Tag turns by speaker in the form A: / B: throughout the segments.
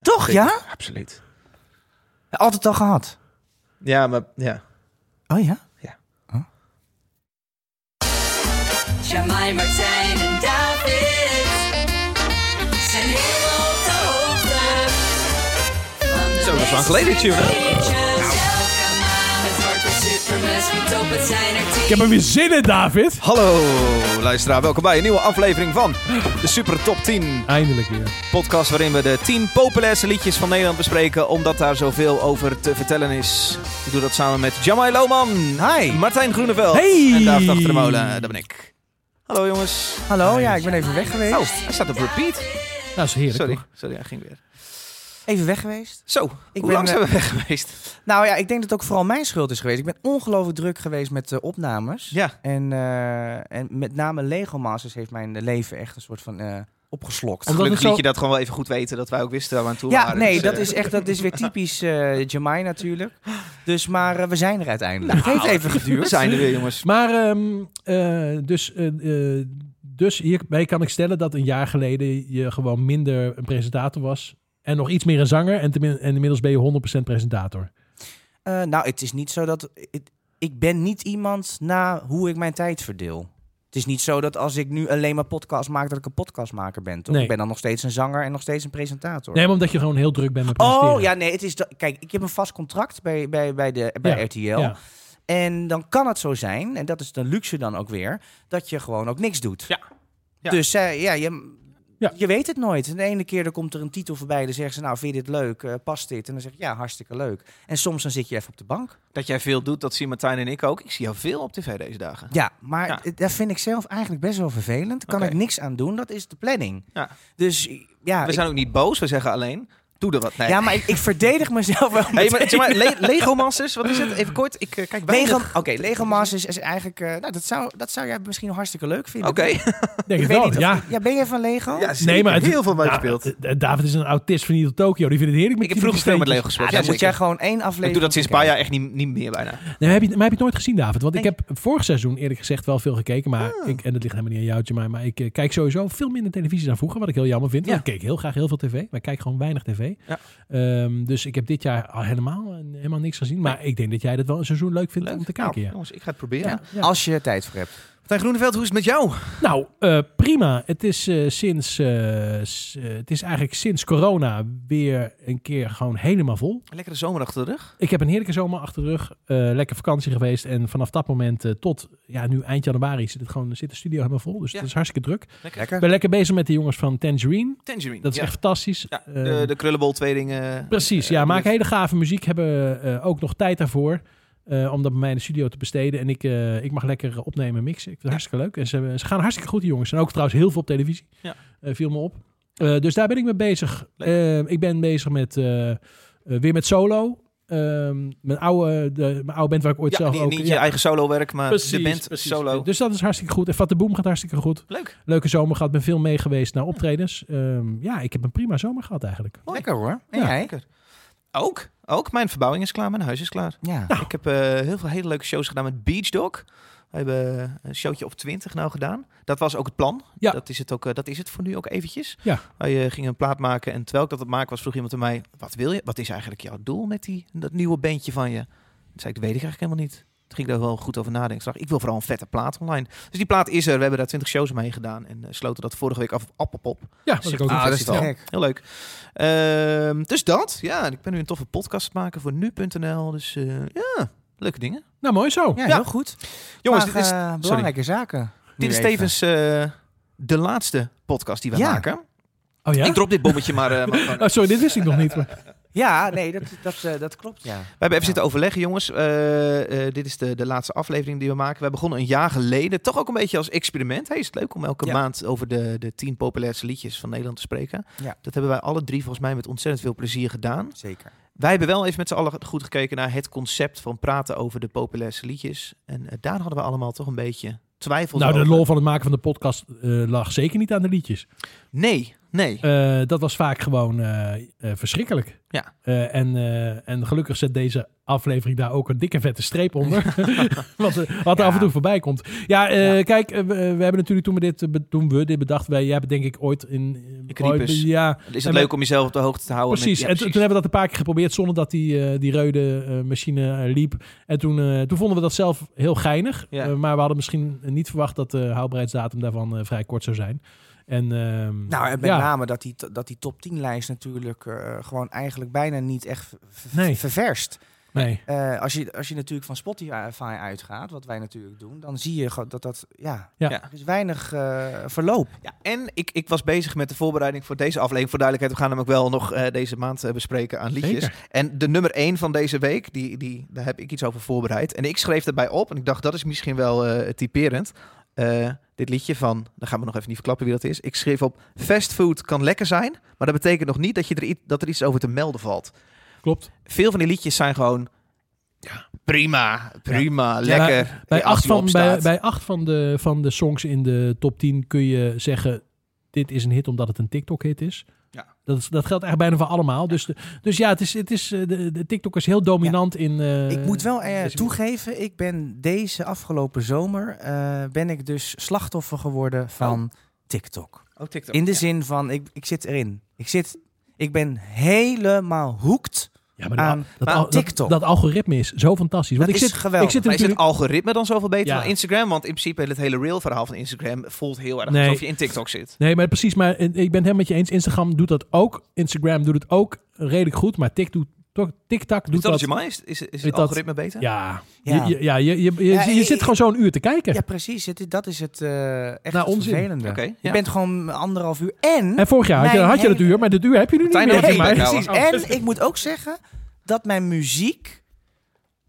A: Toch, ja?
B: Absoluut.
A: Altijd al gehad.
B: Ja, maar ja.
A: Oh ja?
C: Jamai, Martijn en David zijn heel op de hoogte. van de
B: Zo, dat is lang geleden,
C: meeste
B: Tjuna.
C: liedjes.
D: Nou.
C: Elke maand Het wordt weer supermes, wie top, het zijn er tien.
D: Ik heb er weer zin in, David.
B: Hallo luisteraar, welkom bij een nieuwe aflevering van de Super Top 10
D: Eindelijk weer.
B: podcast waarin we de 10 populairste liedjes van Nederland bespreken omdat daar zoveel over te vertellen is. Ik doe dat samen met Jamai Lohman,
A: Hi.
B: Martijn Groeneveld
D: Hey.
B: en David Achter de Molen, dat ben ik. Hallo jongens.
A: Hallo, ja, ik ben even weg
B: Oh,
A: geweest.
B: hij staat op repeat.
D: Nou, is heerlijk.
B: Sorry,
D: toch?
B: sorry, hij ging weer.
A: Even weg geweest.
B: Zo,
A: ben,
B: hoe lang
A: eh,
B: zijn we weg geweest?
A: Nou ja, ik denk dat het ook vooral mijn schuld is geweest. Ik ben ongelooflijk druk geweest met de opnames.
B: Ja,
A: En, eh, en met name Lego Masters heeft mijn eh, leven echt een soort van eh, opgeslokt.
D: Omdat
B: gelukkig
D: het zo-
B: liet je dat gewoon wel even goed weten dat wij ook wisten waar we aan toe
A: ja,
B: waren.
A: nee,
B: dus,
A: dat,
B: eh,
A: is echt, dat is weer typisch eh Jamai natuurlijk. Dus, maar eh, we zijn er uiteindelijk. het heeft even
B: We
A: geduurd.
B: zijn er weer jongens.
D: Nou, Maar, ehm, eh, dus, eh, eh, dus hierbij kan ik stellen dat een jaar geleden je gewoon minder een presentator was. En nog iets meer een zanger. En, tenmin- en inmiddels ben je 100% presentator.
A: Eh, nou, het is niet zo dat... het- ik ben niet iemand na hoe ik mijn tijd verdeel. Het is niet zo dat als ik nu alleen maar podcast maak, dat ik een podcastmaker ben. Toch?
D: Nee.
A: Ik ben dan nog steeds een zanger en nog steeds een presentator.
D: Nee, maar omdat je gewoon heel druk bent met presenteren.
A: Oh ja, nee, het is dat. Kijk, ik heb een vast contract bij, bij, bij, de, bij
D: Ja,
A: RTL.
D: Ja.
A: En dan kan het zo zijn, en dat is de luxe dan ook weer, dat je gewoon ook niks doet.
B: Ja. Ja.
A: Dus eh, ja, je,
D: Ja.
A: je weet het nooit. En de ene keer dan komt er een titel voorbij, dan zeggen ze, nou, vind je dit leuk? Eh, past dit? En dan zeg je, ja, hartstikke leuk. En soms dan zit je even op de bank.
B: Dat jij veel doet, dat zien Martijn en ik ook. Ik zie jou veel op tv deze dagen.
A: Ja, maar
B: Ja.
A: het- dat vind ik zelf eigenlijk best wel vervelend. Daar kan
B: Oké.
A: ik niks aan doen, dat is de planning.
B: Ja.
A: Dus ja,
B: We
A: ik-
B: zijn ook niet boos, we zeggen alleen, doe er wat mee.
A: ja maar ik, ik verdedig mezelf wel
B: Hey, maar,
A: meteen.
B: zeg maar, Le- Lego Masters, wat is het? Even kort, ik eh, kijk bij.
A: Lego, Oké, Lego Masters is eigenlijk... eh, nou, dat zou, dat zou jij misschien hartstikke leuk
B: Oké.
A: vinden.
D: Ik Denk
A: Ik
D: het
A: weet
D: wel,
A: niet of-
D: ja.
A: ja, ben jij van Lego?
D: Nee, maar het-
B: heel veel mee
D: Nou,
B: gespeeld.
D: eh, eh, David is een autist van hier tot Tokio. Die vindt het heerlijk met
B: Ik heb
D: die
B: vroeger veel met Lego
D: steentjes.
B: gespeeld.
A: Ja, Ah, dan
B: ja,
A: moet
B: zeker.
A: jij gewoon één aflevering...
B: ik doe dat sinds een paar
A: kijken.
B: jaar echt niet, niet meer bijna.
D: Nee, maar heb, je, maar heb je het nooit gezien, David? Want ik
A: Nee.
D: heb vorig seizoen eerlijk gezegd wel veel gekeken. Maar
B: Ah.
D: ik, en dat ligt helemaal niet aan jouwtje. Maar, maar ik eh, kijk sowieso veel minder televisie dan vroeger. Wat ik heel jammer vind. want
B: Ja.
D: Ik keek heel graag heel veel tv. Maar ik kijk gewoon weinig tv.
B: Ja.
D: Ehm, dus ik heb dit jaar al helemaal, eh, helemaal niks gezien. Maar ik denk dat jij dat wel een seizoen leuk vindt om te kijken.
B: Nou,
D: ja.
B: Jongens, ik ga het proberen.
A: Ja, Als je tijd voor hebt.
B: Martijn Groeneveld, hoe is het met jou?
D: Nou, eh, prima. Het is, eh, sinds, eh, s- eh, het is eigenlijk sinds corona weer een keer gewoon helemaal vol.
B: Een lekkere zomer achter de rug.
D: Ik heb een heerlijke zomer achter de rug. eh, lekker vakantie geweest. En vanaf dat moment eh, tot ja, nu eind januari zit, het gewoon, zit de studio helemaal vol. Dus
B: Ja.
D: dat is hartstikke druk.
A: Lekker.
D: Ik ben lekker bezig met de jongens van Tangerine.
B: Tangerine.
D: Dat is
B: ja.
D: echt fantastisch.
B: Ja,
D: Eh,
B: de, de krullenbol twee dingen.
D: precies,
B: eh,
D: ja. Maak
B: lief.
D: hele gave muziek. Hebben eh, ook nog tijd daarvoor. eh, om dat bij mij in de studio te besteden. En ik, eh, ik mag lekker opnemen en mixen. Ik vind het hartstikke leuk. En ze, hebben- ze gaan hartstikke goed, die jongens. En ook trouwens heel veel op televisie.
B: Ja.
D: Eh, viel me op. Eh, dus daar ben ik mee bezig. Eh, ik ben bezig met eh, eh, weer met solo. Ehm, mijn, oude, de, mijn oude band waar ik ooit
B: ja,
D: zelf
B: niet,
D: ook...
B: niet je
D: ja,
B: eigen solo werk, maar de band
D: precies.
B: solo.
D: Dus dat is hartstikke goed. En Vat de Boom gaat hartstikke goed.
B: Leuk.
D: Leuke zomer gehad. Ben veel mee geweest naar optredens. Ehm, ja, ik heb een prima zomer gehad eigenlijk.
A: Lekker hoor. En
D: Ja.
A: jij?
B: Lekker. Ook, ook. Mijn verbouwing is klaar, mijn huis is klaar.
A: Ja.
B: Ik heb eh, heel veel hele leuke shows gedaan met Beach Dog. We hebben een showtje op 20 nou gedaan. Dat was ook het plan.
D: Ja.
B: Dat, is het ook, eh, dat is het voor nu ook eventjes.
D: Ja.
B: Wij eh, gingen een plaat maken en terwijl ik dat aan het maken was, vroeg iemand aan mij... Wat wil je? Wat is eigenlijk jouw doel met die, dat nieuwe bandje van je? Toen zei ik, dat weet ik eigenlijk helemaal niet. Toen ging ik daar wel goed over nadenken. Ik dacht, ik wil vooral een vette plaat online. Dus die plaat is er. We hebben daar 20 shows mee gedaan en eh, sloten dat vorige week af op Appelpop.
D: Ja, was ik ook
A: Ah,
D: nog
A: dat is te
B: festival.
A: gek.
B: Heel leuk. Ehm, dus dat, ja. en Ik ben nu een toffe podcast aan het maken voor nu.nl. Dus eh, ja, leuke dingen.
D: Nou, mooi zo.
A: Ja,
B: Ja.
A: heel goed.
B: Jongens,
A: Maar,
B: dit is,
A: eh, belangrijke zaken. Nu
B: dit is
A: even.
B: tevens eh, de laatste podcast die we
A: Ja.
B: maken.
D: Oh ja?
B: Ik drop dit bommetje maar. eh, maar gewoon.
D: Oh, sorry, dit wist ik nog niet. Maar...
A: Ja, nee, dat, dat, eh, dat klopt. Ja.
B: We hebben even zitten overleggen, jongens. Eh, eh, dit is de, de laatste aflevering die we maken. We begonnen een jaar geleden. Toch ook een beetje als experiment. Hey, is het leuk om elke
A: Ja.
B: maand over de, de tien populairste liedjes van Nederland te spreken?
A: Ja.
B: Dat hebben wij alle drie volgens mij met ontzettend veel plezier gedaan.
A: Zeker.
B: Wij hebben wel even met z'n allen goed gekeken naar het concept van praten over de populairste liedjes. En eh, daar hadden we allemaal toch een beetje twijfels
D: Nou, de
B: over.
D: lol van het maken van de podcast eh, lag zeker niet aan de liedjes.
B: Nee, nee.
D: Eh, dat was vaak gewoon eh, eh, verschrikkelijk.
B: Ja.
D: Eh, en, eh, en gelukkig zet deze aflevering daar ook een dikke vette streep onder. wat eh, wat er
A: Ja.
D: af en toe voorbij komt. Ja, eh,
B: Ja.
D: kijk, eh, we, we hebben natuurlijk toen we dit, eh, be- toen we dit bedachten, wij, jij hebt denk ik ooit in... eh,
B: Ik
D: ooit-
B: riepes.
D: ja,
B: Is
D: en
B: het
D: we-
B: leuk om jezelf op de hoogte te houden? Oh, met-
D: precies.
B: ja,
D: en toen- toen hebben we dat een paar keer geprobeerd zonder dat die, eh, die rode eh, machine eh, liep. En toen, eh, toen vonden we dat zelf heel geinig.
B: Ja.
D: Eh, maar we hadden misschien niet verwacht dat de houdbaarheidsdatum daarvan eh, vrij kort zou zijn. En, ehm,
A: Nou, en met
D: ja.
A: name dat die, dat die top 10 lijst natuurlijk eh, gewoon eigenlijk bijna niet echt ver- ver-
D: Nee.
A: ververst.
D: Nee.
A: Eh, als, je, als je natuurlijk van Spotify uitgaat, wat wij natuurlijk doen, dan zie je gewoon dat dat, ja,
D: Ja.
A: er is weinig eh, verloop.
B: Ja, en ik, ik was bezig met de voorbereiding voor deze aflevering. Voor duidelijkheid, we gaan hem ook wel nog eh, deze maand eh, bespreken aan liedjes.
D: Zeker.
B: En de nummer 1 van deze week, die, die, daar heb ik iets over voorbereid. En ik schreef erbij op en ik dacht, dat is misschien wel eh, typerend. Eh, dit liedje van, dan gaan we nog even niet verklappen wie dat is. Ik schreef op, fastfood kan lekker zijn, maar dat betekent nog niet dat, je er, i- dat er iets over te melden valt.
D: Klopt.
B: Veel van die liedjes zijn gewoon ja, prima, prima, lekker.
D: Bij acht,
B: Ja, als die
D: van, bij,
B: opstaat.
D: bij acht van, de, van de songs in de top 10 kun je zeggen: Dit is een hit omdat het een TikTok-hit is.
B: Ja.
D: Dat, is- dat geldt eigenlijk bijna voor allemaal. Dus, de- dus ja, het is, het is, eh, de, de TikTok is heel dominant in. eh,
A: ik moet wel eh,
D: deze-
A: toegeven, ik ben deze afgelopen zomer, eh, ben ik dus slachtoffer
D: Oh.
A: geworden van TikTok.
B: Oh, TikTok.
A: In de
B: Ja.
A: zin van, ik, ik zit erin. Ik zit, ik ben helemaal hoekt
D: Ja, maar
A: aan
D: dat,
B: maar
D: al- dat-
A: TikTok.
D: Dat, algoritme is zo fantastisch. Want
A: Dat
D: ik
A: is
D: zit,
A: geweldig.
D: Ik zit er
B: Maar is het
D: natuurlijk,
B: algoritme dan zoveel beter
D: Ja.
B: dan Instagram? Want in principe het hele reel verhaal van Instagram voelt heel erg
D: Nee.
B: alsof je in TikTok zit.
D: nee, maar precies. Maar eh, ik ben het helemaal met je eens. Instagram doet dat ook. Instagram doet het ook redelijk goed. Maar TikTok doet, toch- TikTok doet dat.
B: Intelligent Mind, is, is, is
D: Doet
B: het
D: dat-
B: algoritme beter?
D: Ja,
A: Ja.
D: Je, je- ja, je, je, je,
A: Ja,
D: je
A: ik-
D: zit gewoon zo'n uur te kijken.
A: Ja, precies. Het, is- dat is het eh echt
D: Nou,
A: het
D: onzin.
A: vervelende.
B: Oké, ja.
A: Je bent gewoon anderhalf uur. En,
D: En vorig jaar had je,
A: Mijn
D: had je dat
A: hele-
D: uur, maar dat uur heb je nu niet
B: Martijn
D: meer.
B: had
D: volgens
A: nee,
B: het
D: mij.
B: uur.
A: precies.
D: Oh.
A: En ik moet ook zeggen dat mijn muziek...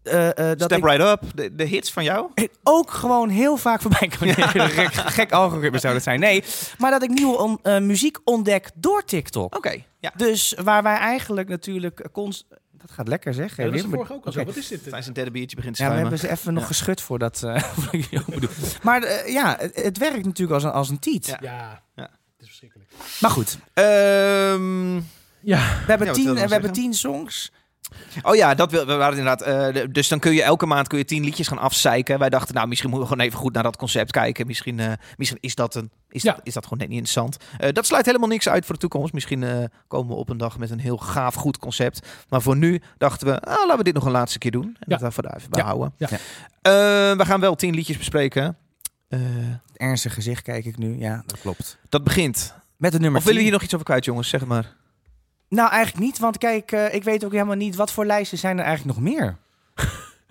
A: eh, eh, dat
B: Step
A: ik
B: right up, de, de hits van jou.
A: het ook gewoon heel vaak voorbij kan. gek, gek algoritme zou dat zijn. Nee, maar dat ik nieuwe on- eh, muziek ontdek door TikTok.
B: Oké, ja.
A: Dus waar wij eigenlijk natuurlijk const... Dat gaat lekker zeg. hè, Wim? Oké.
D: Wat is dit?
B: Tijdens een derde biertje begint te
A: Ja, we
B: schuimen.
A: hebben ze even nog geschud voordat eh, voordat ik die open doe. Maar eh, ja, het, het werkt natuurlijk als een, als een tiet.
B: Ja.
D: Ja.
B: Ja.
D: Het is verschrikkelijk.
A: Maar goed,
B: Ehm,
D: Ja,
A: we hebben,
B: Ja, wat
A: tien,
B: wil
A: we
B: je dan
A: hebben
B: zeggen?
A: tien songs.
B: oh ja, dat wil, we waren inderdaad. eh, de- dus dan kun je elke maand kun je tien liedjes gaan afzeiken. Wij dachten, nou, misschien moeten we gewoon even goed naar dat concept kijken. Misschien, eh, misschien is, dat een, is,
D: Ja.
B: dat, is dat gewoon net niet interessant. Eh, dat sluit helemaal niks uit voor de toekomst. Misschien eh, komen we op een dag met een heel gaaf, goed concept. Maar voor nu dachten we, ah, laten we dit nog een laatste keer doen. En
D: Ja.
B: dat daarvoor daar even
D: Ja.
B: bij houden.
D: Ja.
B: Eh, we gaan wel tien liedjes bespreken. Eh,
A: Ernstig gezicht kijk ik nu. Ja, dat klopt.
B: dat begint.
A: Met de nummer
B: of willen
A: tien.
B: jullie nog iets over kwijt, jongens? Zeg het maar.
A: Nou, eigenlijk niet. Want kijk, eh, ik weet ook helemaal niet... wat voor lijsten zijn er eigenlijk nog meer?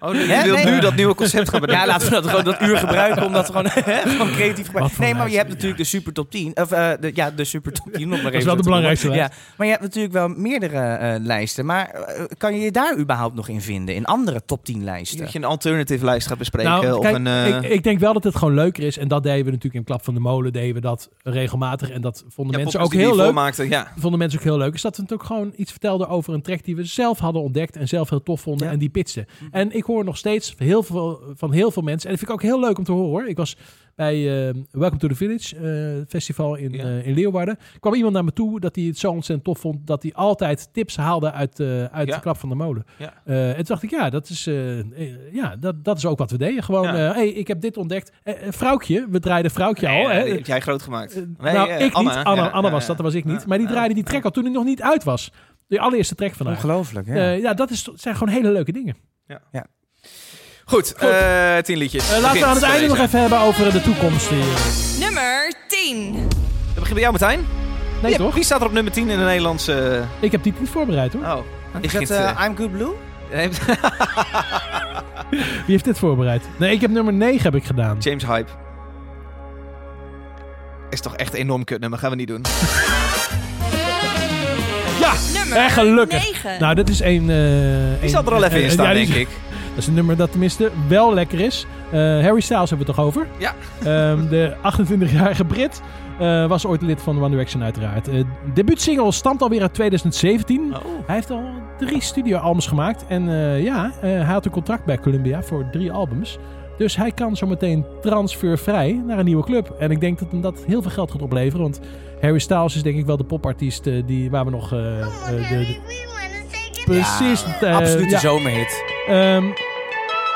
B: Oh,
A: Hè?
B: je wilt
A: Nee.
B: nu dat nieuwe concept gaan bedenken.
A: Ja, laten we dat gewoon dat uur gebruiken om dat gewoon, gewoon creatief
D: Wat
A: te gebruiken.
D: voor
A: Nee, maar je
D: lijst,
A: hebt
D: ja.
A: natuurlijk de super top 10. Of eh, de, ja, de super top 10. Om maar
D: is
A: even
D: wel
A: zo
D: de
A: te
D: belangrijkste
A: noemen.
D: lijst.
A: Ja, maar je hebt natuurlijk wel meerdere eh, lijsten. Maar eh, kan je je daar überhaupt nog in vinden? In andere top 10
B: Ik
A: lijsten?
B: denk Dat je een alternative lijst gaat bespreken.
D: nou,
B: of
D: kijk,
B: een, eh,
D: ik, ik denk wel dat het gewoon leuker is. En dat deden we natuurlijk in Klap van de Molen. Deden we dat regelmatig. En dat vonden
B: ja,
D: mensen
B: podcast
D: ook
B: die we
D: heel leuk.
B: hiervoor maakten, ja.
D: Vonden mensen ook heel leuk. Is dat we het ook gewoon iets vertelden over een track die we zelf hadden ontdekt. En zelf heel tof vonden.
A: Ja.
D: En die pitsten.
B: Mhm.
D: En ik hoor nog steeds heel veel, van heel veel mensen. En dat vind ik ook heel leuk om te horen hoor. Ik was bij eh, Welcome to the Village eh, festival in,
B: Ja.
D: eh, in Leeuwarden. kwam iemand naar me toe dat hij het zo ontzettend tof vond. Dat hij altijd tips haalde uit, eh, uit
B: Ja.
D: de klap van de molen.
B: Ja.
D: Eh, en toen dacht ik, ja, dat is, eh, eh, ja, dat, dat is ook wat we deden. Gewoon,
B: Ja.
D: eh, hey, ik heb dit ontdekt. Eh, eh, vrouwtje, we draaiden vrouwtje al.
B: Ja,
D: hè.
B: die heb jij groot gemaakt.
D: Eh,
B: Nee,
D: nou,
B: eh,
D: ik
B: Anna,
D: niet. Anna,
B: ja,
D: Anna
B: ja,
D: was dat, dat was ik niet.
B: ja,
D: maar die
B: ja.
D: draaide die track al toen hij nog niet uit was. De allereerste track van haar.
A: Ongelooflijk, ja.
D: Eh, ja, dat is, toch- zijn gewoon hele leuke dingen.
B: Goed, eh, tien liedjes.
D: Eh, laten we aan het einde nog even hebben over de toekomst. eh.
C: Nummer 10.
B: We beginnen bij jou, Martijn.
D: Nee,
B: Ja,
D: toch?
B: Wie staat er op nummer 10 in de Nederlandse...
D: Ik heb die niet voorbereid, hoor.
B: Oh, die
A: Is dat
B: begint,
A: eh, I'm Good Blue?
B: eh,
D: Wie heeft dit voorbereid? Nee, ik heb nummer 9 heb ik gedaan.
B: James Hype. Is toch echt een enorm kutnummer, gaan we niet doen.
D: Ja!
C: Nummer
D: En gelukkig.
C: 9.
D: Nou, dat is één... eh,
B: Die
D: één-
B: zal er al even
D: eh,
B: in
D: eh,
B: staan,
D: ja, die
B: denk
D: is-
B: ik.
D: Dat is een nummer dat tenminste wel lekker is. Eh, Harry Styles hebben we het toch over?
B: Ja.
D: Ehm, de 28-jarige Brit eh, was ooit lid van One Direction uiteraard. Eh debuutsingle stamt alweer uit 2017.
B: Oh.
D: Hij heeft al drie studioalbums gemaakt. En eh, ja, eh, hij had een contract bij Columbia voor drie albums. Dus hij kan zometeen transfervrij naar een nieuwe club. En ik denk dat hem dat heel veel geld gaat opleveren. Want Harry Styles is denk ik wel de popartiest eh, die, waar we nog... eh, eh, de- de- precies. eh,
A: Absoluut
D: ja,
A: een zomerhit.
D: ehm,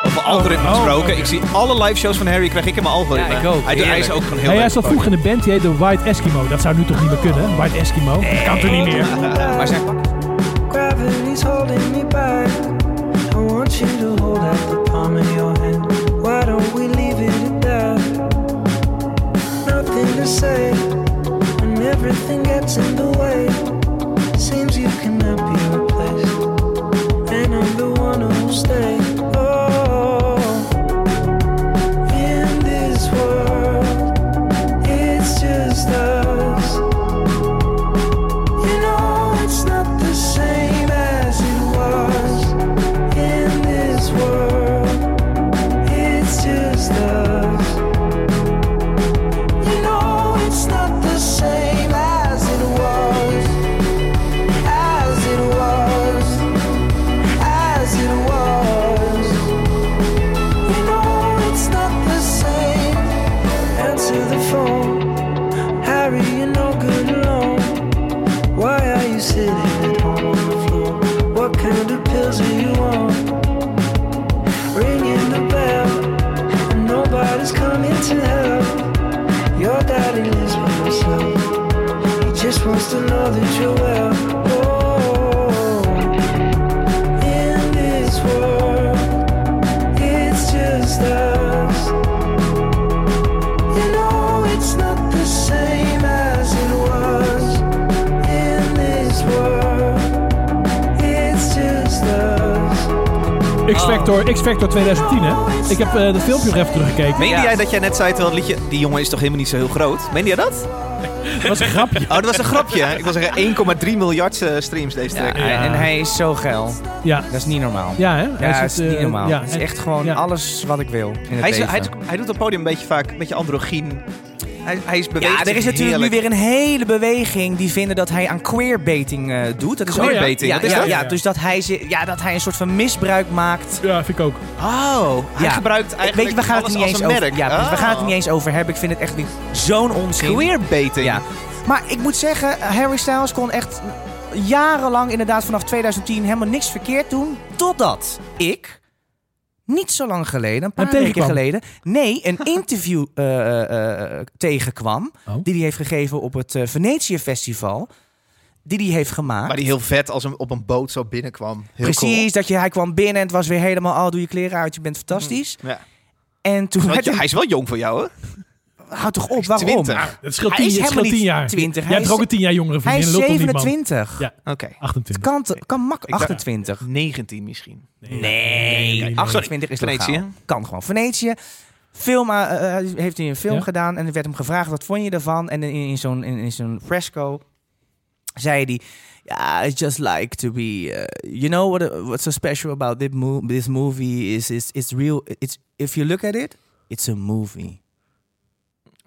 B: Over
D: Oh,
B: algoritme gesproken. Ik zie alle live shows van Harry krijg ik in mijn algoritme.
A: Ja, ik ook.
B: Hij, doet- hij is
A: Heerlijk.
B: ook gewoon
D: nou,
B: heel leuk.
D: hij zat vroeg in de band, die heette White Eskimo. Dat zou nu toch niet meer kunnen, hè? White Eskimo? Dat kan toch niet meer?
A: Maar zijn
E: Gravity's holding me back. I want you to hold out the palm of your hand. Why don't we leave it at that? Nothing to say when everything gets in the way. Seems you cannot be replaced, and I'm the one who'll stay. Oh, in this world, it's just us. You know it's not the same as it was in this world. It's just us. You know it's not the same as it was, as it was, as it was. You know it's not the same. Answer the phone, Harry. You're no good alone. Why are you sitting at home on the floor? What kind of pills are you on? Ringing the bell, and nobody's coming to help. Your daddy lives by himself. He just wants to know that you're well. Oh, in this world, it's just us. You know it's not the same as it was in this world. It's just us.
D: X-Factor, X-Factor 2010, hè? Ik heb eh dat filmpje nog even teruggekeken.
B: Meende
A: Ja.
B: jij dat jij net zei terwijl het liedje... Die jongen is toch helemaal niet zo heel groot? Meende jij dat?
D: Dat was een grapje.
B: Oh, dat was een grapje. hè? Ik wil zeggen 1,3 miljard eh, streams deze track.
A: ja. En hij is zo geil.
D: Ja,
A: Dat is niet normaal.
D: ja hè? Hij
A: Ja, dat is
D: eh,
A: niet normaal.
D: ja,
A: het is
D: en-
A: echt gewoon
D: ja.
A: alles wat ik wil. In het
B: Hij, is,
A: leven.
B: hij, hij doet op het podium een beetje vaak een beetje androgyn. Hij, hij is beweegt
A: ja, er
B: zich
A: is natuurlijk nu
B: heerlijk.
A: weer een hele beweging die vinden dat hij aan queerbaiting eh, doet. Dat is ook-
B: Queerbaiting,
A: ja,
B: Oh wat is
A: ja,
B: dat?
A: ja, dus dat hij, ze- ja, dat hij een soort van misbruik maakt.
D: Ja, vind ik ook.
B: Oh, hij
A: Ja.
B: gebruikt eigenlijk
A: Weet je, we gaan het
B: alles
A: er niet
B: als
A: eens
B: een
A: over.
B: merk.
A: Ja, precies, we gaan het er
B: Oh.
A: niet eens over hebben. Ik vind het echt niet zo'n onzin.
B: Queerbaiting.
A: Ja. Maar ik moet zeggen, eh, Harry Styles kon echt jarenlang, inderdaad vanaf 2010, helemaal niks verkeerd doen. Totdat ik, niet zo lang geleden, een paar weken
D: tegenkwam.
A: geleden, nee, een interview eh, eh, eh, tegenkwam.
D: Oh.
A: Die hij heeft gegeven op het eh, Venetië Festival. Die hij heeft gemaakt.
B: Maar die heel vet als een, op een boot zo binnenkwam. Heel
A: Precies, dat je, hij kwam binnen en het was weer helemaal, oh, doe je kleren uit, je bent fantastisch.
B: cool. Ja.
A: En toen
B: Want Hmm.
A: werd
B: je-
A: hem-
B: hij is wel jong voor jou, hè?
A: houd toch op, waarom?
B: 20.
D: Het scheelt
A: Hij
D: tien,
A: is
D: het scheelt
A: helemaal
D: tien
A: niet
D: jaar.
A: 20,
D: Jij
A: hij
D: hebt er
A: is-
D: ook een tien jaar jongere
A: Hij
D: vriendin.
A: is
D: lult om die man.
A: 27.
D: Ja,
B: Oké.
D: 28.
A: Kan, kan mak
B: dacht-
A: 28.
B: 19 misschien.
A: Nee,
D: nee.
A: 28 is legaal.
B: Venetië.
A: Kan gewoon. Venetië. Film, eh, eh, eh, heeft hij een film
D: Ja.
A: gedaan en er werd hem gevraagd wat vond je ervan. En in, in zo'n in, in zo'n fresco zei hij... Ja, I just like to be... eh, you know what, eh, what's so special about this, mo- this movie is, is it's real. It's, if you look at it, it's a movie.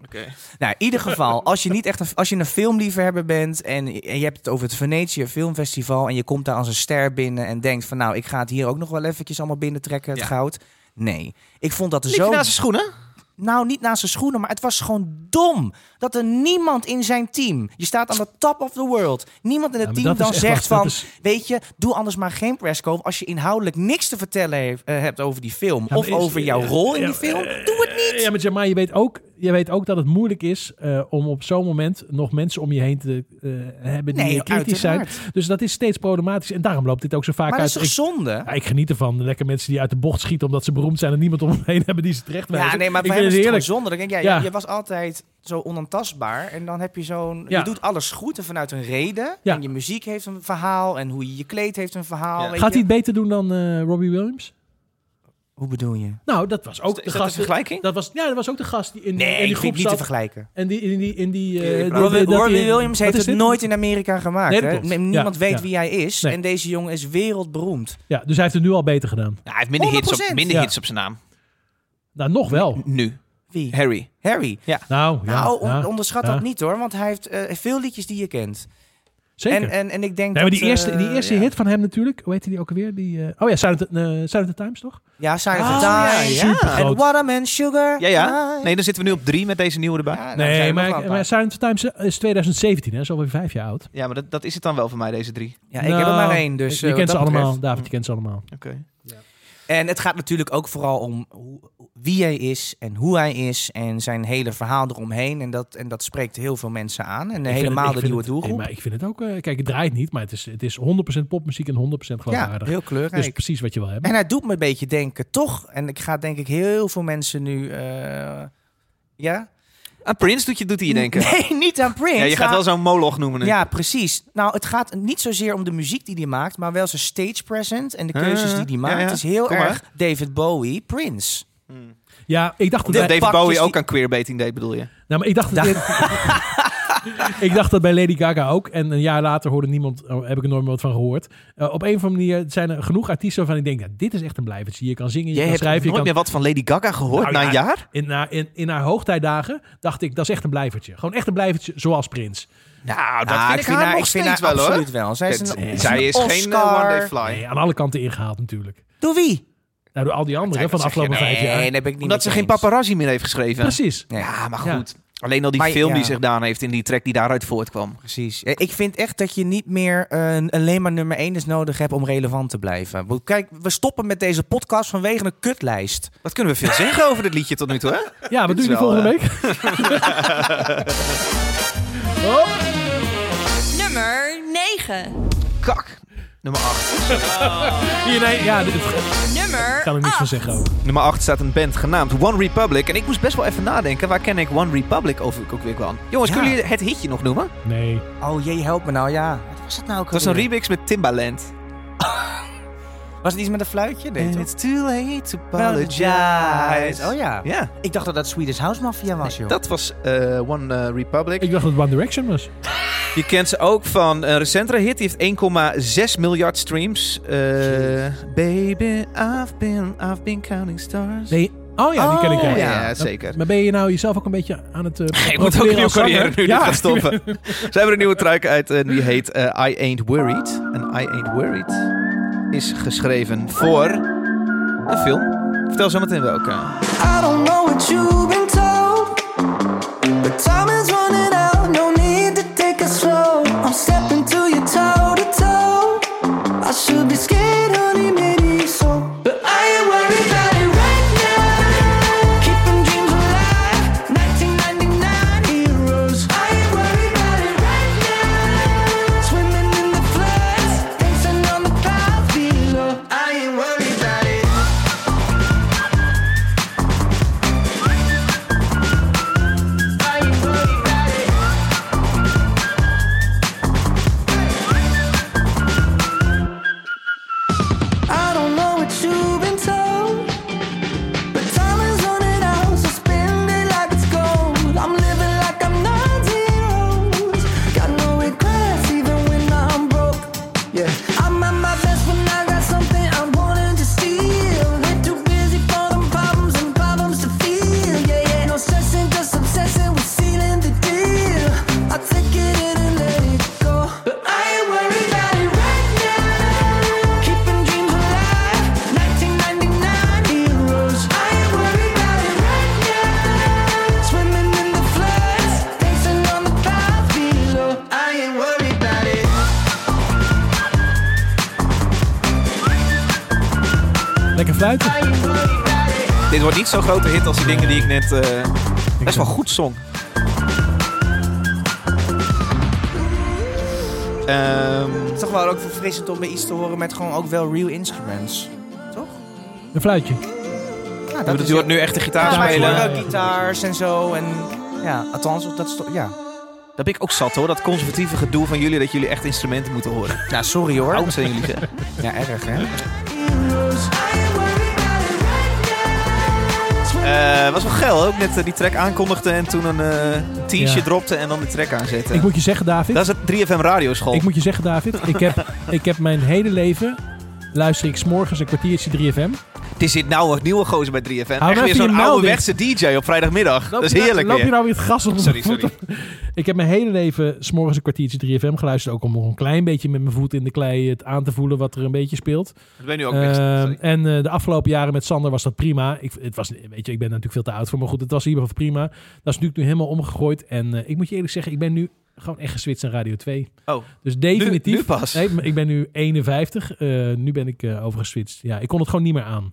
B: Oké.
A: Nou, in ieder geval, als je, niet echt een, als je een filmliefhebber bent en, en je hebt het over het Venetië Filmfestival en je komt daar als een ster binnen en denkt van nou, ik ga het hier ook nog wel eventjes allemaal binnentrekken, het
B: Ja.
A: goud. Nee, ik vond dat er
B: Liep
A: zo...
B: je naast zijn schoenen?
A: Nou, niet naast zijn schoenen, maar het was gewoon dom dat er niemand in zijn team... Je staat aan de top of the world. Niemand in het
D: Ja, maar
A: team
D: dat
A: dan
D: is echt
A: zegt
D: wat- dat
A: van,
D: is-
A: weet je, doe anders maar geen presscode als je inhoudelijk niks te vertellen heeft, eh, hebt over die film
D: Ja,
A: of
D: maar is-
A: over jouw
D: ja,
A: rol in
D: ja,
A: die film.
D: eh,
A: Doe het niet!
D: Ja, maar Jamai, je weet ook, je weet ook dat het moeilijk is eh, om op zo'n moment nog mensen om je heen te eh, hebben die
A: Nee,
D: je kritisch zijn.
A: uiteraard.
D: Dus dat is steeds problematisch. En daarom loopt dit ook zo vaak
A: Maar dat
D: uit.
A: is toch
D: Ik-
A: zonde?
D: ja, ik geniet ervan. Lekker mensen die uit de bocht schieten omdat ze beroemd zijn en niemand om me heen hebben die ze terecht wijzen.
A: Ja, nee, maar
D: ik
A: bij
D: vind
A: hem
D: het
A: is het
D: heerlijk.
A: gewoon zonde. Dan denk ik, ja,
D: Ja.
A: Je, je was altijd zo onaantastbaar. En dan heb je zo'n...
D: Ja.
A: Je doet alles goed en vanuit een reden.
D: Ja.
A: En je muziek heeft een verhaal. En hoe je je kleed heeft een verhaal.
B: Ja.
A: weet
D: Gaat
A: je.
D: hij het beter doen dan eh, Robbie Williams?
A: Hoe bedoel je?
D: Nou, dat was ook de
B: Is dat een
D: gast.
B: vergelijking?
D: dat was, ja, dat was ook de gast die in, die-
A: Nee,
D: in die
A: ik vind
D: groep
A: het niet te
D: zat.
A: vergelijken.
D: En die in die. In die eh,
B: Ja,
D: dat-
A: Robbie,
D: dat-
A: Robbie
D: die-
A: Williams
D: wat
A: heeft
D: is
A: het
D: dit?
A: nooit in Amerika gemaakt.
D: Nee, dat
A: hè?
D: klopt.
A: Nee, Niemand
D: Ja,
A: weet
D: ja.
A: wie hij is.
D: Nee.
A: En deze jongen is wereldberoemd.
D: Ja, dus hij heeft het nu al beter gedaan.
B: Nou, hij heeft minder, hits op,
A: 100%,
B: minder
D: ja.
B: hits op zijn naam.
D: Nou, nog wel.
B: Nu.
A: Wie?
B: Harry.
A: Harry.
D: Nou, ja,
A: Nou, on-
D: ja,
A: onderschat
D: ja.
A: dat niet hoor. Want hij heeft eh, veel liedjes die je kent.
D: Zeker.
A: En, en, en ik denk
D: nee, maar
A: dat,
D: die eerste, die
A: eh,
D: eerste
A: ja.
D: hit van hem natuurlijk, hoe heette die ook alweer? Die, eh, oh ja, Silent, eh Silent Times toch?
A: Ja, Sign
B: Ah,
A: of the Times.
B: ja, ja.
D: Supergroot.
A: En Waterman Sugar. Ah,
B: Ja, ja. Nee, dan zitten we nu op drie met deze nieuwe erbij.
A: Ja, dan zijn
D: Nee,
A: we
D: maar,
A: nog
D: maar
A: wel een
D: Silent Times eh, is 2017, hè? Is alweer vijf jaar oud.
B: Ja, maar dat, dat is het dan wel voor mij, deze drie.
A: paar. Ja, ik heb er maar
D: Nou,
A: één. Dus,
D: je
A: eh,
D: kent
A: wat
D: ze
A: dat
D: allemaal,
A: betreft.
D: David, je kent ze allemaal.
B: Oké.
A: En het gaat natuurlijk ook vooral om hoe- wie hij is en hoe hij is en zijn hele verhaal eromheen. En dat, en dat spreekt heel veel mensen aan. En
D: Ik vind
A: helemaal
D: het-
A: de
D: ik vind
A: nieuwe
D: het-
A: doelgroep.
D: nee, maar ik vind het ook... eh, kijk, het draait niet, maar het is, het is 100% popmuziek en 100%
A: ja,
D: geloofwaardig.
A: heel
D: dus
A: kleurrijk.
D: precies wat je wil hebben.
A: en hij doet me een beetje denken, toch? En ik ga denk ik heel veel mensen nu... eh, ja?
B: Aan Prince doet, je, doet hij je denken.
A: Nee, niet aan Prince.
B: ja, je gaat
A: maar-
B: wel zo'n moloch noemen. hè?
A: Ja, precies. Nou, het gaat niet zozeer om de muziek die hij maakt, maar wel zijn stage present en de
B: Ah,
A: keuzes die hij
B: ja,
A: maakt.
B: ja.
A: Het is heel
B: Kom maar.
A: erg David Bowie, Prince.
D: Ja, ik dacht dat, bij,
B: Dat Oh, David
A: pakjes
B: Bowie ook
A: die-
B: aan queerbaiting deed, bedoel je?
D: nou, maar ik, dacht dat ik dacht dat bij Lady Gaga ook. En een jaar later hoorde niemand, oh, heb ik er nooit meer wat van gehoord. Eh, op een of andere manier zijn er genoeg artiesten waarvan ik denk, nou, dit is echt een blijvertje. Je kan zingen, je
B: Jij
D: kan
B: hebt
D: schrijven.
B: nooit
D: je kan...
B: meer wat van Lady Gaga gehoord
D: Nou
B: na een
D: ja,
B: jaar?
D: In, haar- in, in haar hoogtijdagen dacht ik, dat is echt een blijvertje. Gewoon echt een blijvertje, zoals Prins.
B: Nou, dat
A: Ah,
B: vind ik, haar
A: haar-
B: nog
A: vind
B: steeds
A: haar
B: wel, hoor.
A: absoluut wel. Zij is, een,
B: Kijk,
A: is
B: Zij
A: een
B: is
A: Oscar.
B: geen eh, one-day fly.
D: Nee, aan alle kanten ingehaald natuurlijk.
A: Door wie?
D: Nou, door al die anderen hè, van de
B: dat zeg je
D: afgelopen vijf jaar.
A: dat ben ik niet
B: Omdat
A: met
B: ze
A: je
B: geen
A: eens.
B: paparazzi meer heeft geschreven.
D: Precies.
A: Nee,
B: Ja, maar
D: Ja.
B: goed. Alleen al die
A: Maar-
B: film die
A: ja.
B: ze gedaan heeft in die track die daaruit voortkwam.
A: precies. Eh, Ik vind echt dat je niet meer eh, alleen maar nummer 1 is nodig hebt om relevant te blijven. Bo- Kijk, we stoppen met deze podcast vanwege een kutlijst.
B: Wat kunnen we veel zeggen over dit liedje tot nu toe, hè?
D: Ja, wat
B: Dit
D: doen
B: is
D: jullie
B: wel, eh,
D: volgende week? Hop.
F: Nummer 9.
B: Kak. Nummer 8.
D: Hier, nee, ja, dit ik
F: Nummer
D: kan ik
B: Ah.
D: niks van
F: 8.
D: zeggen ook.
B: Nummer 8 staat een band genaamd One Republic. En ik moest best wel even nadenken, waar ken ik One Republic over ook weer kwam? Jongens,
A: Ja.
B: kunnen jullie het hitje nog noemen?
D: Nee.
A: Oh jee, help me nou, ja. Wat was het nou ook
B: Het was een
A: alweer?
B: remix met Timbaland.
A: Was het iets met een fluitje? Nee, toch?
B: too late to
A: Oh ja.
B: Ja,
A: Ik dacht dat dat Swedish House Mafia was, joh.
B: dat was eh, One eh, Republic.
D: Ik dacht dat het One Direction was.
B: Je kent ze ook van een recentere hit. Die heeft 1,6 miljard streams. Eh, baby, I've been, I've been counting stars.
D: Nee. Oh ja, die ken ik
A: Oh,
D: wel.
B: ja, zeker.
D: Maar ben je nou jezelf ook een beetje aan het... eh,
B: Ik moet
D: profileren
B: ook een nieuwe
D: als zanger?
B: carrière nu dit
D: Ja.
B: gaat stoppen. Ze hebben een nieuwe track uit en die heet eh, I Ain't Worried. En I Ain't Worried is geschreven voor een film. Vertel zometeen welke.
C: I don't know what you've been told, but time is running out. No need to take it slow. I'm stepping to you toe to toe. I should be scared, honey, maybe so, but I ain't worried about it right now. Keeping dreams alive, 1999 heroes. I ain't worried about it right now. Swimming in the floods, dancing on the clouds below. I ain't worried about it. I ain't worried about it. I don't know what you've been told, but time is running out, so spend it like it's gold. I'm living like I'm 19 got no regrets even when I'm broke. Yeah, I'm at my best when I got something I wanted to steal. They're too busy for them problems and problems to feel. Yeah, yeah, no stressing, just obsessing with sealing the deal. I take it in and let it go, but I ain't worried about it right now. Keeping dreams alive, 1999 heroes. I ain't worried about it right now. Swimming in the floods, dancing on the clouds below. I ain't worried about it.
D: Lekker fluiten.
C: I ain't worried about it.
B: Dit wordt niet zo'n grote hit als die dingen die ik net... eh best wel goed zong. Ehm,
A: Het is toch wel ook verfrissend om bij iets te horen met gewoon ook wel real instruments. Toch?
D: Een fluitje.
A: Ja,
B: dat dus je hoort nu echt de gitaar
A: Ja, maar je
B: spelen.
A: hoort ook gitaars en zo. En ja, althans, of dat is toch- Ja.
B: Dat ben ik ook zat hoor, dat conservatieve gedoe van jullie dat jullie echt instrumenten moeten horen.
A: ja, sorry hoor.
B: Oud zijn jullie zeg.
A: Ja, erg hè.
B: Eh, was wel geil, ook net eh, die track aankondigde en toen een eh, t-shirt
D: Ja.
B: dropte en dan die track aanzette.
D: Ik moet je zeggen, David.
B: Dat is het 3FM radioschool.
D: Ik moet je zeggen, David. Ik heb, ik heb mijn hele leven... Luister ik s'morgens een kwartiertje 3FM.
B: Er zit nou een nieuwe gozer bij
D: maar
B: 3FM. Echt weer
D: nou even je
B: zo'n
D: mouw
B: ouderwetse DJ op vrijdagmiddag.
D: Loop
B: dat is
D: je nou-
B: heerlijk
D: Loop
B: weer.
D: je nou weer het gras onder
B: Sorry,
D: mijn voeten? Ik heb mijn hele leven s'morgens een kwartiertje 3FM geluisterd. Ook om nog een klein beetje met mijn voet in de klei het aan te voelen wat er een beetje speelt.
B: Dat ben je nu ook
D: Ehm,
B: best. Sorry.
D: en eh, de afgelopen jaren met Sander was dat prima. Ik, het was, weet je, ik ben daar natuurlijk veel te oud voor. Maar goed, het was in ieder geval prima. Dat is natuurlijk nu helemaal omgegooid. En eh, ik moet je eerlijk zeggen, ik ben nu gewoon echt geswitst aan Radio 2.
B: Oh,
D: Dus definitief.
B: nu pas?
D: Nee, maar ik ben nu 51. Eh, nu ben ik eh overgeswitst. Ja, ik kon het gewoon niet meer aan.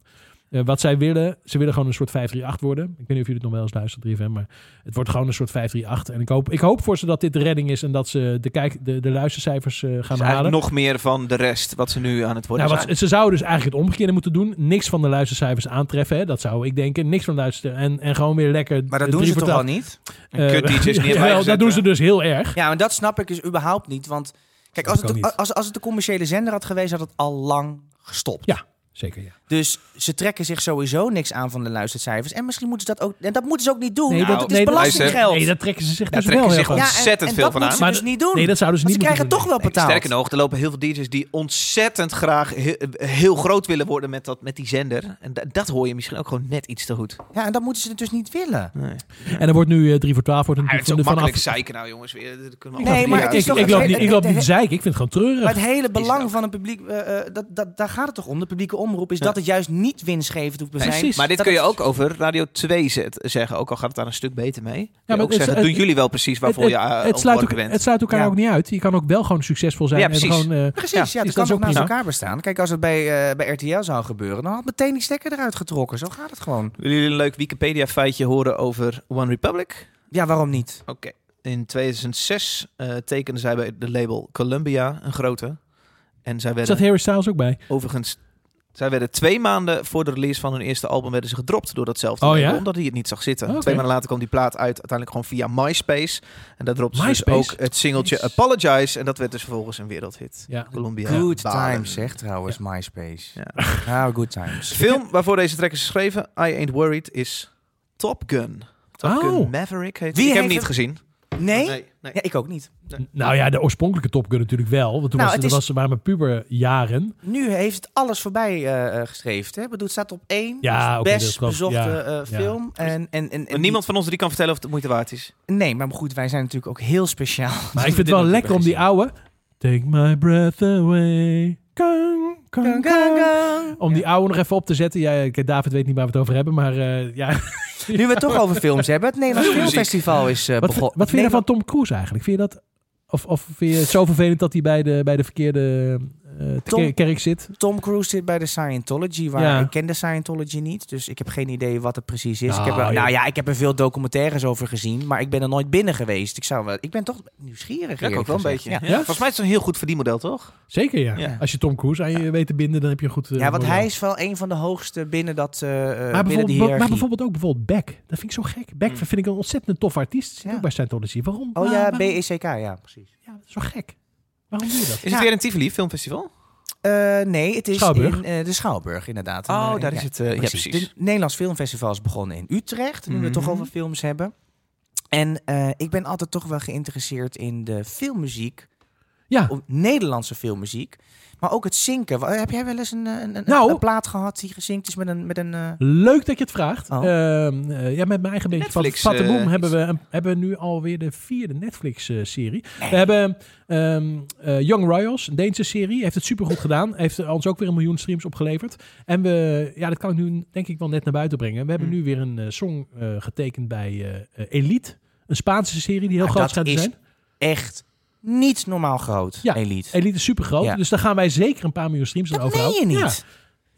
D: Eh, wat zij willen, ze willen gewoon een soort 538 worden. Ik weet niet of jullie het nog wel eens luisteren, 3FM, maar het wordt gewoon een soort 538. En ik hoop, ik hoop voor ze dat dit de redding is en dat ze de, kijk, de, de luistercijfers eh, gaan
B: Dus
D: halen.
B: eigenlijk nog meer van de rest wat ze nu aan het worden
D: Nou,
B: zijn.
D: wat, ze zouden dus eigenlijk het omgekeerde moeten doen. Niks van de luistercijfers aantreffen. Hè? Dat zou ik denken. Niks van de luister. En, en gewoon weer lekker.
A: Maar dat
D: eh,
A: doen
D: drie
A: ze
D: voor
A: toch al
D: twaalf.
A: niet?
B: Een kut
D: Eh,
B: DJ is
D: jawel,
B: neergezet,
D: dat doen ze
B: hè?
D: dus heel erg.
A: Ja, maar dat snap ik dus überhaupt niet. Want kijk,
D: Snap
A: als
D: ik ook
A: het,
D: niet.
A: als, als het de commerciële zender had geweest, had het al lang gestopt.
D: Ja. Zeker, ja.
A: Dus ze trekken zich sowieso niks aan van de luistercijfers. En misschien moeten ze dat ook. En dat moeten ze ook niet doen.
D: Nee,
A: want
D: dat-
A: het is
D: nee, dat-
A: belastinggeld.
D: Nee, dat trekken ze zich
B: Daar
D: dus
B: trekken
D: wel
B: ze
D: heel
B: zich
D: erg
B: om.
D: aan.
A: en,
B: ontzettend
A: en
B: veel
A: dat
B: van
A: moeten
B: aan.
A: ze
D: Maar
A: dus
D: dat-
A: niet doen.
D: nee, dat zouden ze
A: Want
D: niet
A: ze krijgen
D: moeten
A: toch
D: doen.
A: wel betaald.
B: Sterker nog, er lopen heel veel DJ's die ontzettend graag he- heel groot willen worden met, dat, met die zender. En da- dat hoor je misschien ook gewoon net iets te goed.
A: Ja, en dat moeten ze dus niet willen.
D: En er wordt nu eh, 3 voor 12 wordt
B: Ah, het
D: natuurlijk
B: is ook
D: van-
B: makkelijk
D: vanaf.
B: zeiken nou jongens. Weer. Dat kunnen we
A: Nee,
B: allemaal
A: maar
B: niet
A: het is
D: ik,
A: toch-
D: ik
B: uithalen.
D: loop niet, ik loop
A: het-
D: niet zeiken. Ik vind het gewoon
A: Maar
D: treurig.
A: het hele belang
B: ook.
A: van het publiek, eh, eh, dat, dat, daar gaat het toch om. De publieke omroep is dat het juist niet winstgevend hoeft te zijn.
D: Precies.
B: Maar dit
A: Dat
B: kun je
A: het-
B: ook over Radio 2 zet- zeggen, ook al gaat het daar een stuk beter mee. Kun je
D: maar
B: ook
D: het-
B: zeggen,
D: het-
B: doen jullie wel precies waarvoor
D: het,
B: je
D: het- het
B: eh,
D: sluit ook,
B: ontworpen bent.
D: het sluit elkaar
A: Ja.
D: ook niet uit. Je kan ook wel gewoon succesvol zijn.
B: Ja,
D: En
B: precies.
D: gewoon, eh,
B: Ja,
A: Precies, ja,
D: precies,
A: dat
D: dat
A: kan
D: is
A: ook
D: ook
A: naast
D: prima.
A: elkaar bestaan. Kijk, als het bij, eh, bij RTL zou gebeuren, dan had meteen die stekker eruit getrokken. Zo gaat het gewoon.
B: Willen jullie een leuk Wikipedia-feitje horen over One Republic?
A: Ja, waarom niet?
B: Oké. In 2006 eh tekenden zij bij de label Columbia, een grote. En zij werden
D: zat Harry Styles ook bij.
B: overigens... Zij werden twee maanden voor de release van hun eerste album werden ze gedropt door datzelfde
D: Oh,
B: label,
D: ja?
B: omdat hij het niet zag zitten.
D: Oké.
B: Twee maanden later kwam die plaat uit, uiteindelijk gewoon via MySpace. En daar dropte ze dus
D: MySpace?
B: ook het singeltje
D: Jezus.
B: Apologize. En dat werd dus vervolgens een wereldhit.
D: Ja.
B: Columbia.
A: Good
B: balen.
A: times, zegt trouwens MySpace.
B: Ja.
A: Nou, good times.
B: De film waarvoor deze track is geschreven, I Ain't Worried, is Top Gun. Top
D: Oh.
B: Gun Maverick heet
A: Wie
B: Ik heb hem
A: heeft
B: niet gezien.
A: Nee?
B: Nee, nee.
A: Ja, ik ook niet.
D: Nou ja, de oorspronkelijke Top Gun natuurlijk wel. Want toen
A: Nou,
D: was,
A: het
D: dat
A: is-
D: was, waren mijn puberjaren.
A: Nu heeft het alles voorbij eh, eh, gestreefd. Hè? Ik bedoel, het staat op één.
D: Ja,
A: dus
D: oké, dat
A: best
D: klopt.
A: bezochte
D: Ja,
A: eh,
D: ja.
A: film. En, en, en,
B: En niemand van ons drie kan vertellen of het de moeite waard is.
A: Nee, maar goed, wij zijn natuurlijk ook heel speciaal.
D: Maar ik vind het wel lekker om die oude... Take my breath away. Kang, kang,
A: Gang,
D: kang.
A: gang, gang.
D: Om die oude nog even op te zetten. Ja, ik- David weet niet waar we het over hebben, maar eh, ja.
A: Nu we het toch over films hebben. Het Nederlands Filmfestival is eh,
D: Wat,
A: begonnen.
D: wat vind je van Tom Cruise eigenlijk? Vind je dat, of, of vind je het zo vervelend dat hij bij de, bij de verkeerde eh,
A: Tom-
D: ker- kerk zit?
A: Tom Cruise zit bij de Scientology, waar
D: Ja.
A: ik ken de Scientology niet, dus ik heb geen idee wat het precies is. ik
D: Nou,
A: heb er,
D: joh.
A: nou ja, ik heb er veel documentaires over gezien, maar ik ben er nooit binnen geweest. Ik zou wel, ik ben toch nieuwsgierig.
B: Ja, ik ook
A: eerlijk
B: wel een
A: gezegd.
B: beetje. Ja.
A: Ja.
D: Ja?
B: Volgens mij is het een heel goed verdienmodel, toch?
D: Zeker ja.
B: Ja.
D: Als je Tom Cruise aan je weet te binden, dan heb je een goed... eh,
A: Ja, want
D: model.
A: hij is wel een van de hoogste binnen dat eh,
D: maar
A: eh, binnen die
D: bijvoorbeeld, maar
A: hiërarchie. Hmm.
D: bijvoorbeeld ook bijvoorbeeld Beck. Dat vind ik zo gek. Beck
B: Mm.
D: vind ik een ontzettend tof artiest. Zit
A: Ja.
D: ook bij Scientology. Waarom?
A: Oh
D: Waar-
A: ja,
D: waarom-
A: BECK, ja, precies.
D: Ja, dat is zo gek. Waarom doe je dat?
B: Is
A: Ja.
B: het weer een Tivoli Filmfestival?
A: Eh, nee, het is
D: Schouwburg?
A: in eh, de Schouwburg, inderdaad.
B: Oh,
A: En, eh,
B: daar
A: ja.
B: is het. eh, ja,
A: precies.
B: precies.
A: Het Nederlands Filmfestival is begonnen in Utrecht. Nu we het
B: Mhm.
A: toch over films hebben. En eh, ik ben altijd toch wel geïnteresseerd in de filmmuziek.
D: Ja.
A: Op Nederlandse filmmuziek. Maar ook het zinken. Wa- Heb jij wel eens een, eh, een, een,
D: Nou.
A: een plaat gehad die gezinkt is met een... Met een eh,
D: Leuk dat je het vraagt.
A: Oh.
D: Ehm, eh, ja, met mijn eigen beetje
B: Netflix,
D: van Fatte
B: eh,
D: Boom
B: iets.
D: hebben we, een- hebben we nu alweer de vierde Netflix-serie.
A: Nee.
D: We hebben ehm, eh, Young Royals, een Deense serie. Heeft het supergoed gedaan. Heeft ons ook weer een miljoen streams opgeleverd. En we, ja, dat kan ik nu denk ik wel net naar buiten brengen. We hebben
B: Hmm.
D: nu weer een eh, song eh, getekend bij eh, eh, Elite. Een Spaanse serie die heel
A: Maar
D: groot
A: Ah, dat
D: gaat
A: is-
D: zijn.
A: echt niet normaal groot,
D: Ja.
A: Elite.
D: Elite is supergroot.
A: Ja.
D: Dus daar gaan wij zeker een paar miljoen streams aan
A: Dat
D: overhouden.
A: meen je
D: Ja,
A: niet.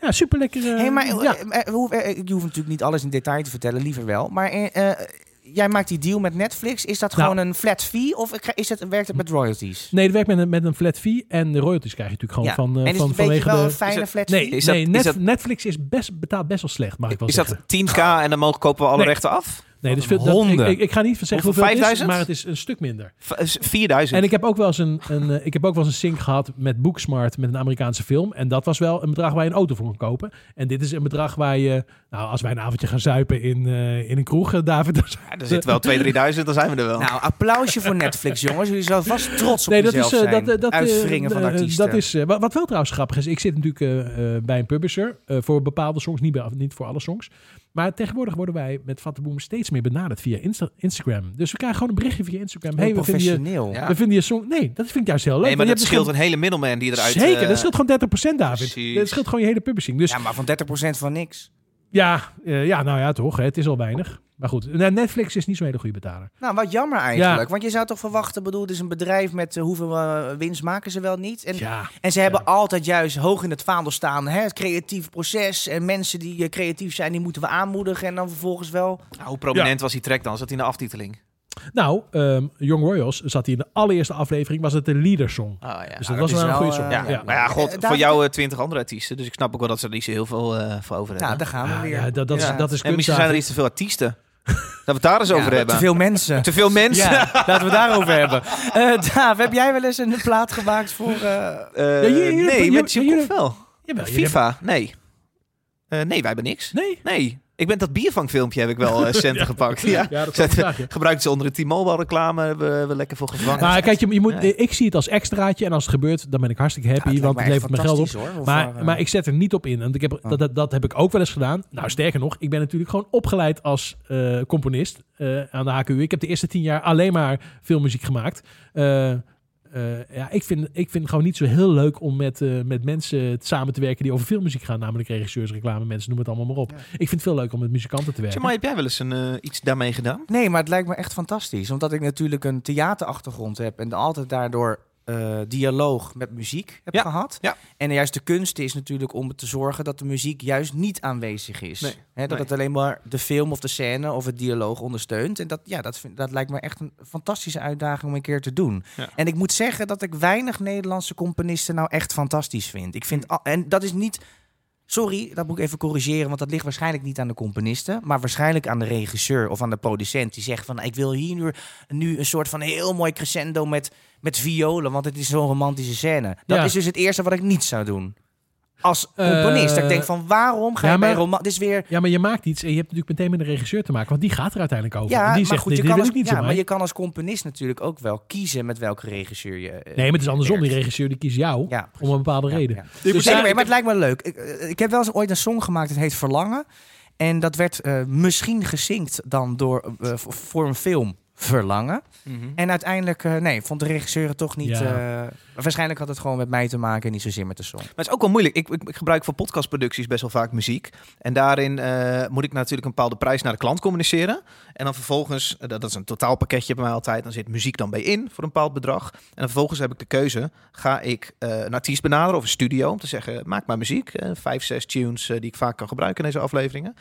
D: ja super lekker.
A: hey, maar eh,
D: ja.
A: eh, eh, hoe- eh, je hoeft natuurlijk niet alles in detail te vertellen, liever wel. Maar eh, eh, jij maakt die deal met Netflix. Is dat
D: Nou.
A: gewoon een flat fee of is het, werkt het met royalties?
D: Nee, het werkt met een, met een flat fee. En de royalties krijg je natuurlijk gewoon
A: Ja.
D: van, eh,
A: en is
D: van
A: het een beetje
D: vanwege
A: wel
D: de...
A: een fijne
B: het-
A: flat
D: Nee,
A: fee?
B: Is dat-
D: nee
B: is
D: Net-
B: dat-
D: Netflix is best, betaalt best wel slecht, mag ik wel
B: Is
D: zeggen.
B: dat 10k en dan mogen kopen we alle
D: Nee.
B: rechten af?
D: Nee, Nee,
A: Wat
D: dus
A: een
D: veel, dat, ik,
A: honden.
D: ik, ik ga niet zeggen
B: Hoeveel?
D: hoeveel het is,
B: 5000?
D: maar het is een stuk minder.
B: V- eh, 4000.
D: En ik heb ook wel eens een, een, eh, ik heb ook wel eens een sync gehad met Booksmart, met een Amerikaanse film. En dat was wel een bedrag waar je een auto voor kon kopen. En dit is een bedrag waar je, nou, als wij een avondje gaan zuipen in, eh, in een kroeg, eh, David. dan-
B: Ja, er zit wel 2.000, 3.000, dan zijn we er wel.
A: Nou, applausje voor Netflix, jongens. Jullie zouden vast trots op
D: nee, dat
A: jezelf
D: is, eh,
A: zijn.
D: dat, eh, dat, eh,
A: Uitvringen van
D: eh,
A: artiesten.
D: Dat is, eh, wa- wat wel trouwens grappig is, ik zit natuurlijk eh, eh, bij een publisher eh, voor bepaalde songs, niet, bij, niet voor alle songs. Maar tegenwoordig worden wij met Vattenboom steeds meer benaderd via Insta- Instagram. Dus we krijgen gewoon een berichtje via Instagram. Hey, we vinden je,
A: professioneel.
B: Ja.
D: we vinden je song... Nee, dat vind ik juist heel leuk.
B: nee, maar
D: want je hebt dus
B: dat scheelt
D: gewoon-
B: een hele middleman die eruit...
D: Zeker,
B: eh,
D: dat scheelt gewoon 30% David.
B: precies.
D: Dat scheelt gewoon je hele publishing. Dus
A: Ja, maar van 30% van niks.
D: ja, eh, ja nou ja, toch. hè, Het is al weinig. Maar goed, nou, Netflix is niet zo'n hele goede betaler.
A: Nou, wat jammer eigenlijk.
D: Ja.
A: Want je zou toch verwachten, bedoel, het is een bedrijf met eh, hoeveel eh, winst maken ze wel niet. En,
D: Ja,
A: en ze hebben altijd juist hoog in het vaandel staan, hè, het creatief proces. En mensen die eh, creatief zijn, die moeten we aanmoedigen. En dan vervolgens wel...
B: nou, hoe prominent was die track dan? Zat hij in de aftiteling?
D: nou, ehm, Young Royals zat hier in de allereerste aflevering, was het de leadersong.
B: Ah, ja.
D: Dus
B: Ah,
D: dat was
A: is
D: wel een
A: wel,
D: goede
A: eh,
D: song.
B: Ja,
A: ja.
B: maar ja, god,
A: Eh,
B: voor
A: David-
B: jou eh, 20 andere artiesten. Dus ik snap ook wel dat ze er niet zo heel veel eh, voor over hebben.
A: Nou, daar gaan we
D: Ah,
A: weer.
D: ja, dat, dat,
B: Ja.
D: Is, dat is
B: en
D: kunst,
B: misschien zijn er
D: David.
B: iets te veel artiesten. dat we het daar eens
A: Ja,
B: over hebben.
A: Te veel mensen.
B: Te veel mensen.
A: Ja, laten we daarover hebben. Eh Daaf, heb jij wel eens een plaat gemaakt voor... eh,
B: Eh,
D: Ja, jullie-
B: nee,
D: jullie-
B: met Jim
D: jullie-
B: wel.
D: Jawel, jullie
B: FIFA, nee. Eh, nee, wij hebben niks.
D: hebben- Nee?
B: Nee. Ik ben dat biervangfilmpje heb ik wel eh, centen gepakt. Ja.
D: Ja, dat is
B: Zet-
D: een vraagje.
B: Gebruikten ze onder de T-Mobile reclame, hebben we lekker voor gevangen.
D: Maar kijk, je, je moet,
B: Nee.
D: ik zie het als extraatje. En als het gebeurt, dan ben ik hartstikke happy.
A: ja,
D: want het
A: lijkt
D: levert
A: me
D: me
A: echt
D: geld op.
A: fantastisch, hoor. Of,
D: Maar,
A: eh, Oh.
D: maar ik zet er niet op in. Want ik heb, dat, dat, dat heb ik ook wel eens gedaan. Nou, sterker nog, ik ben natuurlijk gewoon opgeleid als eh, componist eh, aan de HKU. Ik heb de eerste tien jaar alleen maar filmmuziek gemaakt. Eh, eh, ja, ik vind, ik vind het gewoon niet zo heel leuk om met, eh, met mensen samen te werken die over filmmuziek gaan. Namelijk regisseurs, reclame mensen, noem het allemaal maar op. Ik vind het veel leuker om met muzikanten te werken.
B: Tja, maar heb jij wel eens een, eh, iets daarmee gedaan?
A: Nee, maar het lijkt me echt fantastisch. Omdat ik natuurlijk een theaterachtergrond heb en altijd daardoor eh, dialoog met muziek heb
B: Ja,
A: gehad.
B: ja.
A: En juist de kunst is natuurlijk om te zorgen dat de muziek juist niet aanwezig is.
B: Nee,
A: Hè, dat
B: nee.
A: het alleen maar de film of de scène of het dialoog ondersteunt. En dat, ja, dat, vind, dat lijkt me echt een fantastische uitdaging om een keer te doen.
B: Ja.
A: En ik moet zeggen dat ik weinig Nederlandse componisten nou echt fantastisch vind. Ik
B: Mm.
A: vind al- en dat is niet Sorry, dat moet ik even corrigeren, want dat ligt waarschijnlijk niet aan de componisten, maar waarschijnlijk aan de regisseur of aan de producent die zegt van ik wil hier nu, nu een soort van heel mooi crescendo met, met violen, want het is zo'n romantische scène. Dat
D: Ja.
A: is dus het eerste wat ik niet zou doen. Als
D: Eh,
A: componist. dat ik denk van waarom ga
D: ja,
A: je bij
D: maar-
A: roman... Dit is weer...
D: Ja, maar je maakt iets en je hebt natuurlijk meteen met een regisseur te maken. Want die gaat er uiteindelijk over. En
A: Ja,
D: die
A: maar
D: zegt,
A: goed, je
D: dit,
A: kan,
D: dit
A: als,
D: wil ik niet
A: ja
D: zo
A: maar je kan als componist natuurlijk ook wel kiezen met welke regisseur je... eh,
D: Nee, maar het is andersom. Die
A: werkt.
D: regisseur die kiest jou
A: Ja,
D: om een bepaalde
A: Ja,
D: reden.
A: ja.
D: Dus
A: Dus
D: ja,
A: anyway,
D: ik-
A: maar het lijkt me leuk. Ik, eh, ik heb wel eens ooit een song gemaakt, het heet Verlangen. En dat werd eh, misschien gezinkt dan door, eh, v- voor een film Verlangen. En uiteindelijk, eh, nee, vond de regisseur het toch niet...
D: Ja.
A: eh, waarschijnlijk had het gewoon met mij te maken en niet zozeer met de song.
B: Maar het is ook wel moeilijk. Ik, ik, ik gebruik voor podcastproducties best wel vaak muziek. En daarin eh, moet ik natuurlijk een bepaalde prijs naar de klant communiceren. En dan vervolgens, eh, dat, dat is een totaalpakketje bij mij altijd. Dan zit muziek dan bij in voor een bepaald bedrag. En dan vervolgens heb ik de keuze. Ga ik eh, een artiest benaderen of een studio om te zeggen... maak maar muziek. Eh, vijf, zes tunes eh, die ik vaak kan gebruiken in deze afleveringen.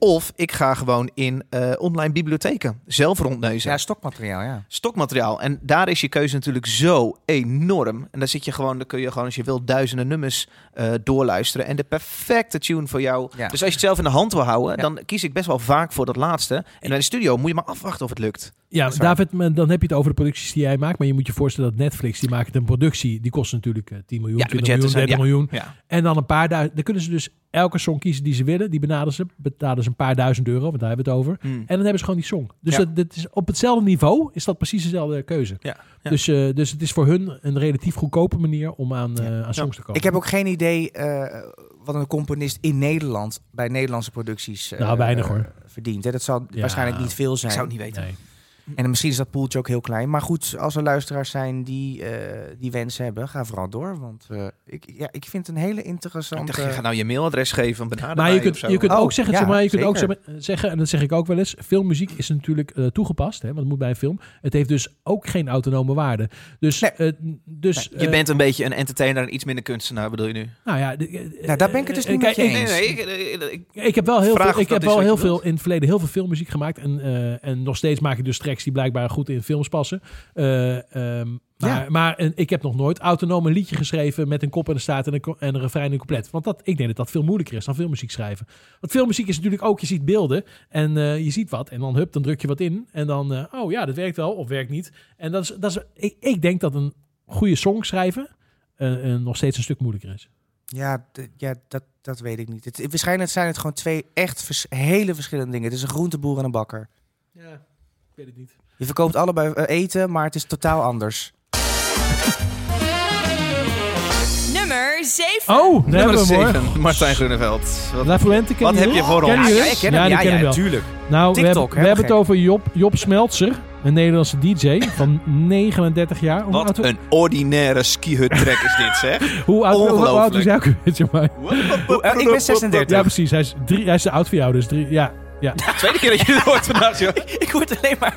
B: Of ik ga gewoon in eh, online bibliotheken zelf rondneuzen
A: Ja, stokmateriaal, ja.
B: stokmateriaal. En daar is je keuze natuurlijk zo enorm. En daar zit je gewoon, dan kun je gewoon als je wil duizenden nummers eh, doorluisteren. En de perfecte tune voor jou.
A: Ja.
B: Dus als je het zelf in de hand wil houden,
A: Ja.
B: dan kies ik best wel vaak voor dat laatste. En in de studio moet je maar afwachten of het lukt.
D: Ja,
A: Dat is waar.
D: David, maar dan heb je het over de producties die jij maakt. Maar je moet je voorstellen dat Netflix, die maakt een productie. Die kost natuurlijk eh, 10 miljoen,
B: Ja, de
D: 20 miljoen,
B: budgetten
D: 30
B: zijn-
D: miljoen.
B: Ja.
D: En dan een paar duizend. Dan kunnen ze dus elke song kiezen die ze willen. Die benaderen ze. Betalen ze een paar duizend euro, want daar hebben we het over.
B: Hmm.
D: En dan hebben ze gewoon die song. Dus
B: Ja.
D: dat, dat is, op hetzelfde niveau is dat precies dezelfde keuze.
B: Ja.
D: Dus, eh, dus het is voor hun een relatief goedkope manier om aan, eh, aan songs te komen.
A: Ik heb ook geen idee eh, wat een componist in Nederland... bij Nederlandse producties eh,
D: Nou, weinig,
A: eh,
D: hoor.
A: verdient. Hè? Dat zal
D: Ja.
A: waarschijnlijk niet veel
B: Ik
A: zijn.
B: zou het niet weten.
D: Nee.
A: En misschien is dat poeltje ook heel klein. Maar goed, als er luisteraars zijn die eh, die wensen hebben, ga vooral door. Want eh, ik, ja, ik vind het een hele
B: Ik
A: interessante...
B: dacht, je gaat nou je mailadres geven. en benader
D: eh, Maar
B: mij
D: je
B: of
D: kunt,
B: zo.
D: je kunt
A: Oh,
D: ook zeggen,
A: ja,
D: zeg maar, je kunt ook
A: zeker.
D: zeg- zeggen, en dat zeg ik ook wel eens, filmmuziek is natuurlijk eh, toegepast, hè, want het moet bij een film. Het heeft dus ook geen autonome waarde. Dus,
A: Nee.
D: eh, dus
B: Je
D: eh,
B: bent een beetje een entertainer en iets minder kunstenaar, bedoel je nu?
D: nou ja, de- eh,
A: Nou, daar ben ik het dus
D: eh,
A: niet
D: kijk,
A: met je
D: ik-
A: eens.
B: ik, ik- ik-
D: Ik heb wel heel,
B: Vraag
D: veel,
B: of
D: ik
B: dat
D: heb
B: is
D: wel
B: wat
D: heel
B: je wilt.
D: veel in het verleden heel veel filmmuziek gemaakt. En, eh, en nog steeds maak ik dus tracks tracks die blijkbaar goed in films passen. Eh, ehm, maar
A: Ja.
D: maar een- ik heb nog nooit autonoom een liedje geschreven met een kop en een staat en een, ko- en een refrein en een couplet. Want dat, ik denk dat dat veel moeilijker is dan filmmuziek schrijven. Want filmmuziek is natuurlijk ook, je ziet beelden en eh, je ziet wat. En dan hup, dan druk je wat in. En dan, eh, oh ja, dat werkt wel of werkt niet. En dat is, dat is, ik, ik denk dat een goede song schrijven eh, eh, nog steeds een stuk moeilijker is.
A: Ja, d- ja dat, dat weet ik niet. Het, waarschijnlijk zijn het gewoon twee echt vers- hele verschillende dingen. Het is een groenteboer en een bakker.
D: Ja, ik weet het niet.
A: Je verkoopt allebei eh, eten, maar het is totaal anders.
C: Nummer 7.
D: Oh, daar hebben
B: Nummer
D: we hem hoor.
B: 7, Martijn Groeneveld. Wat-
D: La Fuente, ken
B: Wat
D: die
B: heb je
D: wel?
B: voor
D: Ken
B: ons?
D: die
A: Ah, ja,
D: wel?
A: ik ken hem.
D: die
A: Ja,
D: ken
A: ja,
D: wel.
A: tuurlijk.
D: Nou, we
A: TikTok,
D: hebben, we
A: hè,
D: hebben
A: gek.
D: het over Job, Job Smeltzer, een Nederlandse DJ van 39 jaar. Hoe oud-
B: Wat een ordinaire skihut track is dit, zeg.
D: Hoe oud, hoe oud is
B: ongelooflijk.
D: hij ook weer, zeg maar?
A: Eh, ik ben 36.
D: Ja, precies. Hij is, drie, hij is te oud voor jou, dus drie, ja. ja.
B: Tweede keer dat je het hoort vandaag, joh.
A: ik word alleen maar...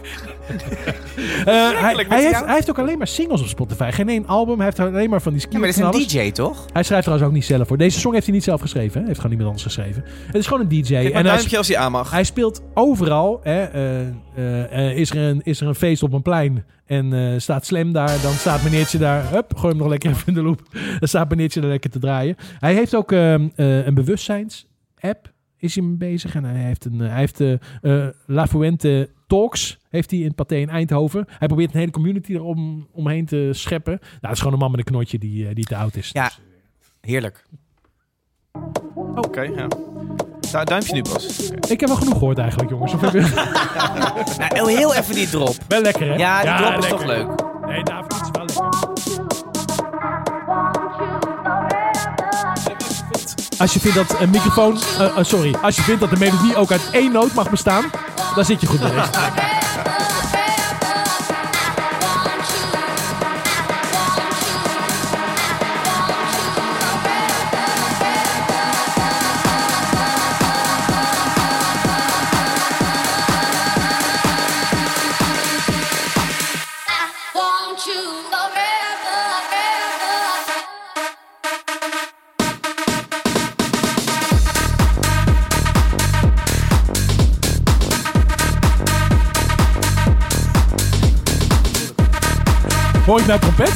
D: Eh, hij, hij, heeft,
A: jou?
D: hij heeft ook alleen maar singles op Spotify. Geen één album. Hij heeft alleen maar van die ski
A: Ja, maar dat is een DJ, toch?
D: Hij schrijft trouwens ook niet zelf voor. Deze song heeft hij niet zelf geschreven. hè. Hij heeft gewoon iemand anders geschreven. Het is gewoon een DJ.
B: Geef maar
D: en
B: een
D: hij,
B: duimpje als hij aan mag.
D: Hij speelt overal. Hè, eh, eh, eh, is, er een, is er een feest op een plein en eh, staat Slam daar, dan staat meneertje daar. Hup, gooi hem nog lekker even in de loop. Dan staat meneertje daar lekker te draaien. Hij heeft ook ehm, eh, een bewustzijns-app is hij mee bezig. En hij heeft, een, eh, hij heeft eh eh, La Fuente Talks heeft hij in Pathé in Eindhoven. Hij probeert een hele community erom omheen te scheppen. Nou, het is gewoon een man met een knotje die, eh, die te oud is.
A: Ja. Heerlijk.
B: Oké, ja. Du- Duimpje nu pas.
D: Ik heb wel genoeg gehoord eigenlijk, jongens. Of heb je-
A: Nou, heel even die drop.
D: wel lekker, hè?
A: Ja, die drop is
D: lekker.
A: toch leuk.
D: Nee, David, het is wel lekker. Als je vindt dat een microfoon. eh, eh, sorry. Als je vindt dat de melodie ook uit één noot mag bestaan. dan zit je goed mee.
G: Want you forever, forever.
D: Hoor ik nou trompet?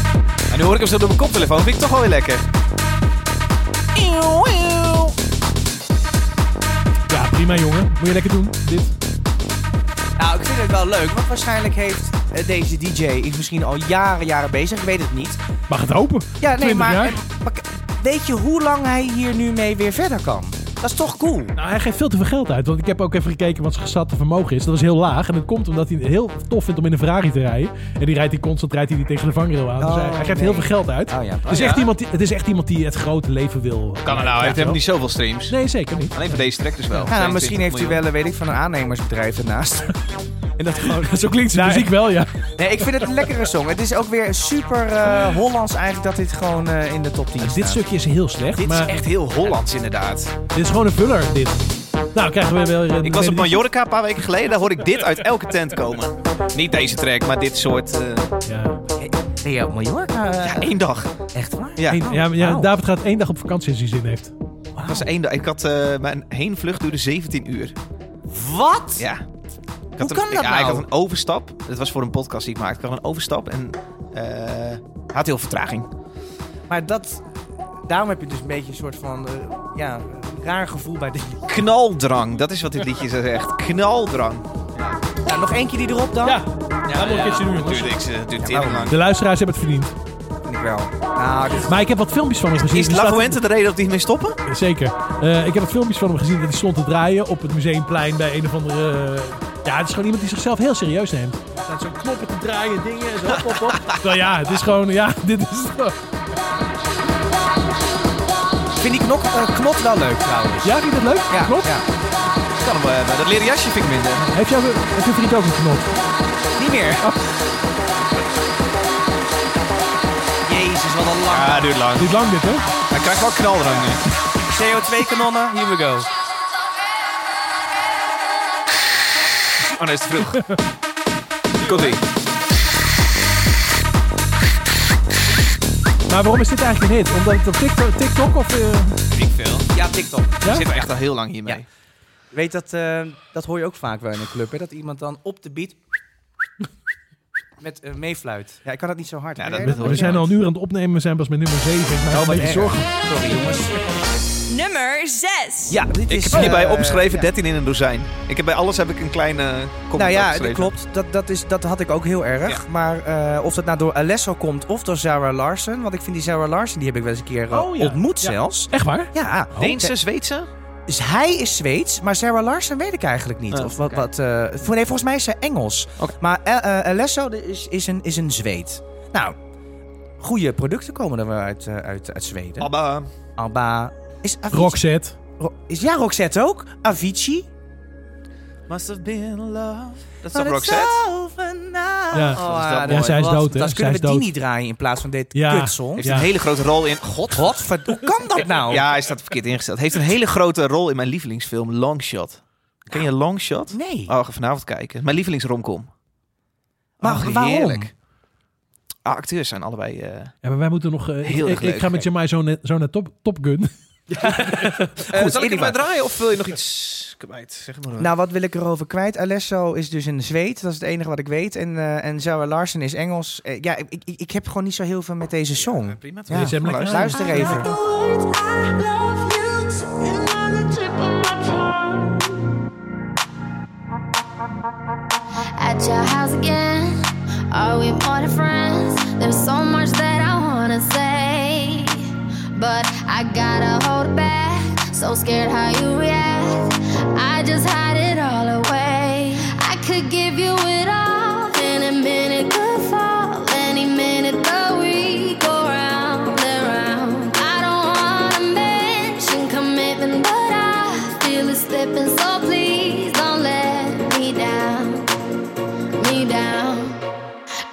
B: En nu hoor ik hem zo door mijn koptelefoon. Vind ik toch wel weer lekker.
D: Ja, prima jongen. Moet je lekker doen. Dit.
A: Nou, ik vind het wel leuk, want waarschijnlijk heeft eh, deze DJ is misschien al jaren, jaren bezig. Ik weet het niet.
D: Mag het hopen?
A: Ja, nee,
D: 20
A: maar,
D: jaar.
A: eh, maar k- weet je hoe lang hij hier nu mee weer verder kan? Dat is toch cool?
D: Nou, hij geeft veel te veel geld uit. Want ik heb ook even gekeken wat zijn gezatte vermogen is. Dat is heel laag. En dat komt omdat hij het heel tof vindt om in een Ferrari te rijden. En die rijdt hij constant rijdt hij die tegen de vangrail aan. Dus
A: Oh,
D: hij, hij geeft
A: nee.
D: heel veel geld uit.
A: Oh ja.
D: Het is, echt iemand die, het is echt iemand die het grote leven wil.
B: Kan er nou, hij heeft helemaal niet zoveel streams.
D: Nee, zeker niet.
B: Alleen voor deze track dus wel.
A: Ja, nou, misschien
B: 22
A: heeft
B: miljoen.
A: hij wel, eh, weet ik, van een aannemersbedrijf ernaast.
D: En dat Zo klinkt zijn
B: Nou,
D: muziek wel, ja.
A: Nee, ik vind het een lekkere song. Het is ook weer super eh, Hollands eigenlijk dat dit gewoon eh, in de top 10 staat.
D: Dit stukje is heel slecht.
B: Dit
D: maar
B: is echt heel Hollands inderdaad.
D: Dit is gewoon een vuller, dit. Nou, krijgen we weer...
B: Ik was op Mallorca een paar weken geleden. Daar hoor ik dit uit elke tent komen. Niet deze track, maar dit soort... eh,
D: Ja,
A: Ben je op Mallorca? eh,
B: ja, één dag.
A: Echt waar?
B: Ja.
D: Eén- ja, maar ja
A: Wauw.
D: David gaat één dag op vakantie als hij zin heeft.
B: Het was één dag. Ik had, eh, mijn heenvlucht duurde 17 uur.
A: Wat?
B: Ja. Ik
A: Hoe
B: had een,
A: kan dat
B: ja,
A: nou?
B: Ik had een overstap. Het was voor een podcast die ik maakte. Ik had een overstap en eh had heel vertraging.
A: Maar dat... Daarom heb je dus een beetje een soort van... eh, ja, raar gevoel bij dit.
B: Knaldrang, dat is wat dit liedje zegt. Knaldrang.
A: Nou, nog eentje die erop dan?
D: Ja, dat moet ik eens doen, jongens.
B: Duurt, ik, eh, duurt
A: Ja,
B: tering lang.
D: De luisteraars hebben het verdiend.
A: Vind ik wel. Nou, dit...
D: Maar ik heb wat filmpjes van hem gezien.
B: Is
D: Die
B: La
D: staat-
B: Fuente de reden dat die mee stoppen?
D: Zeker. Eh, ik heb wat filmpjes van hem gezien dat hij stond te draaien op het museumplein bij een of andere... eh, Ja, het is gewoon iemand die zichzelf heel serieus neemt. Er staat zo'n knoppen te draaien, dingen en zo. Hop, hop, hop. Terwijl ja, het is gewoon... Ja, dit is...
A: Ik vind die knok, eh, knot wel leuk trouwens.
D: Ja, vind je dat leuk? Knop?
A: ja.
B: Ik kan hem wel hebben. Dat leren jasje vind ik minder.
D: Heeft jouw heeft jouw vriend ook een knop?
A: Niet meer. Jezus, wat een lang.
B: Ja, duurt lang.
D: Dit lang dit, hè?
B: Hij krijgt wel knaldrang nu.
A: CO2-kanonnen, here we go.
B: Oh nee, is te vroeg. Komt ie.
D: Maar waarom is dit eigenlijk een hit? Omdat het op TikTok, TikTok of... eh,
B: Ik veel.
A: Ja, TikTok.
D: Ja?
B: Zit echt al heel lang hiermee.
A: Weet dat, eh, dat hoor je ook vaak wel in een club, hè? Dat iemand dan op de beat... Met eh, meefluit. Ja, ik kan dat niet zo hard.
B: Ja,
A: Kan
B: dat
A: jij
B: moet wel.
D: We zijn al een uur aan het opnemen, we zijn pas met nummer 7. Ik
A: Oh,
D: maak me een beetje zorgen.
A: Sorry jongens.
C: Nummer 6.
A: Ja, dit
B: Ik
A: is...
B: heb hierbij
A: eh,
B: opgeschreven
A: ja.
B: 13 in een dozijn. Ik heb bij alles heb ik een kleine comment
A: Nou ja, dat
B: opgeschreven.
A: klopt. Dat, dat, is, dat had ik ook heel erg.
B: Ja.
A: Maar eh, of dat nou door Alesso komt of door Sarah Larsen. Want ik vind die Sarah Larsen, die heb ik wel eens een keer eh,
D: Oh, ja.
A: ontmoet
D: Ja.
A: zelfs.
D: Echt waar?
A: Ja,
B: Deense, Zweedse?
A: Dus hij is Zweeds, maar Sarah Larsen weet ik eigenlijk niet.
B: Oh,
A: of wat,
B: oké.
A: wat, eh, voor- nee, volgens mij is ze Engels.
B: Oké.
A: Maar eh, eh, Alesso is, is, een, is een Zweed. Nou, goede producten komen er wel uit, eh, uit, uit Zweden.
B: Abba.
A: Alba. Is Avicii...
D: Roxette.
A: Ro- is, ja, Roxette ook. Avicii.
B: Must have been love. Oh, Dat is
A: But
B: toch
A: it's
B: Roxette?
A: over now.
D: Ja.
A: Oh,
B: Ja,
A: dat wordt
D: zij is
A: wat.
D: dood, hè?
A: Dat
D: Zij
A: kunnen
D: is
A: we die
D: dood.
A: niet draaien in plaats van dit
D: Ja.
A: kutsong.
B: Heeft
D: Ja.
B: een hele grote rol in... God.
A: Godver- Hoe kan dat nou?
B: Ja, hij staat verkeerd ingesteld. Heeft een hele grote rol in mijn lievelingsfilm Longshot. Ken je Longshot?
A: Nee.
B: Oh, ga vanavond kijken. Mijn lievelingsromcom.
A: Maar
B: Oh,
A: waarom?
B: heerlijk. Ah, acteurs zijn allebei... eh,
D: Ja, maar wij moeten nog... eh,
B: Heel
D: ik,
B: erg
D: ik, ik
B: leuk,
D: ga met
B: gek.
D: Jamai zo, net- zo naar Top, top Gun.
B: Eh, zal ik
A: anyway.
B: het maar draaien of wil je nog iets kwijt? Zeg maar.
A: Nou, wat wil ik erover kwijt? Alesso is dus een Zweed. Dat is het enige wat ik weet. En, eh en Sarah Larsen is Engels. Eh, ja, ik, ik, ik heb gewoon niet zo heel veel met deze song.
B: Eh, prima.
A: Ja,
D: Deze hebben we lekker
A: luister even.
H: At your house again, are we more than friends? There's so much that I wanna say, but I gotta hold it back. So scared how you react, I just hide it all away. I could give you it all in a minute, could fall any minute. The we go round and round. I don't wanna mention commitment, but I feel it slipping. So please don't let me down me down.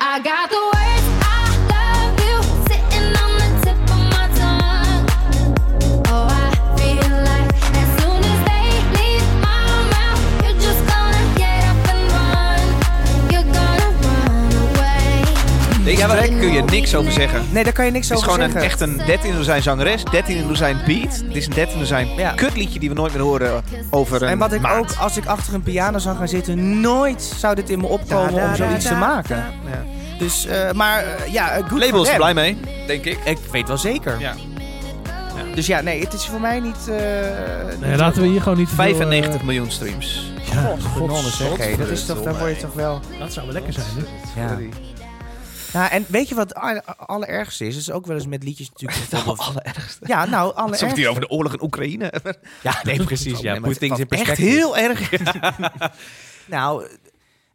H: I got the words. I love you sitting on the tip of my tongue. Oh, I feel like as soon as they leave my mouth, you're just gonna get up and run. You're gonna run away.
B: Deze track kun je niks over zeggen. Het
A: Nee, daar kan je niks
B: is
A: over
B: gewoon een,
A: zeggen.
B: echt een 13 dozijn zangeres, 13 dozijn beat. Dit is een 13 dozijn
A: Ja.
B: kutliedje die we nooit meer horen over een
A: En wat ik
B: maand.
A: ook, als ik achter een piano zou gaan zitten, nooit zou dit in me opkomen om zoiets te maken.
B: Ja.
A: Dus, eh, maar eh, ja, eh, good
B: Label
A: for
B: is
A: them.
B: er blij mee, denk ik.
A: Ik weet wel zeker.
B: Ja.
A: Dus ja, nee, het is voor mij niet... eh, niet
D: Nee, laten we hier gewoon niet... te veel,
B: 95 miljoen streams.
D: eh, ja,
A: Verdomme,
D: gods.
A: zeg. hé. dat is toch, daar word je toch wel...
D: Dat zou wel lekker zijn, hè?
A: Ja. Nou, en weet je wat het aller- allerergste is? Het is ook wel eens met liedjes natuurlijk bijvoorbeeld...
B: Allerergste.
A: Ja, nou,
B: Alsof het
A: allerergste.
B: hier over de oorlog in Oekraïne.
A: Ja, nee, precies.
B: Nee, maar het
A: in
B: kwam Echt heel erg.
A: Nou,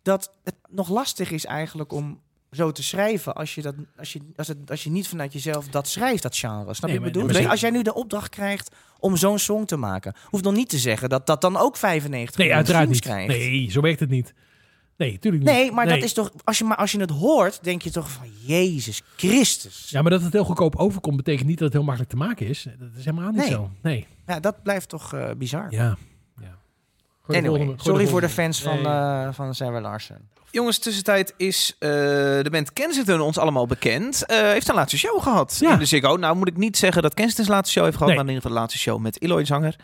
A: dat het nog lastig is eigenlijk om zo te schrijven als je, dat, als je, als het, als je niet vanuit jezelf dat schrijft, dat genre. Snap
D: Nee, maar-
A: je wat ik bedoel?
D: maar
A: Dus
D: ze-
A: als jij nu de opdracht krijgt om zo'n song te maken, hoeft nog niet te zeggen dat dat dan ook 95
D: Nee, uiteraard
A: streams
D: niet.
A: krijgt.
D: Nee, zo werkt het niet. Nee, tuurlijk niet.
A: Nee, maar dat is toch, als je, maar als je het hoort, denk je toch van Jezus Christus.
D: Ja, maar dat het heel goedkoop overkomt, betekent niet dat het heel makkelijk te maken is. Dat is helemaal niet
A: Nee.
D: zo. Nee.
A: Ja, dat blijft toch eh, bizar.
D: Ja. ja. Gooi de
A: Anyway,
D: volgende- gooi
A: sorry voor
D: volgende.
A: de fans van,
D: Nee.
A: eh van Sarah Larsen.
B: Jongens, tussentijd is eh, de band Kensington ons allemaal bekend. Eh, heeft een laatste show gehad
D: Ja.
B: in de Ziggo. Nou moet ik niet zeggen dat Kensington zijn laatste show heeft gehad,
D: Nee.
B: maar in ieder geval de laatste show met Eloy Zanger.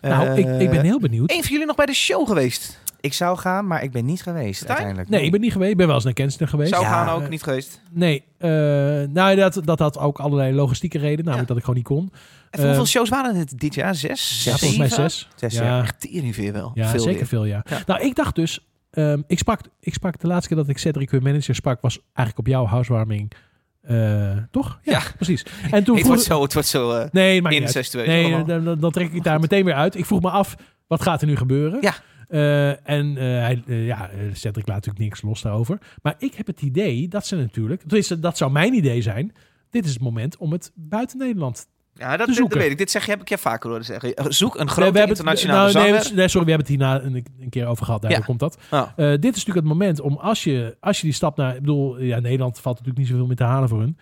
D: Nou,
B: Eh,
D: ik, ik ben heel benieuwd.
B: Eén van jullie nog bij de show geweest?
A: Ik zou gaan, maar ik ben niet geweest
B: Stijn?
A: uiteindelijk.
D: Nee, ik ben niet geweest. Ik ben wel eens naar Kensington geweest. eh,
B: Zou
A: Ja.
B: gaan ook niet geweest.
D: Nee, eh, nou, dat, dat had ook allerlei logistieke redenen. Namelijk dat ik gewoon niet kon.
B: En voor
D: Eh,
B: hoeveel shows waren het dit jaar? Zes?
D: Ja, volgens mij
B: Zeven?
D: zes.
A: Zes,
D: ja.
A: ja.
B: Echt Teringveer wel.
D: Ja,
B: veel
D: zeker
B: weer.
D: veel, ja.
B: Ja.
D: Nou, ik dacht dus... ehm, ik, sprak, ik sprak de laatste keer dat ik Cedric, hun manager, sprak... was eigenlijk op jouw housewarming. Eh, toch? Ja,
B: Ja.
D: precies. En toen
B: Het wordt
D: vroeg...
B: zo, het wordt zo eh,
D: Nee, maar
B: incestueus
D: Nee,
B: allemaal.
D: dan, dan- dan trek ik het daar meteen weer uit. Ik vroeg me af, wat gaat er nu gebeuren?
B: Ja.
D: Eh, en eh, hij, eh, ja, eh, Cedric laat natuurlijk niks los daarover. Maar ik heb het idee dat ze natuurlijk... Tenminste, dat zou mijn idee zijn. Dit is het moment om het buiten Nederland...
B: Ja,
D: te
B: dat, dat
D: zoeken.
B: weet ik. Dit zeg, je- heb ik je vaker horen zeggen. Eh, Zoek een
D: Nee,
B: grote
D: hebben het-
B: internationale
D: nou, nee,
B: zanger.
D: we- nee, sorry, we hebben het hierna een, een keer over gehad. Daarvoor
B: Ja.
D: komt dat.
B: Ah.
D: Eh, dit is natuurlijk het moment om als je, als je die stap naar... Ik bedoel, ja, Nederland valt natuurlijk niet zoveel meer te halen voor hun.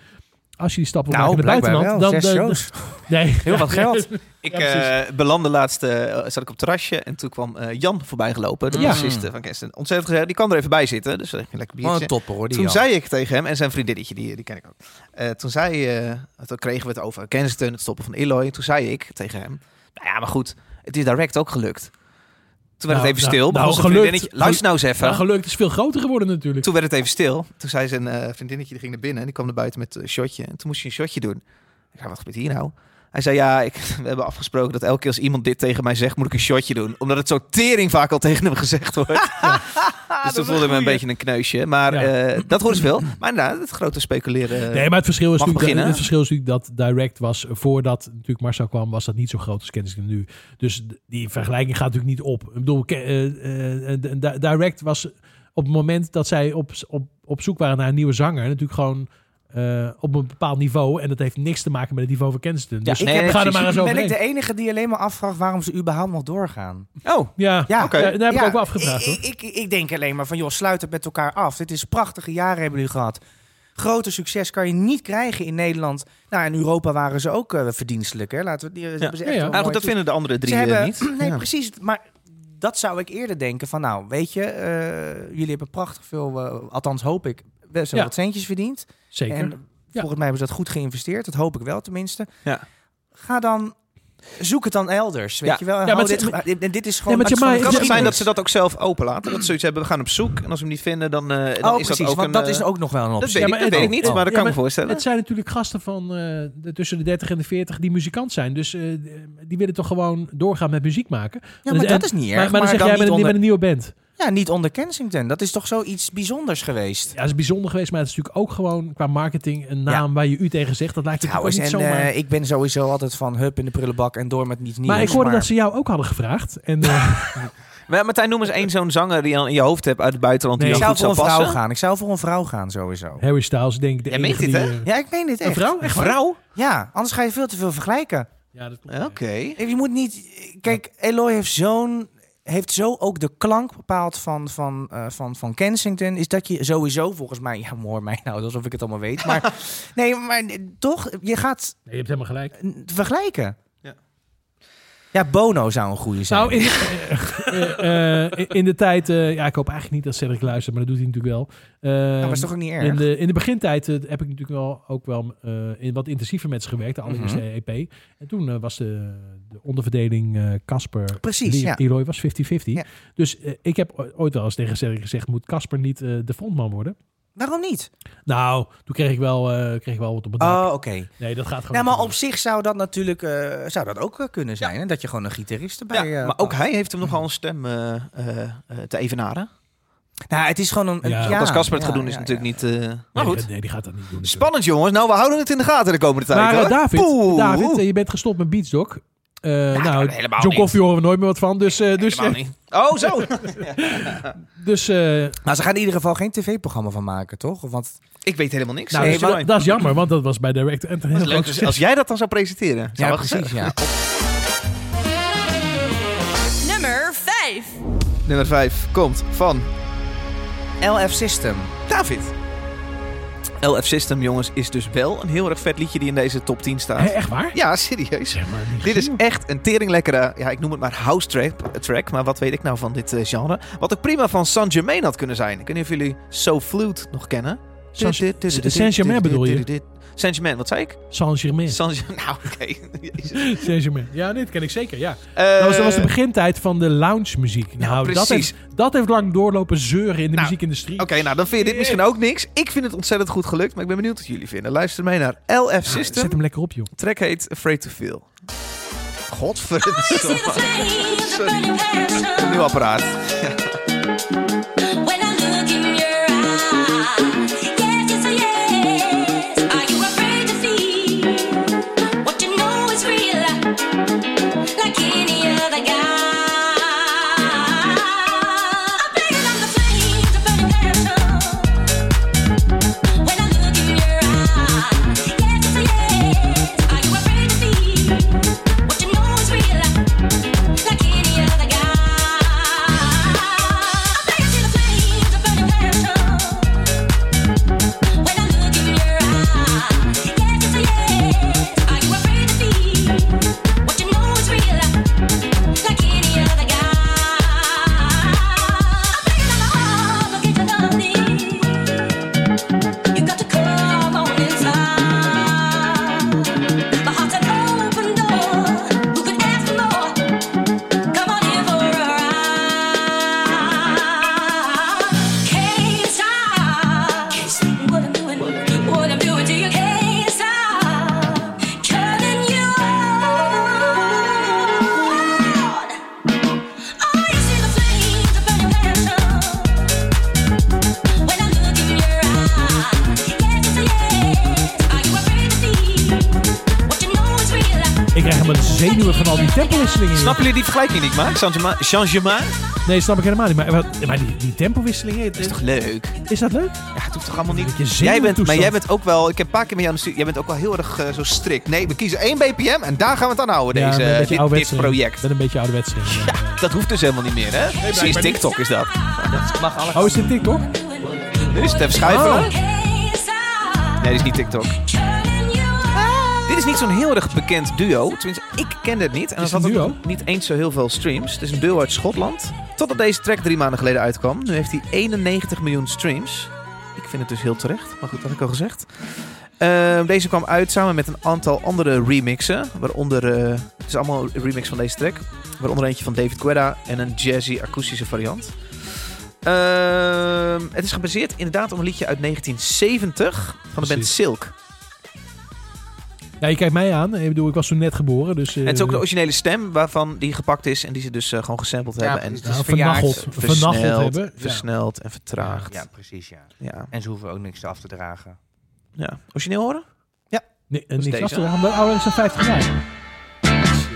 D: Als je die stap wil
A: Nou,
D: maken in het
A: blijkbaar
D: buitenland...
A: wel.
D: dan,
A: Zes
D: dan-
A: shows.
D: nee.
A: Heel wat geld.
B: Ik
D: Ja, precies.
B: eh, belandde laatst, eh, zat ik op het terrasje en toen kwam eh, Jan voorbij gelopen. De
D: Ja.
B: bassist eh, van Kerstin. Ontzettend gezellig. Die kan er even bij zitten. Dus eh, lekker biertje.
A: Wat een topper hoor, die
B: toen
A: Jan.
B: zei ik tegen hem, en zijn vriendinnetje, die, die ken ik ook. Eh, toen zei, eh, toen kregen we het over Kensington, het stoppen van Eloy. Toen zei ik tegen hem, nou ja, maar goed, het is direct ook gelukt. Toen werd
D: Nou,
B: het even
D: nou,
B: stil.
D: nou,
B: begon zijn
D: gelukt.
B: vriendinnetje- Luister nou eens even.
D: Nou, gelukkig is veel groter geworden natuurlijk.
B: Toen werd het even stil. Toen zei zijn eh, vriendinnetje, die ging naar binnen. En die kwam naar buiten met een shotje. En toen moest je een shotje doen. Ik dacht, wat gebeurt hier nou? Hij zei, ja, ik, we hebben afgesproken dat elke keer als iemand dit tegen mij zegt, moet ik een shotje doen. Omdat het zo tering vaak al tegen hem gezegd wordt. Dus toen voelde ik me een beetje een kneusje. Maar
D: Ja.
B: eh, dat hoort veel. Maar inderdaad, het grote speculeren.
D: Nee, maar het verschil, is
B: Eh, mag
D: natuurlijk, dat-
B: beginnen.
D: het verschil is natuurlijk dat Direct was, voordat natuurlijk Marcel kwam, was dat niet zo groot als Kensington nu. Dus d- die vergelijking gaat natuurlijk niet op. Ik bedoel, Ke- eh, eh, eh, Di- Direct was op het moment dat zij op, op, op zoek waren naar een nieuwe zanger, natuurlijk gewoon eh, op een bepaald niveau. En dat heeft niks te maken met het niveau van Kensington. Dus
A: ik
B: nee,
A: heb-
B: nee,
D: ga er
B: precies.
D: maar eens
A: Ben ik de
D: over
A: enige die alleen maar afvraagt waarom ze überhaupt nog doorgaan?
B: Oh,
D: Ja,
A: Ja,
B: Oké.
D: ja, daar heb ik
A: Ja,
D: ook wel afgevraagd hoor.
A: ik, ik, ik, ik denk alleen maar van, joh, sluit het met elkaar af. Dit is prachtige jaren hebben jullie gehad. Grote succes kan je niet krijgen in Nederland. Nou, in Europa waren ze ook eh, verdienstelijk. Hè? Laten we, die, hebben ze echt
D: Ja, ja.
A: wel
B: nou, goed, dat
A: mooi toe-
B: vinden de andere drie
A: Ze
B: eh,
A: hebben-
B: niet.
A: Nee,
B: Ja.
A: precies. Maar dat zou ik eerder denken van, nou, weet je, eh, jullie hebben prachtig veel, eh, althans hoop ik, best wel
D: Ja.
A: wat centjes verdiend.
D: Zeker.
A: En volgens mij hebben ze dat goed geïnvesteerd. Dat hoop ik wel tenminste. Ga dan, zoek het dan elders, weet
B: Ja.
A: je wel. En
D: Ja, maar
A: hou
D: het-
A: dit, en dit is gewoon...
D: maar
A: het is
D: Jamai-
A: gewoon
B: Het kan
A: geschiedenis.
B: zijn dat ze dat ook zelf openlaten. Dat ze zoiets hebben, we gaan op zoek. En als we hem niet vinden, dan, eh, dan
A: Oh,
B: is
A: precies,
B: dat ook
A: want
B: een...
A: dat
B: eh,
A: is ook nog wel een
B: dat
A: optie.
B: weet ik,
D: maar
B: dat
D: het-
B: weet ik niet,
A: oh.
B: maar dat
D: Ja,
B: kan ik
D: maar
B: me voorstellen.
D: Het zijn natuurlijk gasten van eh, de, tussen de 30 en de 40 die muzikant zijn. Dus eh, die willen toch gewoon doorgaan met muziek maken.
A: Ja, maar
D: En-
A: dat is niet
D: maar,
A: erg.
D: maar dan zeg
A: dan
D: jij met
A: niet
D: een,
A: onder,
D: met een nieuwe band.
A: Ja, niet onder Kensington. Dat is toch zoiets bijzonders geweest?
D: Ja, dat is bijzonder geweest, maar het is natuurlijk ook gewoon qua marketing een naam waar je u tegen zegt. Dat lijkt natuurlijk ook
A: Trouwens,
D: niet
A: en
D: zomaar.
A: eh, ik ben sowieso altijd van hup in de prullenbak en door met niets nieuws.
D: maar ik hoorde dat ze jou ook hadden gevraagd. En, eh,
B: Maar Martijn, noem eens één zo'n zanger die je in je hoofd hebt uit het buitenland
D: Nee.
B: die
A: Ik
B: jou
A: zou
B: goed
A: voor
B: zou
A: een vrouw
B: passen.
A: gaan. Ik zou voor een vrouw gaan, sowieso.
D: Harry Styles, denk ik. De
B: Jij
D: enige
B: meent dit,
D: die,
B: hè?
D: eh,
A: Ja, ik meen dit echt.
D: Een vrouw? Echt waar?
B: Vrouw?
A: Ja, anders ga je veel te veel vergelijken.
D: Ja, dat klopt.
B: Oké.
A: Je moet niet... Kijk, Eloy heeft zo'n... Heeft zo ook de klank bepaald van, van, eh, van, van Kensington. Is dat je sowieso volgens mij... Ja, hoor mij nou, alsof ik het allemaal weet. Maar nee, maar eh, toch, je gaat
D: Nee, je hebt helemaal gelijk.
A: n- vergelijken.
B: Ja.
A: Ja, Bono zou een goede zijn.
D: Nou, in, eh, eh, in de tijd... eh, ja, ik hoop eigenlijk niet dat Cedric luistert, maar dat doet hij natuurlijk wel.
A: dat
D: Ehm,
A: was Nou, toch ook niet erg?
D: In de, in de begintijd eh, heb ik natuurlijk wel, ook wel eh, in wat intensiever met ze gewerkt, de allereerste
B: Mhm.
D: EP. En toen eh, was de, de onderverdeling eh, Casper.
A: Precies,
D: Leroy
A: ja.
D: Leroy was 50-50.
A: Ja.
D: Dus eh, ik heb o- ooit wel eens tegen Cedric gezegd: moet Casper niet eh, de frontman worden?
A: Waarom niet?
D: Nou, toen kreeg ik wel, eh, kreeg ik wel wat op het dak.
A: Oh, oké.
D: nee, dat gaat gewoon.
A: Nou,
D: niet
A: maar op
D: gebeuren.
A: zich zou dat natuurlijk eh, zou dat ook eh, kunnen zijn. Hè? Dat je gewoon een gitarist erbij...
B: Ja,
A: eh,
B: maar ook
D: oh.
A: pakt.
B: hij heeft hem nogal een stem eh, eh, eh, te evenaren.
A: Nou, het is gewoon een... een-
D: Ja,
A: Ja,
D: ook
B: Als Casper het gaat
A: ja,
B: doen is
A: ja,
B: natuurlijk
A: ja.
B: niet... eh, maar
D: Nee,
B: goed.
D: dat- Nee, die gaat dat niet doen. natuurlijk.
B: Spannend jongens. Nou, we houden het in de gaten de komende tijd.
D: Maar eh,
B: hoor.
D: David,
B: Poeh.
D: David eh, je bent gestopt met Beats Doc. Eh, nou,
B: helemaal
D: John
B: niet.
D: Coffee horen we nooit meer wat van. Dus, eh, dus,
B: Helemaal niet. Oh, zo.
D: dus eh,
A: Maar ze gaan in ieder geval geen tv-programma van maken, toch? Want
B: ik weet helemaal niks.
D: Nou,
B: Eh,
A: nee,
D: dat, is-
B: Joy.
D: dat is jammer, want dat was bij Direct en
B: Dat
D: heel
B: is leuk dus
D: leuk.
B: als, als jij dat dan zou presenteren. Zou
A: ja,
B: wel
A: precies,
B: gezellig.
A: ja.
C: Nummer 5.
B: Nummer 5 komt van
A: LF System.
B: David. LF System, jongens, is dus wel een heel erg vet liedje die in deze top 10 staat.
D: Hè, echt waar?
B: Ja, serieus.
D: Zeg maar, niet
B: Dit is
D: gezien.
B: echt een teringlekkere, ja, ik noem het maar house track, track maar wat weet ik nou van dit eh, genre? Wat ook prima van San Germain had kunnen zijn. Ik weet niet of jullie So Flute nog kennen.
D: San- Saint-Germain bedoel je?
B: Saint Germain, wat zei ik?
D: Saint-Germain.
B: San nou oké. Jezus.
D: Saint-Germain. Ja, dit ken ik zeker, ja. Nou,
B: Eh,
D: Dat was, dat was de begintijd van de lounge muziek. Nou, dat,
B: precies.
D: heeft, dat heeft lang doorlopen zeuren in de
B: Nou,
D: muziekindustrie.
B: Oké, nou dan vind je dit misschien ook niks. Ik vind het ontzettend goed gelukt, maar ik ben benieuwd wat jullie vinden. Luister mee naar LF System.
D: Nou, Zet hem lekker op, joh.
B: track heet Afraid to Feel. Godverdomme. Sorry. Een nieuw apparaat.
C: When I look in your eyes, yes, yes, oh, yes. Are you afraid to feel what you know is real, like any other guy? I'm playing on the flames of burning passion. When I look in your eyes, yes, yes, oh, yes. Are you afraid to feel what you know is real, like any other guy?
D: krijg helemaal zenuwen van al die tempowisselingen. joh.
B: Snappen jullie die vergelijking die ik maak? Changement? Changement?
D: Nee, snap ik helemaal niet. Maar, maar- maar die, die tempowisselingen, het-
B: Dat is
D: is,
B: toch leuk?
D: dat leuk?
B: Ja, het hoeft toch allemaal niet...
D: Dat je
B: Jij bent, maar
D: zenuwtoestand-
B: jij bent ook wel... Ik heb een paar keer met jou aan de studio... Jij bent ook wel heel erg eh, zo strikt. Nee, we kiezen één BPM en daar gaan we het aan houden,
D: Ja,
B: deze,
D: met een beetje
B: eh, dit- dit,
D: ouderwetse-
B: project.
D: Met een beetje ouderwets. eh.
B: Dat hoeft dus helemaal niet meer, hè? Precies,
D: blijkbaar niet.
B: TikTok is dat. Dat mag alles.
D: Oh, is dit TikTok?
B: Nu is het even schuiven.
D: Oh.
B: hoor. Nee, dit is niet TikTok. Dit is niet zo'n heel erg bekend duo. Tenminste, ik kende het niet. En
D: Is
B: het
D: het
B: had
D: een
B: ook niet eens zo heel veel streams. Het is een duo uit Schotland. Totdat deze track drie maanden geleden uitkwam. Nu heeft hij 91 miljoen streams. Ik vind het dus heel terecht. Maar goed, dat had ik al gezegd. Ehm, deze kwam uit samen met een aantal andere remixen. Waaronder, eh, het is allemaal een remix van deze track. Waaronder eentje van David Guetta en een jazzy akoestische variant. Ehm, het is gebaseerd inderdaad op een liedje uit 1970 van de band
D: Precies.
B: Silk.
D: Ja, je kijkt mij aan. Ik bedoel, ik was toen net geboren. Dus, eh,
B: En het is ook de originele stem waarvan die gepakt is en die ze dus eh, gewoon gesampled
A: Ja,
B: hebben. En dus
A: precies.
D: nou,
A: is
D: vernacheld,
A: verjaard,
D: vernacheld
B: versneld,
D: hebben. Ja.
B: versneld en vertraagd.
A: Ja,
B: Ja.
A: precies, ja.
B: Ja.
A: En ze hoeven ook niks af te dragen.
B: Origineel horen?
D: Nee, en
B: is
D: niks
B: deze.
D: af te dragen, omdat ouder Oh, is dan 50 jaar.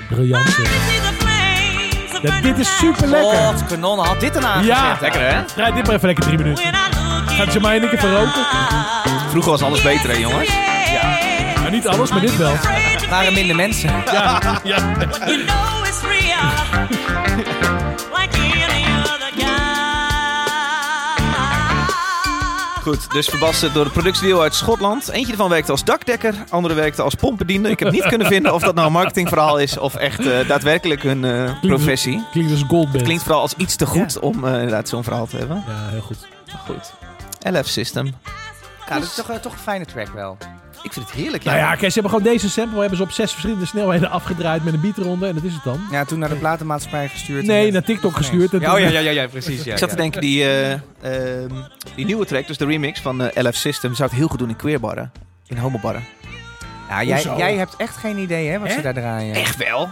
D: Briljant. eh. Ja, dit is super lekker.
A: God, Oh, kanon had dit erna
D: Ja.
A: gezet.
B: Lekker hè?
D: Rijd dit maar even lekker drie minuten. Gaat Jamai en ik even roken?
B: Vroeger was alles beter hè jongens?
D: Nou, niet alles, maar dit wel.
A: Het waren minder mensen.
B: Goed, dus verbasterd door het productiedeal uit Schotland. Eentje ervan werkte als dakdekker, andere werkte als pompbediende. Ik heb niet kunnen vinden of dat nou een marketingverhaal is of echt eh, daadwerkelijk hun eh, professie.
D: Klinkt dus goldband.
B: Klinkt vooral als iets te goed om eh, inderdaad zo'n verhaal te hebben.
D: Ja, heel goed.
B: Maar goed. LF System.
A: Ja, dat is toch, eh, toch een fijne track wel.
B: Ik vind het heerlijk.
D: Nou ja, kijk, ze hebben gewoon deze sample hebben ze op zes verschillende snelheden afgedraaid met een beat eronder. En dat is het dan.
A: Ja, toen naar de platenmaatschappij gestuurd.
D: Nee,
A: En-
D: naar TikTok gestuurd. En
A: Ja, oh,
D: toen-
A: ja, ja, ja, ja, precies. Ja,
B: Ik zat te
A: ja.
B: denken, die, eh, ehm, die nieuwe track, dus de remix van eh, LF System, zou het heel goed doen in queerbarren. In homobarren.
A: Ja, jij,
D: Hoezo?
A: jij hebt echt geen idee hè, wat
D: Hè?
A: ze daar draaien.
B: Echt wel?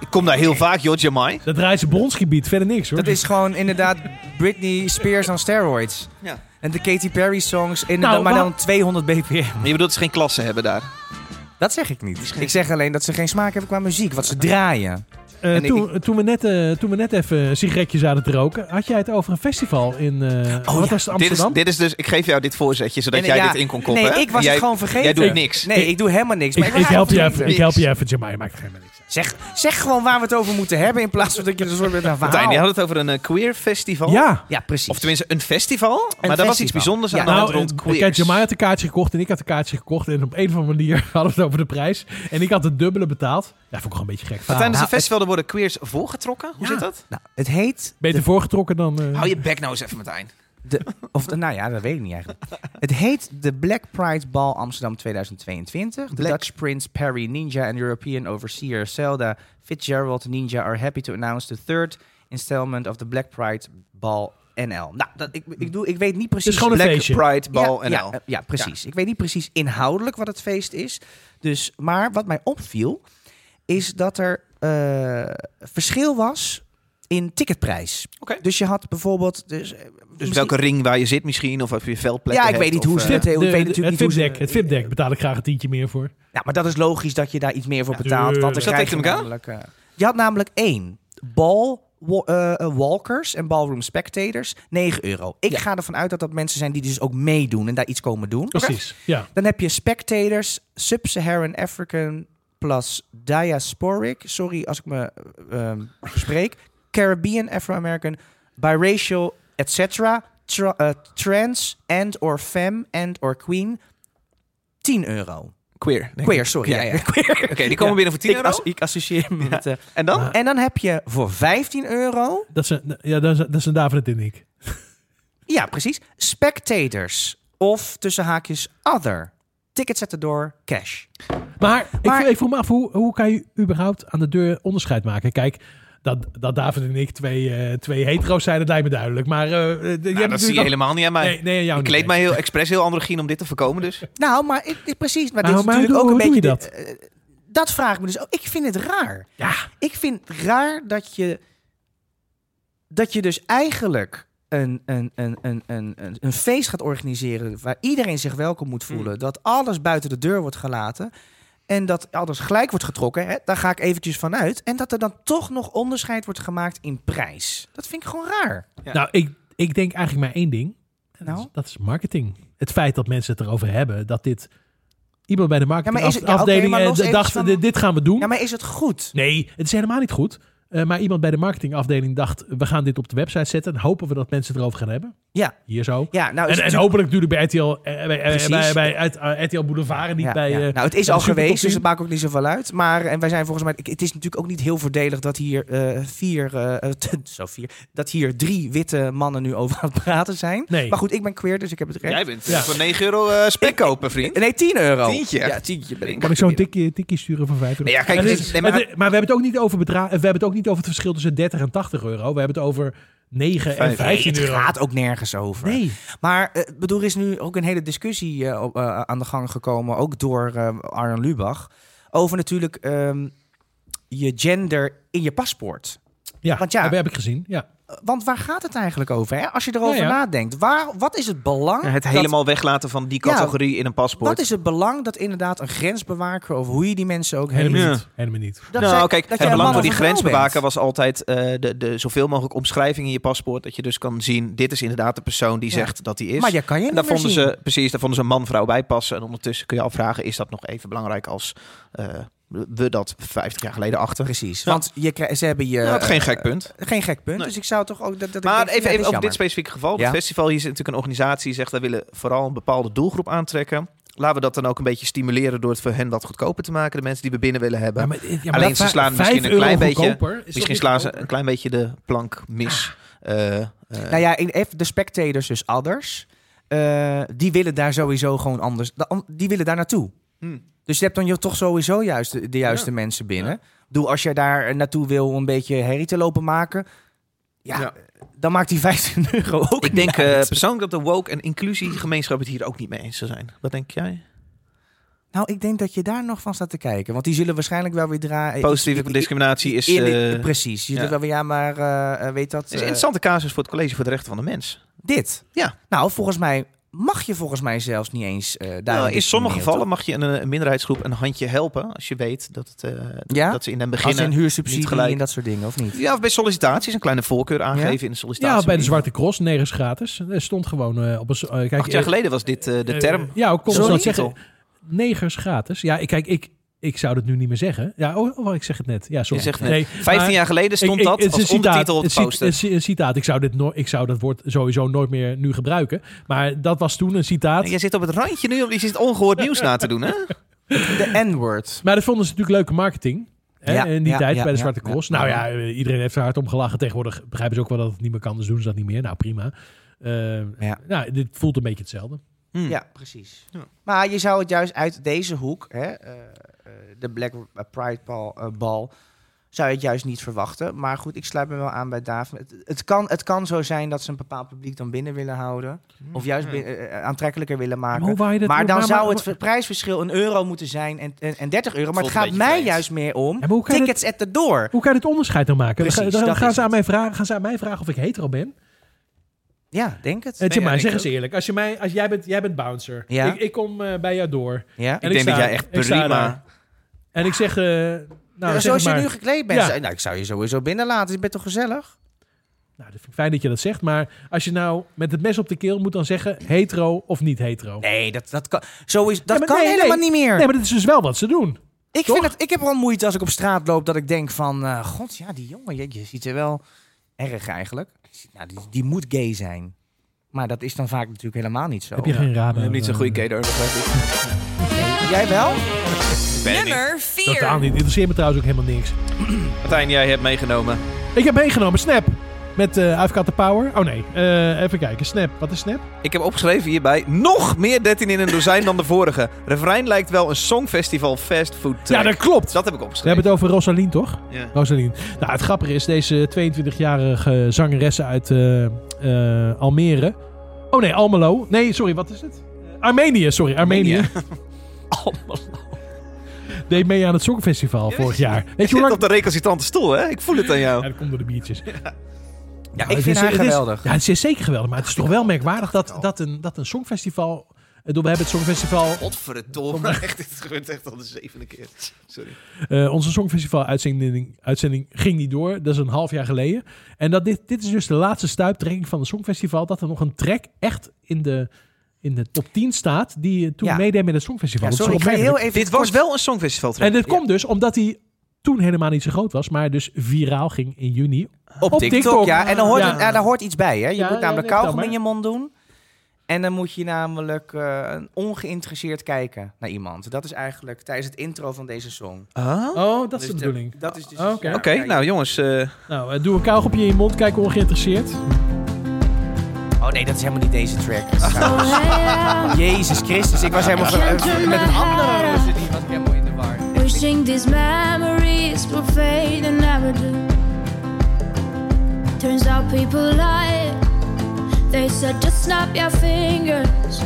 B: Ik kom daar heel vaak, joh, Jamai.
D: Dat draait ze bronsgebied, verder niks hoor.
A: Dat is gewoon inderdaad Britney Spears on steroids.
B: Ja.
A: En de Katy Perry songs, in
D: Nou,
A: maar
D: wa-
A: dan 200 bpm.
B: Maar je bedoelt dat ze geen klasse hebben daar.
D: Oh,
A: Dat zeg ik niet. Ik zeg alleen dat ze geen smaak hebben qua muziek, wat ze draaien.
D: Eh,
A: en ik-
D: toen, toen, we net, eh, toen we net even sigaretjes zaten te roken, had jij het over een festival in eh
A: Oh,
D: wat was het,
B: Dit is,
D: Amsterdam?
B: dit is dus, ik geef jou dit voorzetje, zodat
A: En,
B: jij
A: ja,
B: dit in kon koppen.
A: Nee,
B: hè?
A: ik was
B: jij,
A: het gewoon vergeten.
B: Jij doet niks.
A: Nee, ik doe helemaal niks. maar
D: ik,
A: ben
D: ik, help je
A: eigenlijk
D: even,
A: niet.
D: ik help je even, Jamai, maakt geen niks. uit.
A: Zeg, zeg gewoon waar we het over moeten hebben in plaats van dat je er soort bent aan
B: Martijn, je
A: verhaal.
B: had het over een eh, queer festival.
D: Ja,
A: Ja, precies.
B: Of tenminste, een festival. maar daar was
A: festival.
B: iets bijzonders
A: Ja.
B: aan de hand
D: nou,
B: rond
D: eh,
B: queers.
D: kijk, Jamai had een kaartje gekocht en ik had een kaartje gekocht. En op een of andere manier hadden we het over de prijs. En ik had het dubbele betaald. Ja, vond ik gewoon een beetje gek.
B: Martijn, dat is
A: Nou,
B: een festival, daar worden queers voorgetrokken. Hoe
D: Ja.
B: zit dat?
A: nou, het heet...
D: Beter voorgetrokken dan... eh,
B: Hou je bek nou eens even, Martijn.
A: De, of, de- nou ja, dat weet ik niet eigenlijk. Het heet de Black Pride Ball Amsterdam 2022. De
B: Black-
A: Dutch Prince Perry Ninja and European Overseer Zelda Fitzgerald Ninja are happy to announce the third installment of the Black Pride Ball NL. Nou, dat, ik, ik, doe, ik weet niet precies...
D: gewoon een
B: Black
D: feestje.
B: Pride Ball NL.
A: ja, Ja, eh, ja, precies. Ik weet niet precies inhoudelijk wat het feest is. Dus, maar wat mij opviel, is dat er eh, verschil was in ticketprijs.
B: Oké.
A: Dus je had bijvoorbeeld... Dus, eh,
B: Dus
A: misschien-
B: welke ring waar je zit misschien, of of eh, je veldplek.
A: Ja, ik weet niet hoe ze
D: de-
A: dit-
D: de-
A: ik weet natuurlijk
D: het
A: niet hoe ze-
D: VIP-deck, het VIP-deck betaal ik graag een tientje meer voor.
A: Ja, Nou, maar dat is logisch dat je daar iets meer voor
D: Ja,
A: betaalt. Want dan
D: tuurlijk.
B: Is dat
A: krijg je
B: tegen elkaar?
A: namelijk... eh, je had namelijk één. Ball wa- eh, eh, walkers en ballroom spectators, 9 euro. Ik ga ervan uit dat dat mensen zijn die dus ook meedoen en daar iets komen doen.
D: Precies, ja.
A: Dan heb je spectators, Sub-Saharan African plus diasporic. Sorry als ik me ehm spreek. Caribbean, Afro-American, biracial, etc. Tra- eh, trans and or femme and or queen. 10 euro.
B: Queer. denk ik.
A: Queer, sorry.
B: Ja, ja.
A: Queer.
B: Oké, die komen binnen voor 10
A: Ik,
B: euro.
A: as- ik associeer me met... eh,
B: En dan?
A: en dan heb je voor 15 euro...
D: Dat zijn, ja, dat zijn, dat zijn David en ik.
A: Ja, precies. Spectators. Of tussen haakjes other. Ticket zetten door cash.
D: Maar,
A: Maar-
D: ik, ik vroeg me af, hoe, hoe kan je überhaupt aan de deur onderscheid maken? Kijk, dat, dat David en ik twee, eh, twee hetero's zijn, dat lijkt me duidelijk. Maar eh, eh, jij hebt
B: Nou,
D: natuurlijk
B: dat zie je
D: ook-
B: helemaal niet aan mij.
D: Nee, nee, aan jou
B: ik
D: niet.
B: kleed mij heel expres heel androgyn om dit te voorkomen, dus.
A: Nou, maar ik, ik- precies. Maar,
D: Maar
A: dit
D: Nou,
A: is
D: maar
A: natuurlijk
D: hoe-
A: ook een
D: hoe
A: beetje...
D: doe je
A: de- eh, dat vraag ik me dus ook. Ik vind het raar.
D: Ja,
A: Ik vind het raar dat je... Dat je dus eigenlijk een, een, een, een, een, een, een
D: Mm.
A: feest gaat organiseren... waar iedereen zich welkom moet voelen. Dat alles buiten de deur wordt gelaten. En dat alles gelijk wordt getrokken, hè, daar ga ik eventjes van uit. En dat er dan toch nog onderscheid wordt gemaakt in prijs. Dat vind ik gewoon raar.
D: Nou, ik, ik denk eigenlijk maar één ding. En Dat,
A: Nou?
D: is, dat is marketing. Het feit dat mensen het erover hebben, dat dit... Iemand bij de
A: is het- ja, oké,
D: marketingafdeling
A: maar
D: eh,
A: los
D: d-
A: even
D: dacht,
A: van-
D: dit, dit gaan we doen.
A: Ja, maar is het goed?
D: Nee, het is helemaal niet goed. Eh, maar iemand bij de marketingafdeling dacht, we gaan dit op de website zetten. En hopen we dat mensen het erover gaan hebben.
A: Ja.
D: Hier zo.
A: Ja, nou, is
D: En, en
A: het
D: hopelijk natuurlijk bij RTL, eh, bij, eh,
A: Precies.
D: bij, bij uit- eh, RTL Boulevard en niet
A: Ja,
D: bij...
A: ja.
D: eh,
A: nou, het is
D: bij
A: al
D: de Supertop
A: geweest, dus
D: zien.
A: het maakt ook niet zoveel uit. Maar en wij zijn volgens mij. ik- Het is natuurlijk ook niet heel voordelig dat hier eh, vier, eh, eh, zo vier, dat hier drie witte mannen nu over aan het praten zijn.
D: Nee.
A: Maar goed, ik ben queer, dus ik heb het recht.
B: Jij bent
D: Ja.
B: voor 9 euro eh, spek kopen, vriend.
A: Nee, 10 euro.
B: Tientje?
A: Ja, tientje ben ik.
D: Kan ik zo'n tikje, tikje sturen van 5 euro?
B: Nee, ja, kijk,
D: En
B: het
D: het
B: is-
D: is-
B: nee, maar-
D: het is- maar we hebben het ook niet over bedrag. We hebben het ook niet over het verschil tussen 30 en 80 euro. We hebben het over 9 en
B: Vijf.
A: Nee,
D: 15
A: het
D: euro.
A: gaat ook nergens over.
D: Nee.
A: Maar eh, ik bedoel, er is nu ook een hele discussie eh, op, eh, aan de gang gekomen, ook door eh, Arjen Lubach, over natuurlijk ehm, je gender in je paspoort.
D: Ja,
A: Want ja.
D: dat heb ik gezien. Ja.
A: Want waar gaat het eigenlijk over? Hè? Als je erover
D: Ja, ja.
A: nadenkt, waar, wat is het belang?
B: Ja, het
A: dat-
B: helemaal weglaten van die
A: Ja.
B: categorie in een paspoort.
A: Wat is het belang dat inderdaad een grensbewaker, of hoe je die mensen ook heet,
D: Helemaal
B: Ja.
D: niet. Helemaal niet.
A: dat
B: nou,
A: zij-
B: kijk,
A: dat jij
B: het
A: een
B: belang
A: man
B: van die
A: of een vrouw
B: grensbewaker
A: bent.
B: was altijd eh, de, de zoveel mogelijk omschrijving in je paspoort. Dat je dus kan zien, dit is inderdaad de persoon die
A: Ja.
B: zegt dat hij is.
A: Maar jij kan je
B: en
A: niet
B: daar
A: meer
B: vonden
A: zien.
B: ze, precies, daar vonden ze man-vrouw bij passen. En ondertussen kun je afvragen, is dat nog even belangrijk als eh, we dat 50 jaar geleden achter?
A: Precies,
B: Ja.
A: want je, krij- ze hebben je...
B: Ja, dat is geen
A: eh,
B: gek punt.
A: geen gek punt,
B: Nee.
A: dus ik zou toch ook... Dat, dat ik
B: Maar
A: denk, ja,
B: even,
A: is
B: even over
A: jammer.
B: dit specifieke geval. Het
A: Ja.
B: festival hier is natuurlijk een organisatie die zegt... wij willen vooral een bepaalde doelgroep aantrekken. Laten we dat dan ook een beetje stimuleren... door het voor hen wat goedkoper te maken. De mensen die we binnen willen hebben.
D: Ja, maar- ja, maar
B: Alleen
D: dat
B: ze
D: va-
B: slaan
D: vijf
B: misschien een
D: euro
B: klein beetje-
D: goedkoper. Is dat
B: Misschien
D: niet
B: slaan ze een
D: goedkoper?
B: klein beetje de plank mis. Eh, eh,
A: Nou ja, in- even de spectators dus anders. eh, die willen daar sowieso gewoon anders. da- an- Die willen daar naartoe.
B: Hmm.
A: Dus je hebt dan je toch sowieso juist de, de juiste mensen binnen. Doe als je daar naartoe wil om een beetje herrie te lopen maken. Ja,
B: Ja.
A: dan maakt die 15 euro ook
B: ik
A: niet
B: denk eh,
A: uit.
B: persoonlijk dat de woke en inclusiegemeenschap het hier ook niet mee eens zou zijn. Wat denk jij?
A: nou, ik denk dat je daar nog van staat te kijken. Want die zullen waarschijnlijk wel weer draaien.
B: Positieve
A: Ik- ik-
B: discriminatie is,
A: in-
B: eh,
A: precies. Je
B: ja.
A: doet wel weer, ja, maar eh, eh, weet dat...
B: is een
A: eh,
B: interessante casus voor het College voor de Rechten van de Mens.
A: dit.
B: Ja.
A: Nou, volgens mij mag je volgens mij zelfs niet eens eh daar...
B: Nou, in sommige gevallen mag je een, eh, een minderheidsgroep een handje helpen... als je weet dat, het, eh,
A: Ja?
B: dat ze in den
A: Als
B: beginnen...
A: in
B: niet
A: huursubsidie
B: gelijk.
A: en dat soort dingen, of niet?
B: Ja, of bij sollicitaties een kleine voorkeur aangeven in de sollicitatie.
D: Ja, bij de Zwarte Cross, nergens gratis. Er stond gewoon eh, op een... s- eh, kijk,
B: Acht jaar
D: eh,
B: geleden was dit eh, de
D: eh,
B: term.
D: ja, ik kon
B: Sorry?
D: ze dat zeggen. Negers gratis. Ja, ik, kijk, ik, ik zou dat nu niet meer zeggen. Ja, oh, oh, ik zeg het net. Ja, sorry.
B: Je zegt net,
D: Nee,
B: 15
D: maar-
B: jaar geleden stond
D: Ik- ik-
B: dat
D: het is
B: als
D: een
B: ondertitel op
D: het
B: het
D: is een-
B: poster.
D: het is een citaat. Ik zou, dit no ik zou dat woord sowieso nooit meer nu gebruiken. Maar dat was toen een citaat.
B: En Jij zit op het randje nu, want je zit ongehoord nieuws na te doen. Hè?
A: De N-word.
D: Maar dat vonden ze natuurlijk leuke marketing. Hè,
A: Ja,
D: in die
A: ja,
D: tijd
A: ja,
D: bij de
A: ja,
D: Zwarte
A: ja.
D: Cross. nou ja, eh, iedereen heeft er hard om gelachen. Tegenwoordig begrijpen ze ook wel dat het niet meer kan. Dus doen ze dat niet meer. Nou, prima. Eh,
A: Ja.
D: Nou, dit voelt een beetje hetzelfde.
B: Hm.
A: Ja, precies.
B: Ja.
A: Maar je zou het juist uit deze hoek, hè, eh, eh, de Black Pride bal, eh, bal, zou je het juist niet verwachten. Maar goed, ik sluit me wel aan bij Daven. Het, het, kan, het kan zo zijn dat ze een bepaald publiek dan binnen willen houden. Of juist bin- eh, eh, aantrekkelijker willen
D: Maar hoe
A: maken.
D: wou je dat-
A: Maar dan
D: maar-
A: zou
D: maar-
A: het ver- prijsverschil een euro moeten zijn en, en, en 30 euro. Maar het
B: Voelt een
A: gaat
B: beetje
A: mij
B: vreemd.
A: juist meer om
D: Ja, maar hoe kan je
A: tickets at the door.
D: Hoe kan je het onderscheid dan maken?
A: Precies,
D: Ga- dan
A: dat
D: gaan,
A: is
D: ze aan
A: het.
D: mij vragen, gaan ze aan mij vragen of ik hetero ben?
A: Ja, denk het.
D: Eh, tja,
B: ja,
D: maar
B: ik
D: zeg
B: ook.
D: eens eerlijk. Als je mij, als jij, bent, jij bent bouncer.
A: Ja.
D: Ik, ik kom eh, bij jou door.
A: Ja.
D: En
B: Ik denk
D: sta-
B: dat jij echt
D: ik sta
B: prima...
D: daar. En ik zeg... eh, nou,
A: Ja,
D: zeg het
A: zoals je
D: maar.
A: nu gekleed bent.
D: Ja.
A: zou- Nou, ik zou je sowieso binnenlaten. Je bent toch gezellig?
D: Nou, dat vind ik fijn dat je dat zegt. Maar als je nou met het mes op de keel moet dan zeggen... hetero of niet hetero.
A: Nee, dat, dat kan, zo is, dat
D: maar
A: kan
D: nee, nee.
A: helemaal niet meer.
D: Nee, maar dat is dus wel wat ze doen.
A: ik,
D: toch?
A: vind het, ik heb wel moeite als ik op straat loop dat ik denk van... eh, God, ja, die jongen, je, je ziet er wel erg eigenlijk. Nou, die, die moet gay zijn. Maar dat is dan vaak natuurlijk helemaal niet zo.
D: Heb je geen Eh, radar?
B: Eh, gay door.
A: Jij wel?
C: Nummer 4.
D: Totaal niet. Interesseert me trouwens ook helemaal niks.
B: Martijn, jij hebt meegenomen.
D: Ik heb meegenomen Snap. Met eh I've Got The Power. Oh nee, eh, even kijken. Snap. Wat is Snap?
B: Ik heb opgeschreven hierbij nog meer 13 in een dozijn dan de vorige. Refrein lijkt wel een songfestival fast food
D: Ja,
B: track.
D: dat klopt.
B: Dat heb ik
D: We hebben
B: opgeschreven.
D: het over Rosaline, toch?
B: Ja.
D: Rosaline. Nou, het grappige is, deze 22-jarige zangeres uit eh, eh, Almere. Oh nee, Almelo. Nee, sorry, wat is het? Eh, Armenië, sorry, Armenië. Deed mee aan het Songfestival vorig jaar. Weet je
B: Je
D: hoe
B: zit
D: lang...
B: op de recalcitrante stoel, hè? Ik voel het aan jou.
D: Ja, dat komt door de biertjes.
A: Ja,
D: Het
A: ik
D: is-
A: vind haar
D: het is-
A: geweldig.
D: ja, het is zeker geweldig. Maar het is toch wel merkwaardig dat, dat, een, dat een songfestival Eh, bedoel, we hebben het Songfestival
B: Godverdomme. Echt, dit gebeurt echt al de zevende keer. Sorry.
D: Eh, onze Songfestival-uitzending uitzending ging niet door. Dat is een half jaar geleden. En dat dit, dit is dus de laatste stuiptrekking van het Songfestival. Dat er nog een track echt in de, in de top 10 staat. Die eh, toen
A: Ja.
D: meedeed met het Songfestival.
A: Ja,
D: Dat is
A: sorry, ik ga je heel
D: opmerkelijk.
A: even...
B: Dit was wel een songfestival
D: En dit komt dus omdat hij toen helemaal niet zo groot was. Maar dus viraal ging in juni.
A: Op,
D: op
A: TikTok,
D: TikTok.
A: ja. En dan hoort
D: Ja.
A: een- ja, daar hoort iets bij, hè. Je
D: Ja,
A: moet
D: ja,
A: namelijk
D: nee, vertel
A: kauwgom in
D: maar.
A: je mond doen. En dan moet je namelijk eh, ongeïnteresseerd kijken naar iemand. Dat is eigenlijk tijdens het intro van deze song.
D: Oh, dat is
A: Dus
D: de
A: dat-
D: bedoeling. Oh,
A: Dat is dus...
D: Oké.
A: ja,
D: Oké,
B: Oké,
A: ja, je-
B: Ah, nou jongens. eh,
D: Nou, eh, doe een kauwgopje in je mond. Kijk ongeïnteresseerd.
A: Oh nee, dat is helemaal niet deze track.
G: Oh,
A: Jezus Christus, ik was helemaal...
G: Ja.
A: ver- eh, met een andere was het niet, was ik helemaal in de war.
G: yeah. Wishing these memories will fade and never do. Turns out people lie. They said just snap your fingers.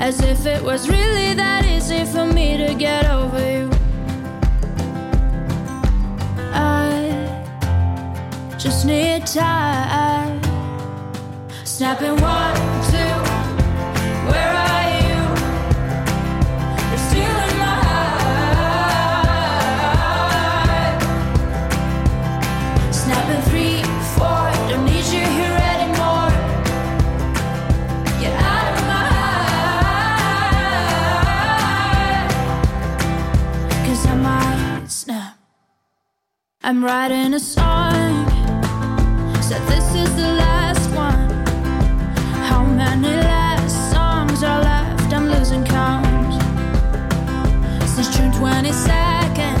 G: As if it was really that easy for me to get over you. I just need time. Snapping one, two. Where are you? You're still in my heart. Snapping three, four. Don't need you here anymore. Get out of my heart. 'Cause I might snap. I'm writing a song. Said this is the last one. How many last songs are left? I'm losing count since June 22nd.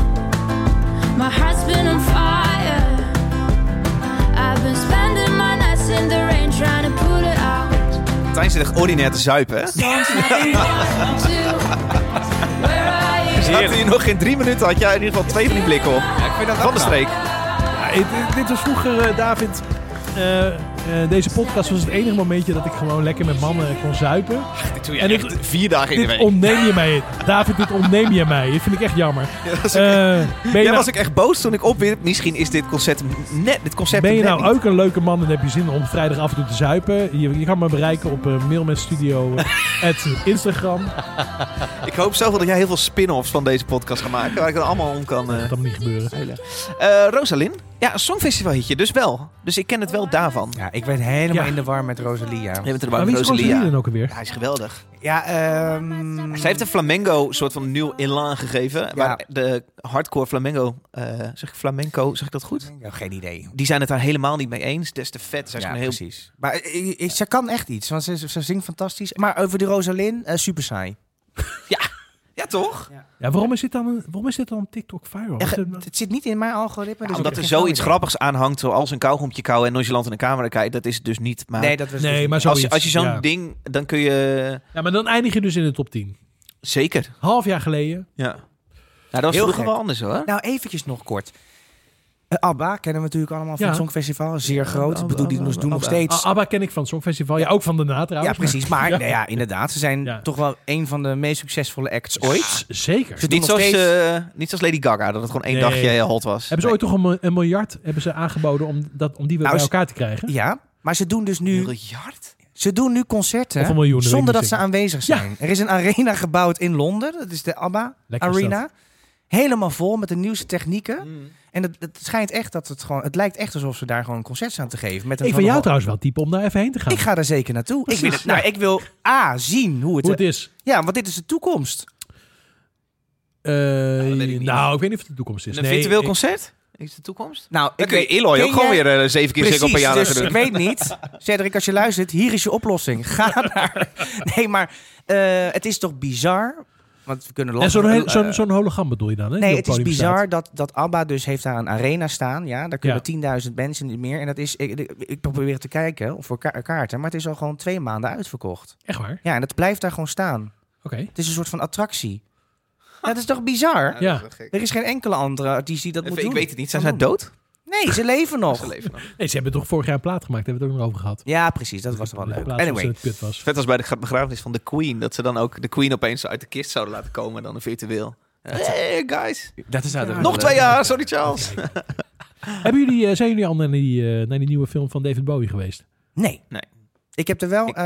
G: My heart's been on fire. I've been spending my nights in the rain trying to put it out.
B: Tijn zit echt ordinair te zuipen, hè?
G: Songs nothing one, two. Where are you?
B: Had hij nog geen drie minuten, had jij in ieder geval twee van die blikken op. van de streek.
D: Ja, dit- dit- dit was vroeger, eh, David. eh, eh, deze podcast was het enige momentje dat ik gewoon lekker met mannen kon zuipen.
B: Dit doe je
D: En dit-
B: echt vier dagen in de
D: Dit
B: week.
D: ontneem je mij. David, dit ontneem je mij. Dit vind ik echt jammer.
B: Dat was ook-
D: Eh, ben je
B: Jij
D: nou,
B: was ik echt boos toen ik opwierp. Misschien is dit concept net, dit concept
D: ben je
B: net
D: nou
B: niet.
D: ook een leuke man en heb je zin om vrijdag af en toe te zuipen? Je, je kan me bereiken op eh, mail met studio eh, at Instagram.
A: Eh.
D: Dat
B: Ik hoop zelf wel dat jij heel veel spin-offs van deze podcast gaat maken. Waar ik dan allemaal om kan... eh
D: gaat allemaal niet gebeuren.
B: huilen. Eh, Rosalyn? Ja, een songfestival hitje, dus wel. Dus ik ken het wel daarvan.
A: Ja, ik werd helemaal
D: Ja.
A: in de war met Rosalia.
B: Je bent er
D: Maar wie is Rosalie dan ook alweer?
B: Ja, hij is geweldig.
A: Ja, ehm...
B: Zij heeft de flamenco soort van nieuw elan gegeven. Waar de hardcore flamenco, eh, zeg ik flamenco, zeg ik dat goed?
A: Ja, geen idee.
B: Die zijn het daar helemaal niet mee eens. Des te vet. Zij is
A: Ja,
B: gewoon heel
A: precies. Maar eh, eh, ze kan echt iets, want ze, ze zingt fantastisch. Maar over de Rosalyn, eh, super saai.
B: Ja, toch?
D: Ja, waarom is dit dan, een- waarom is dit dan een TikTok viral?
A: Ja,
D: Is
A: ge-
D: het-
A: het zit niet in mijn algoritme.
B: Omdat
A: dus ik
B: er
A: heb geen
B: zoiets
A: flauw
B: grappigs aan hangt, zoals een kauwgompje kauwen en nonchalant in de camera kijken. Dat is het dus niet. Maar,
A: idee. Nee, dat was
D: nee, maar
B: als,
D: zoiets.
B: je- als je zo'n
D: ja.
B: ding, dan kun je...
D: ja, maar dan eindig je dus in de top 10.
B: Zeker.
D: Half jaar geleden.
B: Ja. Nou, dat was
A: Heel
B: vroeger
A: gek.
B: wel anders hoor.
A: Nou, eventjes nog kort. Eh, Abba kennen we natuurlijk allemaal van
D: Ja.
A: het Songfestival. Zeer groot.
B: Abba,
A: Ik bedoel, die
B: Abba,
A: doen nog
B: Abba.
A: steeds...
D: Ah, ABBA ken ik van het Songfestival. Ja, ook van daarna
A: ja,
D: trouwens.
A: precies. Maar nou ja, inderdaad, ze zijn
D: Ja.
A: toch wel een van de meest succesvolle acts
D: Maar-
A: ooit.
D: Zeker.
A: Ze doen
B: Niet
A: nog
B: zoals,
A: steeds-
B: eh, niet zoals Lady Gaga, dat het gewoon één
D: Nee.
B: dagje heel hot was.
D: Hebben ze ooit toch een, mil- een miljard hebben ze aangeboden om, dat, om die weer
A: Nou,
D: bij
A: is-
D: elkaar te
B: eh,
D: krijgen?
A: Ja, maar ze doen dus
B: Nee.
A: nu,
B: miljard?
A: ze doen nu concerten
D: Of een miljoen, dat weet
A: zonder
D: ik
A: dat
D: niet
A: ze aanwezig
D: Ja.
A: zijn. Er is een arena gebouwd in Londen. Dat is de Abba
D: Lekker is
A: Arena. Helemaal vol met de nieuwste technieken.
B: Mm.
A: En het, het schijnt echt dat het gewoon... Het lijkt echt alsof ze daar gewoon een concert staan te geven. Met een
D: Ik vind
A: van de
D: jou
A: ho-
D: trouwens wel type om daar even heen te gaan.
A: Ik ga daar zeker naartoe. Ik
D: Precies,
A: wil, het- nou,
D: ja.
A: ik wil A, zien hoe het,
D: Hoe het is.
A: Ja, want dit is de toekomst.
D: Eh,
B: dat weet ik niet.
D: nou, ik weet niet of het de toekomst is.
B: Een virtueel
D: ik-
B: concert? Is de toekomst?
A: Nou,
B: Dan
A: ik
B: kun je
A: weet-
B: Eloy
A: ken
B: ook gewoon
A: jij-
B: weer eh, zeven keer
A: Precies,
B: cirkel per jaar
A: dus
B: laten doen.
A: ik weet niet. Cedric, als je luistert, hier is je oplossing. Ga daar. Nee, maar eh, het is toch bizar? Want we kunnen
D: en
A: lastig-
D: zo'n heel-
A: eh,
D: zo'n zo'n hologram bedoel je dan? Hè, die
A: Nee,
D: op
A: het is
D: podium staat.
A: bizar dat, dat ABBA dus heeft daar een arena staan. Ja, daar
D: Ja.
A: kunnen 10.000 mensen niet meer. En dat is, ik, ik probeer te kijken voor ka- kaarten, maar het is al gewoon twee maanden uitverkocht.
D: Echt waar?
A: Ja, en dat blijft daar gewoon staan.
D: Oké.
A: Het is een soort van attractie. Ja, dat is toch bizar?
D: Ja.
A: Er is geen enkele andere artiest die dat
B: Even,
A: moet doen.
B: ik weet het niet. Zijn
A: Kan
B: zij
A: doen.
B: dood?
A: Nee, ze leven nog.
B: Ze leven nog.
D: Nee, ze hebben toch vorig jaar een plaat gemaakt. Daar hebben we het ook nog over gehad.
A: Ja, precies. Dat was wel
D: In
A: leuk.
D: plaats van
A: Anyway,
D: dat het kut was.
B: Vet als bij de gra- begrafenis van de Queen. Dat ze dan ook de Queen opeens uit de kist zouden laten komen. en Dan een virtueel. Hey guys.
A: dat is
B: Nog twee jaar. Sorry Charles.
D: Hebben jullie, eh, zijn jullie al naar die, eh, naar die nieuwe film van David Bowie geweest?
A: Nee.
B: Nee.
A: Ik heb er wel...
B: Ik-
A: eh,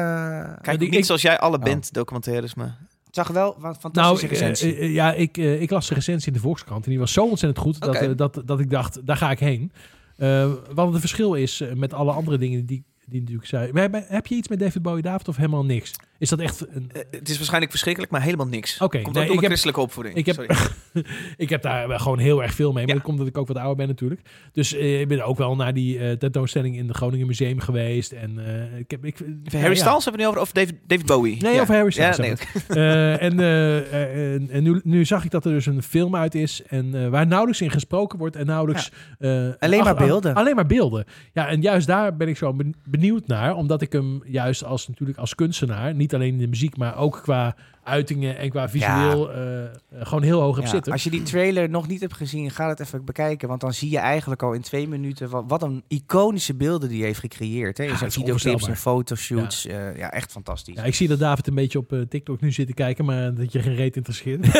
B: Kijk,
D: die-
B: niet
D: ik-
B: zoals jij alle
A: Oh.
B: bent documentaires, maar...
A: ik zag wel wat
D: Nou,
A: fantastische
D: ik,
A: recensies.
D: eh, eh, ja, ik, eh, ik las de recensie in de Volkskrant. En die was zo ontzettend goed dat,
B: Oké.
D: eh, dat, dat ik dacht, daar ga ik heen. Eh, wat het verschil is eh, met alle andere dingen die, die natuurlijk zei. Maar heb- heb je iets met David Bowie David of helemaal niks? Is dat echt... Een,
B: Eh, het is waarschijnlijk verschrikkelijk, maar helemaal niks.
D: Oké,
B: Komt ook
D: nee,
B: door
D: ik
B: mijn
D: heb-
B: christelijke opvoeding.
D: ik heb-
B: Sorry.
D: ik heb daar wel gewoon heel erg veel mee. Maar
B: Ja.
D: dat komt omdat ik ook wat ouder ben natuurlijk. Dus eh, ik ben ook wel naar die eh, tentoonstelling in het Groningen Museum geweest. En eh, ik heb... Ik,
B: Harry
D: ja.
B: Styles hebben we nu over, of David, David Bowie?
D: Nee, over Harry Styles
B: Ja, nee,
D: hebben Eh, en eh, en, en nu, nu zag ik dat er dus een film uit is en eh, waar nauwelijks in gesproken wordt en nauwelijks... eh,
A: Alleen
D: ach-
A: maar
D: ach-
A: beelden.
D: alleen maar beelden. Ja, en juist daar ben ik zo ben- benieuwd naar, omdat ik hem juist als natuurlijk als kunstenaar, niet alleen in de muziek, maar ook qua uitingen en qua visueel eh, eh, gewoon heel hoog heb
A: Ja,
D: zitten.
A: Als je die trailer nog niet hebt gezien, ga dat even bekijken. Want dan zie je eigenlijk al in twee minuten wat, wat een iconische beelden die hij heeft gecreëerd. Hè?
D: Ja,
A: In zijn
D: het is
A: videoclips en
D: onvoorstelbaar.
A: fotoshoots. Ja. ja, echt fantastisch.
D: Ja, ik zie dat David een beetje op eh, TikTok nu zit te kijken, maar dat je geen reet interesseert.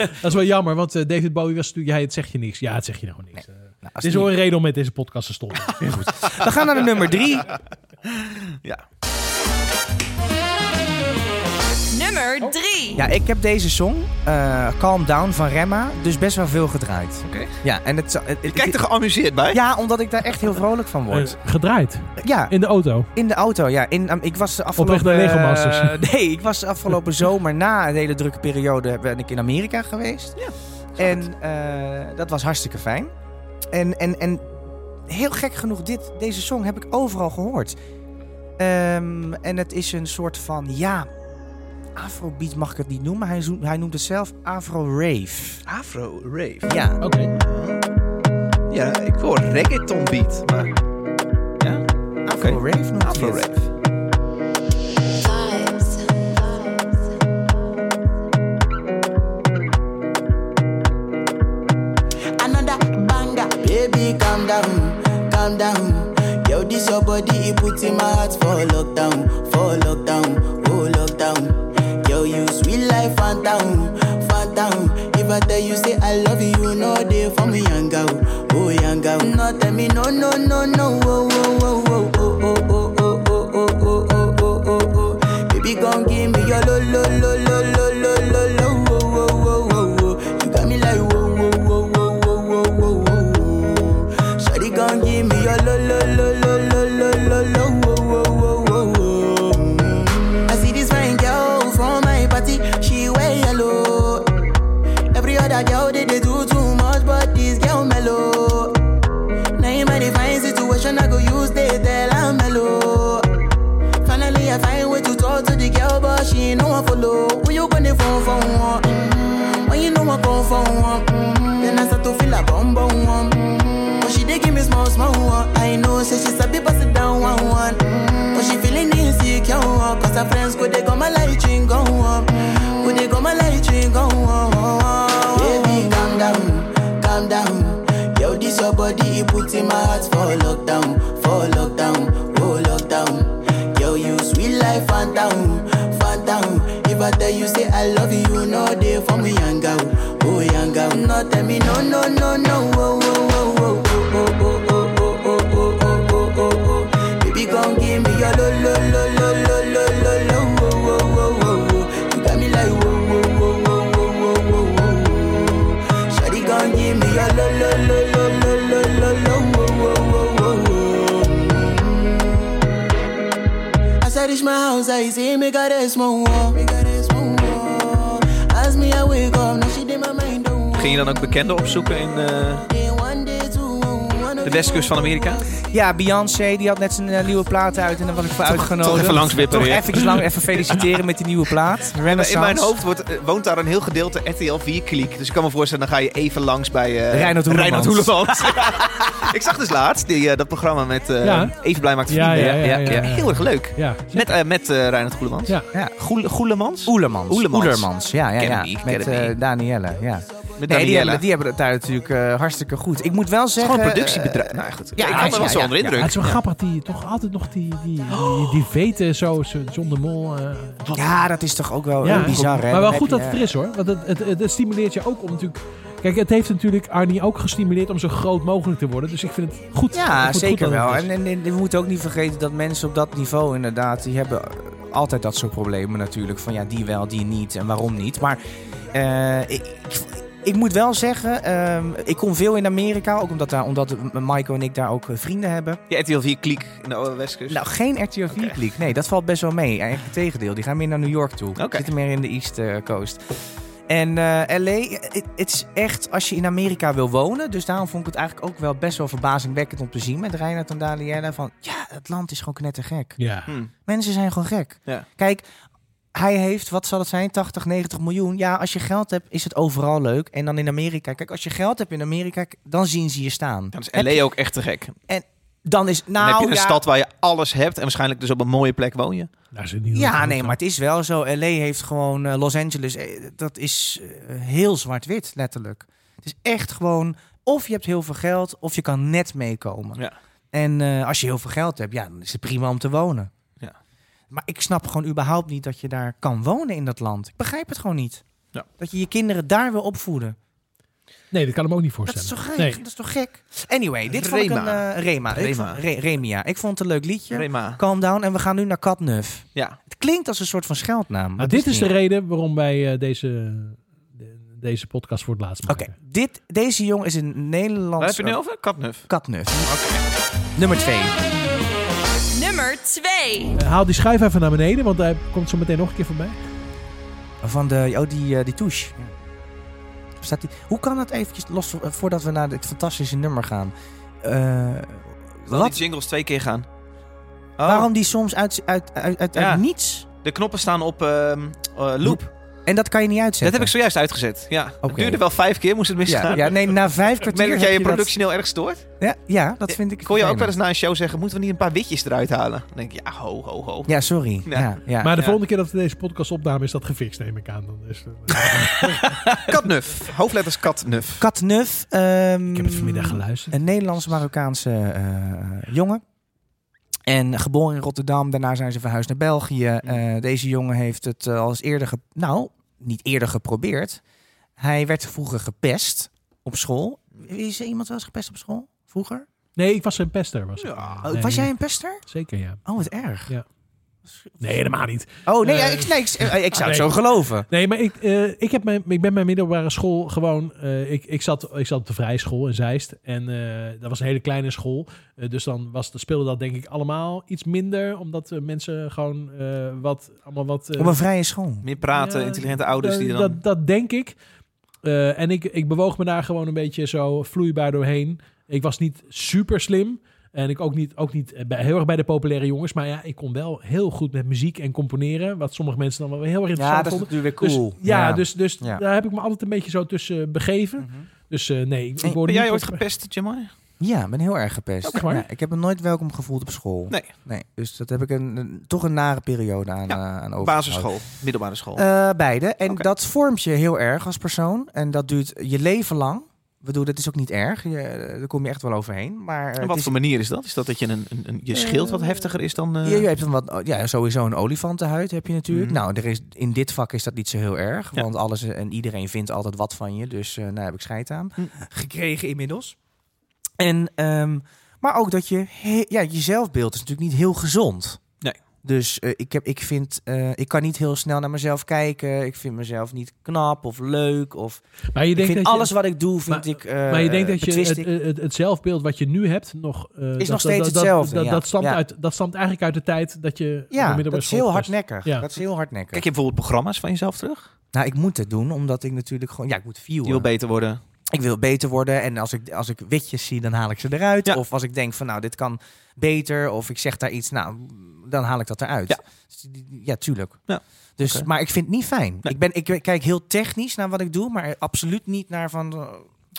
D: dat is wel jammer, want eh, David Bowie was natuurlijk, ja, het zegt je niks. Ja, het zegt je nou niks. Eh,
A: Nou,
D: het
A: als
D: is
A: niet-
D: wel een reden om met deze podcast te stoppen. Eh, Ja, goed.
A: We gaan naar de nummer drie.
C: Nummer 3.
A: Ja, ik heb deze song, eh, Calm Down van Remma, dus best wel veel gedraaid.
B: Oké.
A: Ja, en het, het,
B: Je kijkt er geamuseerd bij.
A: Ja, omdat ik daar echt heel vrolijk van word.
D: Eh, gedraaid
A: ja,
D: in de auto.
A: in de auto. Ja, in, ehm, ik was de afgelopen.
D: naar Lego
A: eh,
D: Masters.
A: nee, ik was de afgelopen zomer na een hele drukke periode ben ik in Amerika geweest.
B: Ja,
A: en eh, dat was hartstikke fijn. En, en, en heel gek genoeg, dit, deze song heb ik overal gehoord. Ehm, en het is een soort van, ja, afrobeat mag ik het niet noemen. Hij, zoemt- hij noemt het zelf afro-rave.
B: Afro Rave.
A: Ja,
D: Oké.
B: Ja, ik hoor reggaeton beat, maar... Ja,
A: afro-rave noemt hij
B: Afro
A: het.
B: Rave.
G: Vibes.
I: another banger. Baby, calm down, calm down. Yo, this your body, it puts in my heart for lockdown, for lockdown, oh lockdown. Yo, you sweet life, phantom, phantom. If I tell you say I love you, you know they for me, young girl, oh young girl. No, tell me no, no, no, no, oh, oh, oh, oh, oh, oh, oh, oh, oh, oh, oh, oh, oh, oh, oh. Baby, gon' give me your lo, lo, lo, lo, lo, lo, lo, lo, oh, oh, oh, oh, oh. You got me like whoa, whoa, whoa, whoa, whoa, whoa, whoa, whoa. Shawty gon' give me your lo, lo, lo, lo, lo, lo, lo, lo, whoa, whoa, whoa, whoa, whoa. I see this fine girl from my party, she wear yellow. Every other girl they, they do too much, but this girl mellow. Now in my divine situation, I go use they tell I'm mellow. Finally, I find way to talk to the girl, but she ain't no one follow. Who you gonna phone for? One? mm, When you know I come for one, mm, then I start to feel a bum bum one. mm. But she dey give me small small one. I know say she's a bit pass it down one one. But she feeling insecure one, cause her friends go they go my light ring go on, go they go my light ring go on. Baby, calm down, calm down. Yo, this your body, it put in my heart for lockdown, for lockdown, oh lockdown. Yo, you sweet life, phantom, phantom. oh. If I tell you say I love you, you know they for me, young girl, oh young girl. No, tell me no, no, no, no, oh, oh, oh, oh, oh, oh, oh, oh, oh, oh, oh, oh, oh, oh. Baby, come give me your lo, lo, lo, lo, lo, lo, lo, lo, oh, oh, oh, oh, oh. You got me like whoa, whoa, whoa, whoa, whoa, whoa, whoa, whoa. Shawty gon' give me your lo lo lo lo lo lo lo lo wo wo wo wo wo. As I reach my house, I see me got a small wall. Me got a small wall. As me I wake up, now she did my mind on.
B: Ging je dan ook bekenden opzoeken in eh, de
I: De
B: westkust van Amerika?
A: Ja, Beyoncé, die had net zijn eh, nieuwe plaat uit en dan was ik voor uitgenodigd.
B: toch even langswippen
A: Toch
B: weer.
A: even, lang, even feliciteren met die nieuwe plaat. Renaissance.
B: In mijn hoofd wordt, eh, woont daar een heel gedeelte RTL 4 kliek. Dus ik kan me voorstellen, dan ga je even langs bij eh
A: Reinoud Hoelemans.
B: Hoelemans. ik zag dus laatst die, eh, dat programma met eh,
D: Ja.
B: Even Blij Maakt
D: Ja,
B: Vrienden.
D: ja, ja, ja, ja.
B: Heel erg leuk.
D: Ja.
B: Met, eh met eh Reinhard Goelemans.
D: Ja.
A: Ja.
B: Goel- Goelemans?
A: Oelemans.
B: Oelemans.
A: Oelemans, Ja, ja, ja.
B: Ken ik,
A: Met
B: ken ik.
A: eh, Danielle. Ja.
B: Met
A: Nee, die
B: Danielle.
A: hebben, die hebben het daar natuurlijk eh, hartstikke goed. Ik moet wel
B: Het is
A: zeggen...
B: gewoon een
A: eh,
B: productiebedrijf. nou goed.
A: ja,
B: ik had me
A: ja,
B: wel zo
A: ja,
B: onder
A: ja.
B: indruk.
D: Ja, het is wel grappig, die toch altijd nog die, die, die, die veten zo, zo- zonder mol. eh,
A: ja, dat is toch ook wel heel bizar, hè?
D: Maar wel
A: Dan
D: goed
A: heb
D: dat het
A: je- eh,
D: er is hoor. Want het, het, het, het stimuleert je ook om natuurlijk Kijk, het heeft natuurlijk Arnie ook gestimuleerd om zo groot mogelijk te worden. Dus ik vind het goed.
A: Ja,
D: Ik vind het
A: zeker
D: goed dat
A: wel.
D: het is.
A: En, en, en we moeten ook niet vergeten dat mensen op dat niveau inderdaad, die hebben altijd dat soort problemen natuurlijk. Van ja, die wel, die niet en waarom niet. Maar eh, ik, ik, ik moet wel zeggen, ehm, ik kom veel in Amerika, ook omdat, daar, omdat Michael en ik daar ook eh, vrienden hebben.
B: Je RTL 4 kliek in de oude Westkust.
A: Nou, geen RTL 4 kliek. Nee, dat valt best wel mee. Eigenlijk het tegendeel. Die gaan meer naar New York toe.
B: Oké.
A: Zitten meer in de East eh, Coast. En eh, LA, het het is echt als je in Amerika wil wonen. Dus daarom vond ik het eigenlijk ook wel best wel verbazingwekkend om te zien met Reinhard en Daniela. Van ja, het land is gewoon knettergek.
D: Ja.
B: Hm.
A: Mensen zijn gewoon gek.
B: Ja.
A: Kijk, hij heeft, wat zal het zijn, 80, 90 miljoen. Ja, als je geld hebt, is het overal leuk. En dan in Amerika. Kijk, als je geld hebt in Amerika, k- dan zien ze je staan.
B: Dan is
A: Heb
B: LA ook echt te gek. Dan
A: Dan is, nou
B: heb je een
A: ja,
B: stad waar je alles hebt en waarschijnlijk dus op een mooie plek woon je.
D: Daar zit Nou, niet
A: Ja, nee, maar het is wel zo. LA heeft gewoon eh, Los Angeles. eh, dat is eh, heel zwart-wit, letterlijk. Het is echt gewoon. Of je hebt heel veel geld, of je kan net meekomen.
B: Ja.
A: En eh, als je heel veel geld hebt, ja, dan is het prima om te wonen.
B: Ja.
A: Maar ik snap gewoon überhaupt niet dat je daar kan wonen in dat land. Ik begrijp het gewoon niet.
B: Ja.
A: Dat je je kinderen daar wil opvoeden.
D: Nee, dat kan ik me ook niet
A: Dat is
D: voorstellen.
A: toch gek?
D: Nee.
A: Dat is toch gek? Anyway, dit vond ik
B: Rema.
A: een... eh, Rema. Ik
B: Rema.
A: vond- Re- Remia. Ik vond het een leuk liedje.
B: Prima.
A: Calm down. En we gaan nu naar Katnuf.
B: Ja.
A: Het klinkt als een soort van scheldnaam. maar
D: Maar
A: het
D: dit is
A: niet.
D: de reden waarom wij eh, deze, de- deze podcast voor het laatst
A: Oké,
D: maken.
A: dit deze jongen is een
B: Waar heb je
A: Nederlandse
B: het nu over? Katnuf.
A: katnuf. Nummer 2.
C: Nummer 2.
D: Eh, haal die schuif even naar beneden, want hij komt zo meteen nog een keer voorbij.
A: Van de, oh, die, eh, die touche. Staat die, hoe kan dat eventjes, los eh, voordat we naar dit fantastische nummer gaan. Eh,
B: Laat
A: wat,
B: die jingles twee keer gaan. Oh,
A: waarom die soms uit, uit, uit, uit, uit
B: Ja.
A: niets.
B: De knoppen staan op ehm, eh, loop.
A: En dat kan je niet
B: Dat
A: uitzetten.
B: heb ik zojuist uitgezet. Ja. Het
A: Oké.
B: duurde wel vijf keer, moest het
A: ja,
B: misgaan.
A: ja, nee, na vijf
B: Ik
A: kwartier
B: merk dat jij
A: heb
B: je productioneel erg stoort.
A: Ja, ja, dat vind ik
B: Ik hoor je ook wel
A: vervelend.
B: eens na een show zeggen, moeten we niet een paar witjes eruit halen? Dan denk ik, ja, ho, ho, ho.
A: Ja, sorry.
B: Ja.
A: Ja. Ja,
D: maar de
B: ja.
D: volgende keer dat we deze podcast opnamen is dat gefixt, neem ik aan. Dan is, eh,
B: Katnuf. Hoofdletters Katnuf.
A: Katnuf. ehm,
D: ik heb het vanmiddag geluisterd.
A: Een Nederlands-Marokkaanse eh, jongen. En geboren in Rotterdam. Daarna zijn ze verhuisd naar België. Eh, deze jongen heeft het eh, al eens eerder... ge- nou, niet eerder geprobeerd. Hij werd vroeger gepest op school. Is er iemand wel eens gepest op school? Vroeger?
D: Nee, ik was een pester. Was, ik.
B: Ja.
A: Oh,
D: Nee,
A: was jij een pester?
D: Zeker, ja.
A: Oh, wat erg.
D: Nee, helemaal niet.
A: Oh, nee,
D: Eh,
A: ik, nee, ik, eh, ik zou het
D: nee.
A: zo geloven.
D: Nee, maar ik, eh, ik, heb mijn, ik ben mijn middelbare school gewoon... eh, ik, ik, zat, ik zat op de vrijschool in Zeist. En eh, dat was een hele kleine school. Eh, dus dan was, speelde dat denk ik allemaal iets minder. Omdat eh, mensen gewoon eh, wat... Allemaal wat eh,
A: Op een vrije school.
B: Meer praten,
D: Ja,
B: intelligente ouders die
A: eh,
D: dat-
B: dan...
D: Dat, dat denk ik. Eh, en ik, ik bewoog me daar gewoon een beetje zo vloeibaar doorheen. Ik was niet super slim. En ik ook niet, ook niet eh, bij, heel erg bij de populaire jongens. Maar ja, ik kon wel heel goed met muziek en componeren. Wat sommige mensen dan wel heel erg interessant
A: Ja, dat is
D: vonden.
A: natuurlijk weer
D: Dus-
A: cool.
D: ja, dus, dus
A: Ja. Mhm.
D: daar heb ik me altijd een beetje zo tussen eh, begeven. Dus eh, nee, ik, ik word
B: ben jij
D: niet
B: ooit
D: tot-
B: gepest, Jamai?
A: Ja, ik ben heel erg gepest.
D: Echt waar?
A: Ja, ik heb me nooit welkom gevoeld op school.
B: Nee.
A: nee dus dat heb ik een, een- toch een nare periode
B: Ja,
A: aan, eh, aan overgehouden.
B: Basisschool, middelbare school.
A: Eh, beide. En
B: Oké.
A: dat vormt je heel erg als persoon. En dat duurt je leven lang. Ik bedoel, dat is ook niet erg. Je, eh, daar kom je echt wel overheen. Maar eh,
B: En
A: het
B: wat
A: is-
B: voor manier is dat? Is dat dat je een, een, een- je schild wat heftiger is dan... eh,
A: je, je hebt een wat, oh, ja, sowieso een olifantenhuid heb je natuurlijk.
B: Mhm.
A: Nou, er is, in dit vak is dat niet zo heel erg.
B: Ja.
A: Want alles en iedereen vindt altijd wat van je. Dus eh daar heb ik scheid aan.
B: Hm.
A: Gekregen inmiddels. En, ehm, maar ook dat je... he- ja, je zelfbeeld is natuurlijk niet heel gezond.
B: Nee.
A: Dus eh, ik, heb, ik vind... eh, ik kan niet heel snel naar mezelf kijken. Ik vind mezelf niet knap of leuk of...
D: Maar je
A: Ik
D: denkt
A: vind
D: dat je-
A: alles wat ik doe, vind
D: Maar-
A: ik. eh,
D: maar je denkt dat je
A: betwist
D: het,
A: ik.
D: het, het, het zelfbeeld wat je nu hebt nog... eh, dat-
A: nog
D: dat-
A: steeds
D: dat-
A: hetzelfde,
D: Dat,
A: ja.
D: dat, stamt
A: Ja.
D: uit, dat stamt eigenlijk uit de tijd dat je... op de
A: ja,
D: middelbare
A: dat is
D: school
A: heel
D: gepest-
A: hardnekkig.
D: Ja.
A: Dat is heel hardnekkig.
B: Kijk je bijvoorbeeld programma's van jezelf terug?
A: nou, ik moet het doen, omdat ik natuurlijk gewoon. Ja, ik moet
B: Je wil
A: viewen.
B: beter worden.
A: ik wil beter worden. En als ik, als ik witjes zie, dan haal ik ze eruit.
B: Ja.
A: Of als ik denk van, nou, dit kan beter. Of ik zeg daar iets, nou, dan haal ik dat eruit.
B: Ja.
A: Dus die- die- ja tuurlijk.
B: Ja.
A: Dus,
B: Oké.
A: Maar ik vind het niet fijn.
B: Nee.
A: Ik, ben, ik kijk heel technisch naar wat ik doe, maar absoluut niet naar van. eh,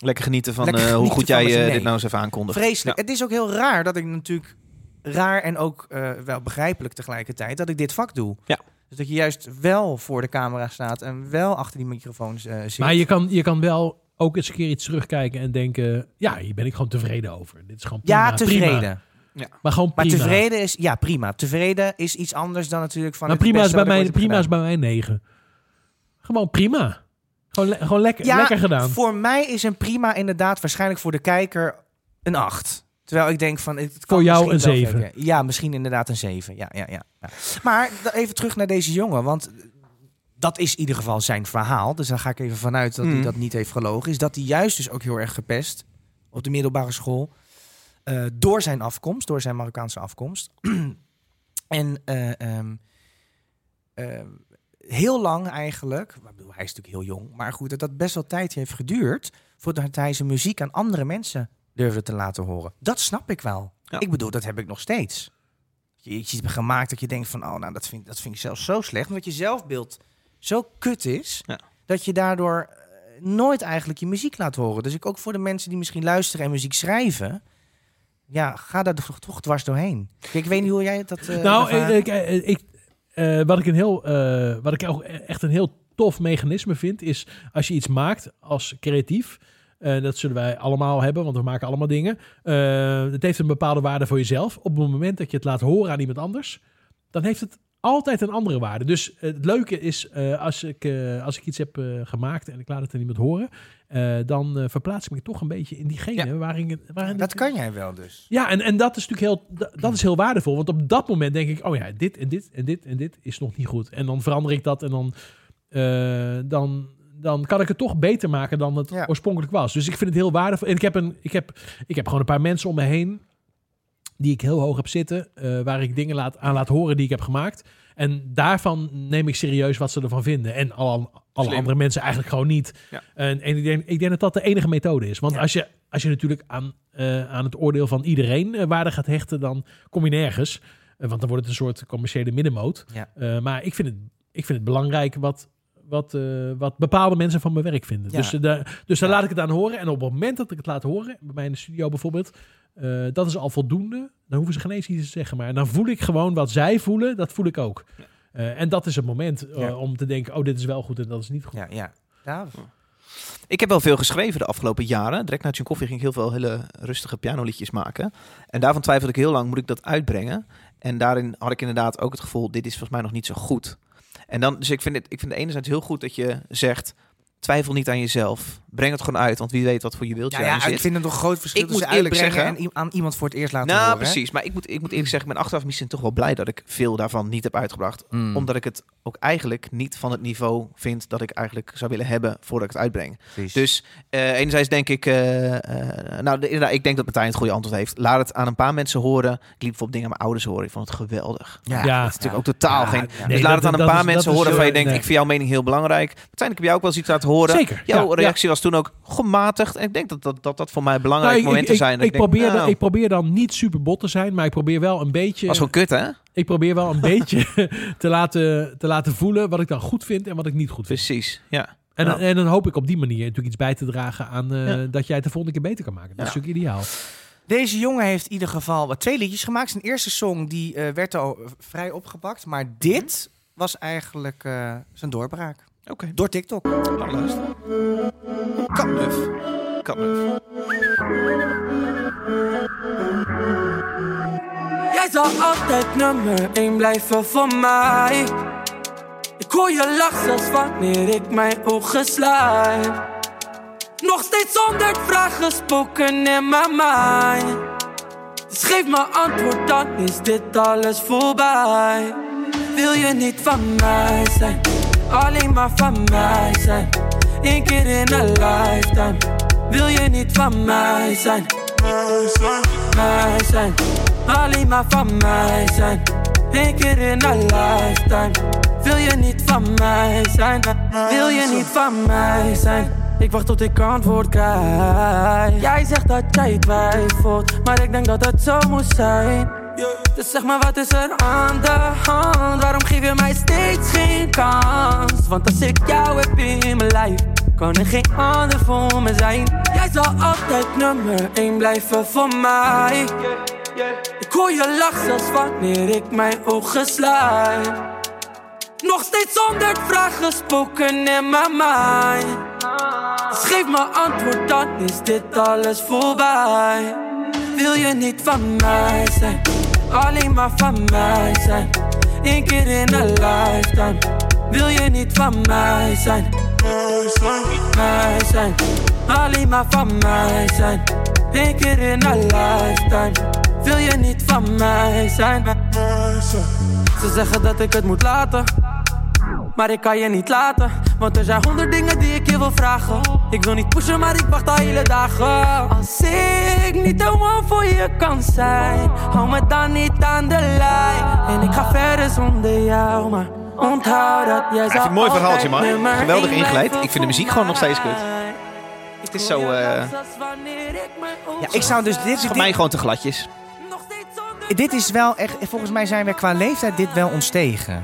B: Lekker genieten van
A: Lekker
B: eh, hoe goed
A: genieten van
B: jij
A: wat je-
B: eh,
A: nee.
B: dit nou eens even aankondigt.
A: Vreselijk. Het is ook heel raar dat ik natuurlijk raar en ook eh, wel begrijpelijk tegelijkertijd dat ik dit vak doe.
B: Ja.
A: Dus dat je juist wel voor de camera staat en wel achter die microfoons eh zit.
D: Maar je kan, je kan wel ook eens een keer iets terugkijken en denken... Ja, hier ben ik gewoon tevreden over. Dit is gewoon prima.
A: ja, tevreden.
D: prima. Maar gewoon
A: Maar
D: prima.
A: tevreden is ja prima. Tevreden is iets anders dan natuurlijk van.
D: maar
A: het
D: prima, is
A: beste
D: bij,
A: wat ik
D: mij,
A: ooit
D: prima
A: heb
D: is
A: gedaan.
D: bij mij negen. Gewoon prima. Gewoon, le- gewoon lekker, lekker gedaan.
A: voor mij is een prima inderdaad waarschijnlijk voor de kijker een 8. Terwijl ik denk van... Het kan
D: Voor jou
A: misschien
D: een
A: wel
D: 7.
A: verder. Ja, misschien inderdaad een 7. Ja, ja, ja. ja. Maar da- even terug naar deze jongen, want dat is in ieder geval zijn verhaal. Dus daar ga ik even vanuit dat
D: Hmm.
A: hij
B: Mm.
A: dat niet heeft gelogen. Is dat hij juist dus ook heel erg gepest op de middelbare school. eh, door zijn afkomst, door zijn Marokkaanse afkomst. en eh, ehm, ehm, heel lang eigenlijk, maar ik bedoel, hij is natuurlijk heel jong, maar goed, dat dat best wel tijd heeft geduurd voordat hij zijn muziek aan andere mensen durfde te laten horen. Dat snap ik wel.
B: Ja.
A: Ik bedoel, dat heb ik nog steeds. Je iets hebt gemaakt dat je denkt van, oh nou, dat vind, dat vind ik zelfs zo slecht, omdat je zelfbeeld zo kut is,
B: Ja.
A: dat je daardoor eh, nooit eigenlijk je muziek laat horen. Dus ik ook voor de mensen die misschien luisteren en muziek schrijven, ja, ga daar toch, toch dwars doorheen. Kijk, Ik weet niet hoe jij het dat... eh,
D: Nou, ik,
A: ervaart.
D: ik, ik- eh, wat, ik een heel, eh, wat ik ook echt een heel tof mechanisme vind, is als je iets maakt als creatief. eh, dat zullen wij allemaal hebben, want we maken allemaal dingen. eh, het heeft een bepaalde waarde voor jezelf. Op het moment dat je het laat horen aan iemand anders, dan heeft het altijd een andere waarde. Dus eh, het leuke is, eh, als, ik, eh, als ik iets heb eh, gemaakt en ik laat het aan iemand horen, eh, dan eh, verplaats ik me toch een beetje in diegene waarin, waarin
A: dat kan jij wel dus.
D: ja, en, en dat is natuurlijk heel, da- dat is heel waardevol. Want op dat moment denk ik, oh ja, dit en dit en dit en dit is nog niet goed. En dan verander ik dat en dan, eh, dan, dan kan ik het toch beter maken dan het
A: Ja.
D: oorspronkelijk was. Dus ik vind het heel waardevol. En ik heb, een, ik, heb, ik heb gewoon een paar mensen om me heen die ik heel hoog heb zitten. eh, waar ik dingen laat, aan laat horen die ik heb gemaakt. En daarvan neem ik serieus wat ze ervan vinden. En alle, alle
B: Slim.
D: andere mensen eigenlijk gewoon niet.
B: Ja.
D: En, en ik, denk, ik denk dat dat de enige methode is. Want als, je, als je natuurlijk aan, eh, aan het oordeel van iedereen eh, waarde gaat hechten, dan kom je nergens. Eh, want dan wordt het een soort commerciële middenmoot.
A: Ja.
D: Eh, maar ik vind het, ik vind het belangrijk wat, wat, eh, wat bepaalde mensen van mijn werk vinden.
A: Ja.
D: Dus, eh, daar- dus daar laat ik het aan horen. En op het moment dat ik het laat horen, bij mij in de studio bijvoorbeeld, eh, dat is al voldoende. Dan hoeven ze geen eens iets te zeggen. Maar dan voel ik gewoon wat zij voelen, dat voel ik ook. Eh, en dat is het moment eh,
A: Ja.
D: om te denken, oh, dit is wel goed en dat is niet goed.
A: Ja, ja. Ja,
B: Ik heb wel veel geschreven de afgelopen jaren. Direct na koffie ging ik heel veel hele rustige pianoliedjes maken. En daarvan twijfelde ik heel lang, moet ik dat uitbrengen? En daarin had ik inderdaad ook het gevoel, dit is volgens mij nog niet zo goed. En dan, dus ik vind het, ik vind het enerzijds heel goed dat je zegt, twijfel niet aan jezelf. Breng het gewoon uit, want wie weet wat voor je beeldje
A: Nou ja,
B: aan
A: ik
B: zit.
A: vind het nog groot verschil
B: Ik
A: tussen
B: moet eerlijk
A: uitbrengen
B: zeggen-
A: en i- aan iemand voor het eerst laten
B: Nou,
A: horen. hè?
B: precies. Maar ik moet, ik moet eerlijk zeggen, ik ben achteraf misschien toch wel blij dat ik veel daarvan niet heb uitgebracht.
A: Mm,
B: Omdat ik het ook eigenlijk niet van het niveau vind dat ik eigenlijk zou willen hebben voordat ik het uitbreng.
A: precies.
B: Dus eh, enerzijds denk ik, eh, eh, nou de- inderdaad, ik denk dat Martijn het goede antwoord heeft. Laat het aan een paar mensen horen. Ik liep bijvoorbeeld dingen aan mijn ouders horen. Ik vond het geweldig.
A: ja,
D: Ja.
B: Dat is natuurlijk ook totaal
A: Ja,
B: geen.
A: nee,
B: dus
D: dat-
B: laat het aan
D: dat
B: een paar
D: is- dat
B: mensen
D: is
B: horen
D: heel-
B: waarvan je denkt,
D: nee.
B: ik vind jouw mening heel belangrijk. Martijn, ik heb jou ook wel eens iets laten horen.
D: Zeker,
B: Jouw
D: ja,
B: reactie was toen ook gematigd. En ik denk dat dat, dat, dat voor mij belangrijke
D: Nou, ik,
B: momenten
D: ik,
B: zijn.
D: Ik,
B: Dat denk,
D: probeer,
B: nou,
D: ik probeer dan niet super bot te zijn, maar ik probeer wel een beetje.
B: was gewoon kut, hè?
D: Ik probeer wel een beetje te laten, te laten voelen wat ik dan goed vind en wat ik niet goed vind.
B: Precies, ja.
D: En,
B: Nou.
D: en dan hoop ik op die manier natuurlijk iets bij te dragen aan eh,
B: Ja.
D: dat jij het de volgende keer beter kan maken. Dat is
B: Ja.
D: natuurlijk ideaal.
A: Deze jongen heeft in ieder geval wat twee liedjes gemaakt. Zijn eerste song die eh, werd al eh, vrij opgepakt.
B: Mhm.
A: Maar dit was eigenlijk eh, zijn doorbraak.
B: Oké,
A: Door TikTok.
B: lang luisteren. Nou, Katnuf. Katnuf.
J: Jij zal altijd nummer 1 blijven voor mij. Ik hoor je lach zelfs wanneer ik mijn ogen sluit. Nog steeds honderd vragen spoken in mijn mind. Dus geef me antwoord, dan is dit alles voorbij. Wil je niet van mij zijn? Alleen maar van mij zijn. Eén keer in een lifetime. Wil je niet van mij zijn? mij zijn. Alleen maar van mij zijn. Eén keer in een lifetime. Wil je niet van mij zijn? Wil je niet van mij zijn? Ik wacht tot ik antwoord krijg. Jij zegt dat jij twijfelt, maar ik denk dat het zo moet zijn. Dus zeg maar, wat is er aan de hand? Waarom geef je mij steeds geen kans? Want als ik jou heb in mijn lijf, kan er geen ander voor me zijn. Jij zal altijd nummer 1 blijven voor mij. Ik hoor je lach zelfs wanneer ik mijn ogen sluit. Nog steeds honderd vragen spoken in mijn mind. Dus geef me antwoord, dan is dit alles voorbij. Wil je niet van mij zijn? Alleen maar van mij zijn. Eén keer in een lifetime. Wil je niet van mij zijn? nice one, nice one. Alleen maar van mij zijn. Eén keer in een lifetime. Wil je niet van mij zijn? Maar- Ze zeggen dat ik het moet laten. Maar ik kan je niet laten. Want er zijn honderd dingen die ik je wil vragen. Ik wil niet pushen, maar ik wacht al hele dagen. Als ik niet de one voor je kan zijn, hou me dan niet aan de lijn. En ik ga verder zonder jou, maar onthoud dat jij
B: vind
J: zou
B: het een mooi verhaaltje, man.
J: altijd nummer
B: Geweldig
J: één
B: ingeleid.
J: blijven
B: Ik vind de muziek
J: voor
B: gewoon nog steeds
J: mij.
B: kut. Het is zo eh,
A: Ja, ik zou dus dit,
B: voor
A: dit,
B: mij gewoon te gladjes.
A: dit is wel echt. Volgens mij zijn we qua leeftijd dit wel ons tegen.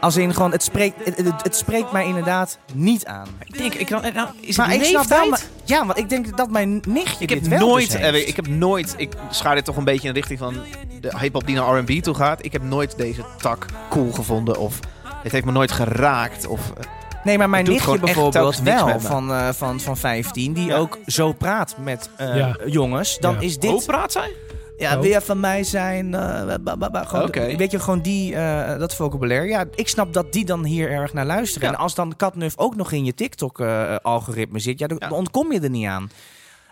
A: Als in gewoon, het spreekt, het, het, het spreekt mij inderdaad niet aan.
B: Ik denk, ik, nou, is
A: Maar ik snap wel. maar- ja, want ik denk dat mijn nichtje
B: Ik
A: dit
B: heb
A: wel dus
B: nooit,
A: heeft.
B: eh, ik heb nooit, ik schaar dit toch een beetje in de richting van de hip-hop die naar R&B toe gaat. Ik heb nooit deze tak cool gevonden of het heeft me nooit geraakt. Of, eh,
A: Nee, maar mijn
B: Het doet
A: nichtje
B: gewoon echt
A: bijvoorbeeld
B: telkens niks
A: wel
B: met me.
A: van, eh, van, van 15, die
B: Ja.
A: ook zo praat met eh,
D: Ja.
A: jongens. Dan
D: Ja.
A: is dit.
B: praat zij?
A: Ja,
D: Ook.
A: wil je van mij zijn? eh, ba- ba- ba- gewoon,
B: Oké.
A: Weet je, gewoon die, eh, dat vocabulaire. Ja, ik snap dat die dan hier erg naar luisteren.
B: Ja.
A: En als dan Katnuf ook nog in je TikTok-algoritme zit, ja, dan
B: Ja.
A: ontkom je er niet aan.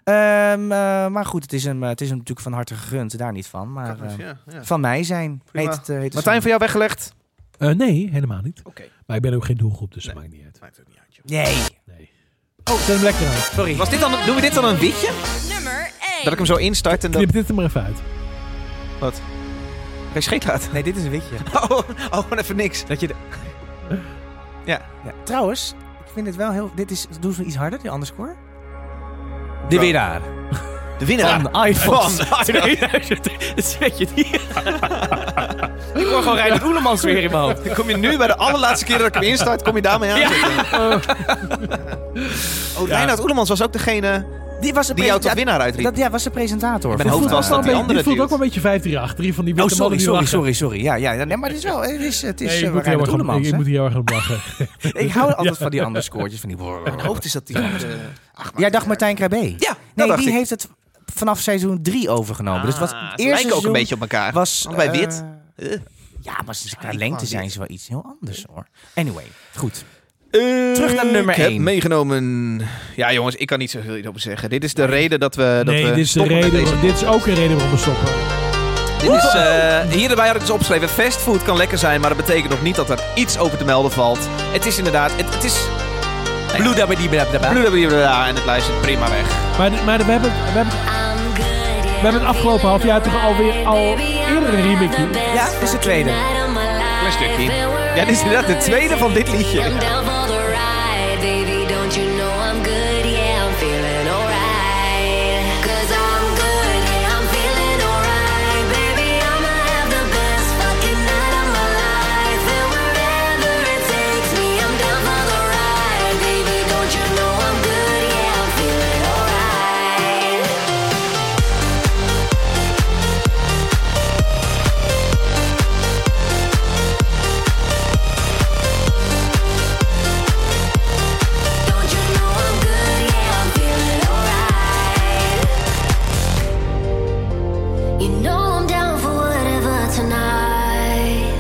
A: Ehm, eh, maar goed, het is, hem, eh, het is hem natuurlijk van harte gegund, daar niet van. Maar eh,
B: Ja, ja.
A: van mij zijn,
B: Prima.
A: heet het, eh, heet het
B: Martijn, voor jou weggelegd?
D: Eh, nee, helemaal niet.
B: Oké.
D: Maar ik ben ook geen doelgroep, dus
B: Nee.
D: dat maakt niet uit.
A: Nee.
D: Nee. Oh, zet hem lekker aan.
A: Sorry.
B: Was dit dan, doen we dit dan een witje?
C: Nummer 1.
B: Dat ik hem zo instart en dan
D: Knip dit er maar even uit.
B: geen scheet laat.
A: Nee, dit is een witje.
B: Oh, oh, gewoon even niks.
A: Dat je de-
B: Ja.
A: ja. Trouwens, ik vind het wel heel... Dit is... Doen ze iets harder, die underscore? De winnaar.
B: De winnaar.
A: Van de iPhone.
B: Dat weet je niet.
A: Ik hoor gewoon Reinhard Oelemans weer in mijn hoofd.
B: Dan kom je nu bij de allerlaatste keer dat ik hem instart, kom je daarmee aan. Oh, Reinhard Oelemans was ook degene
A: Die was de
B: die jou tot
A: ja,
B: winnaar uitriep.
A: dat, ja, was de presentator.
B: Mijn hoofd
D: Voelt
B: was
D: ook wel
B: dat
D: een
B: die
D: beetje-
B: andere
D: dit voelt
B: dude.
D: ook wel een beetje 15 achter. Die van die
A: Oh,
D: witte mannen
A: sorry,
D: die
A: sorry,
D: lachen.
A: sorry, sorry. Ja, ja, nee, maar het is wel... Het is, het is
D: Nee,
A: eh,
D: ik, moet hier
A: Reinhard
D: heel erg om,
A: Oelemans,
D: ik, ik
A: hè?
D: moet hier heel erg om lachen.
A: Ik hou altijd van die underscoretjes. Van die...
B: Mijn hoofd is dat die andere.
A: Jij dacht Martijn Krabbe.
B: Ja, dat
A: Nee,
B: dacht
A: die
B: ik.
A: heeft het vanaf seizoen 3 overgenomen. dus wat
B: Ah,
A: het
B: ze
A: eerste
B: lijken ook een
A: seizoen
B: beetje op elkaar.
A: was...
B: Allebei
A: eh,
B: wit. Eh.
A: Ja, maar sinds qua
B: ik
A: lengte
B: wou
A: zijn
B: dit.
A: ze wel iets heel anders, hoor. Anyway, goed.
B: Terug
A: naar nummer
B: Ik heb
A: één.
B: meegenomen... Ja jongens, ik kan niet zoveel hierover zeggen. Dit is de reden dat we, dat
D: nee,
B: we
D: dit is, de
B: stoppen
D: reden,
B: met deze.
D: dit is ook een reden waarom we stoppen.
B: Dit is, eh, hierbij had ik dus opgeschreven, fastfood kan lekker zijn, maar dat betekent nog niet dat er iets over te melden valt. Het is inderdaad, het, het is...
A: Blue dabba die
B: Blablabla, en het luistert prima weg.
D: Maar, dit- maar we, hebben, we, hebben, we hebben het afgelopen half jaar toch alweer al eerder een remixje.
A: Ja, dit is de tweede.
B: Klein stukje. Ja, dit is inderdaad de tweede van dit liedje.
C: I'm down for the ride, baby. Don't you know I'm good? Yeah, I'm feeling alright. Cause I'm good, yeah, I'm feeling alright. Baby, I'ma have the best fucking night of my life. And wherever it takes me, I'm down for the ride. Baby, don't you know I'm good? Yeah, I'm feeling alright. Don't you know I'm good? Yeah, I'm feeling alright. You know I'm down for whatever tonight.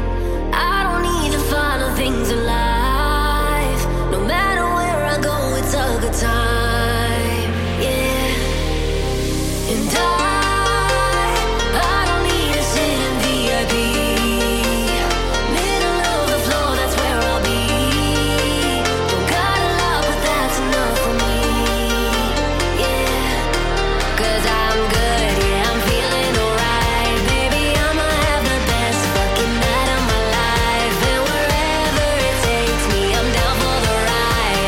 C: I don't need the final things in life. No matter where I go, it's a good time. Yeah. And I, I don't need to sit in VIP. Middle of the floor, that's where I'll be. Don't got a lot, but that's enough for me. Yeah. Cause I'm good, yeah, I'm feeling alright. Baby, I'ma have the best fucking night of my life. And wherever it takes me, I'm down for the ride.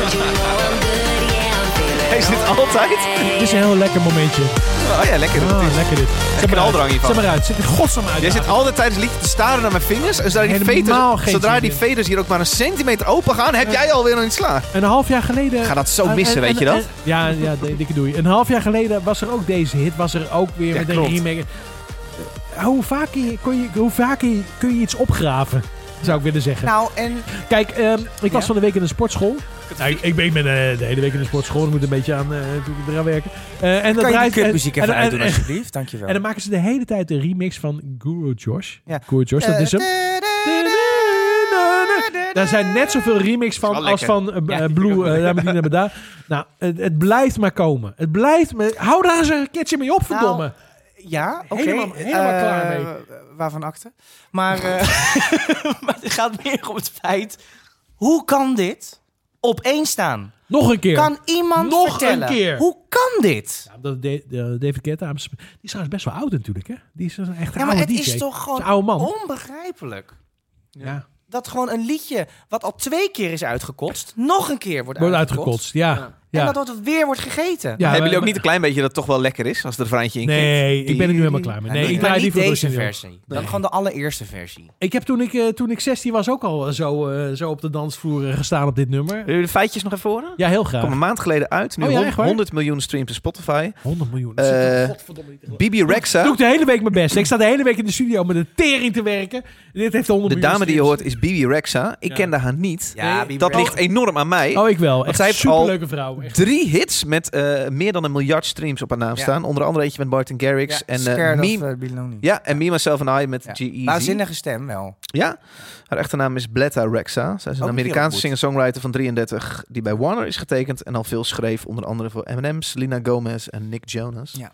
C: Don't you know I'm good, yeah, I'm feeling
B: Is dit altijd?
D: Dit is een heel lekker momentje.
B: Oh ja, lekker.
D: Ah, lekker dit. Zet maar
B: knaldrang
D: uit.
B: hiervan.
D: Zet maar uit. Zet er godsam uit.
B: Jij zit altijd tijdens het liedje te staren naar mijn vingers. En zodra die,
D: Helemaal
B: veters,
D: geen
B: zodra
D: zin
B: die
D: in.
B: veters hier ook maar een centimeter open gaan, heb jij alweer een sla.
D: Een half jaar geleden... Eh,
B: Ga dat zo missen, weet je dat?
D: ja, ja, de- dikke doei. Een half jaar geleden was er ook deze hit. Was er ook weer
B: Ja,
D: met een
B: klopt.
D: remake. Eh, Hoe vaak, je, kon je, hoe vaak je, kun je iets opgraven? Zou ik willen zeggen.
A: Nou, en
D: Kijk, ehm, ik was
A: Ja?
D: van de week in de sportschool. Nou, ik, ik ben ik ben, eh, de hele week in de sportschool. Ik moet een beetje aan, eh, natuurlijk eraan werken. Eh, en dat
A: kan je
D: draait-
A: die kutmuziek
D: en-
A: even
D: en-
A: uitdoen,
D: en-
A: alsjeblieft? Dankjewel.
D: En dan maken ze de hele tijd
B: Eh,
D: een remix van Guru Josh.
A: Ja. eh,
D: Guru Josh, dat is hem. Daar zijn net zoveel remix van
B: wel
D: als
B: lekker.
D: van eh, b-
A: Ja,
D: eh,
A: die
D: Blue,
A: ook.
D: eh, Ramadi Namada. Nou, het, het blijft maar komen. Het blijft maar... Hou daar eens een keertje mee op, verdomme.
A: Nou, Ja, oké.
D: Helemaal- helemaal
A: Eh,
D: klaar mee.
A: wa- Waarvan akte? Maar, eh, maar het gaat meer om het feit... Hoe kan dit op één staan?
D: Nog een keer.
A: Kan iemand
D: Nog
A: vertellen?
D: een keer.
A: Hoe kan dit?
D: Ja, dat Da- eh, David Guetta, hij is- die is trouwens best wel oud natuurlijk, hè? Die is een echt
A: Ja, maar
D: oude
A: het
D: DJ.
A: is toch
D: Dat
A: gewoon
D: een oude man.
A: onbegrijpelijk.
D: ja.
A: Dat gewoon een liedje wat al twee keer is uitgekotst... nog een keer wordt,
D: Wordt
A: uitgekotst.
D: uitgekotst, ja. ja.
A: En dat het weer wordt gegeten.
D: Ja,
B: Hebben jullie
D: maar-
B: ook niet een klein beetje dat het toch wel lekker is als er een vraantje in
D: Nee, ik ben er nu helemaal klaar mee.
A: Ja,
D: Nee,
A: niet-
D: ik
A: maar
D: draai die
A: niet
D: voor de
A: deze
D: origineel.
A: versie. Dan gewoon de allereerste versie.
D: Ik heb toen ik, eh, toen ik 16 was ook al eh, zo, eh, zo op de dansvloer eh, gestaan op dit nummer.
B: Wil je de feitjes nog even horen?
D: Ja, heel graag.
B: Kom een maand geleden uit. Nu
D: Oh ja,
B: hon-
D: echt waar?
B: 100 miljoen streams op Spotify.
D: 100 miljoen.
B: Eh,
D: Dat zit toch godverdomme niet te geloven.
B: Bibi
D: Doe
B: Rexa.
D: ik de hele week mijn best. Ik sta de hele week in de studio met een tering te werken. En dit heeft 100
B: De
D: miljoen
B: dame die je
D: streams.
B: hoort is Bibi Rexa. Ik
D: Ja.
B: kende haar niet.
A: Ja,
D: Nee,
B: Dat ligt enorm aan mij.
D: Oh, ik wel. Echt
B: zij heeft al-
D: superleuke vrouw. Echt.
B: Drie hits met eh, meer dan een miljard streams op haar naam
A: Ja.
B: staan. Onder andere eentje met Martin Garrix en eh,
A: Scared
B: Me.
A: of, eh, Belonging.
B: ja, en Me, Myself and I met E
A: Ja.
B: G-Eazy.
A: Waanzinnige stem wel.
B: Ja, haar echte naam is Bletta Rexa. Zij is een
A: Ook
B: Amerikaanse
A: heel goed.
B: singer-songwriter van 33 die bij Warner is getekend en al veel schreef, onder andere voor Eminem, Selena Gomez en Nick Jonas.
A: Ja.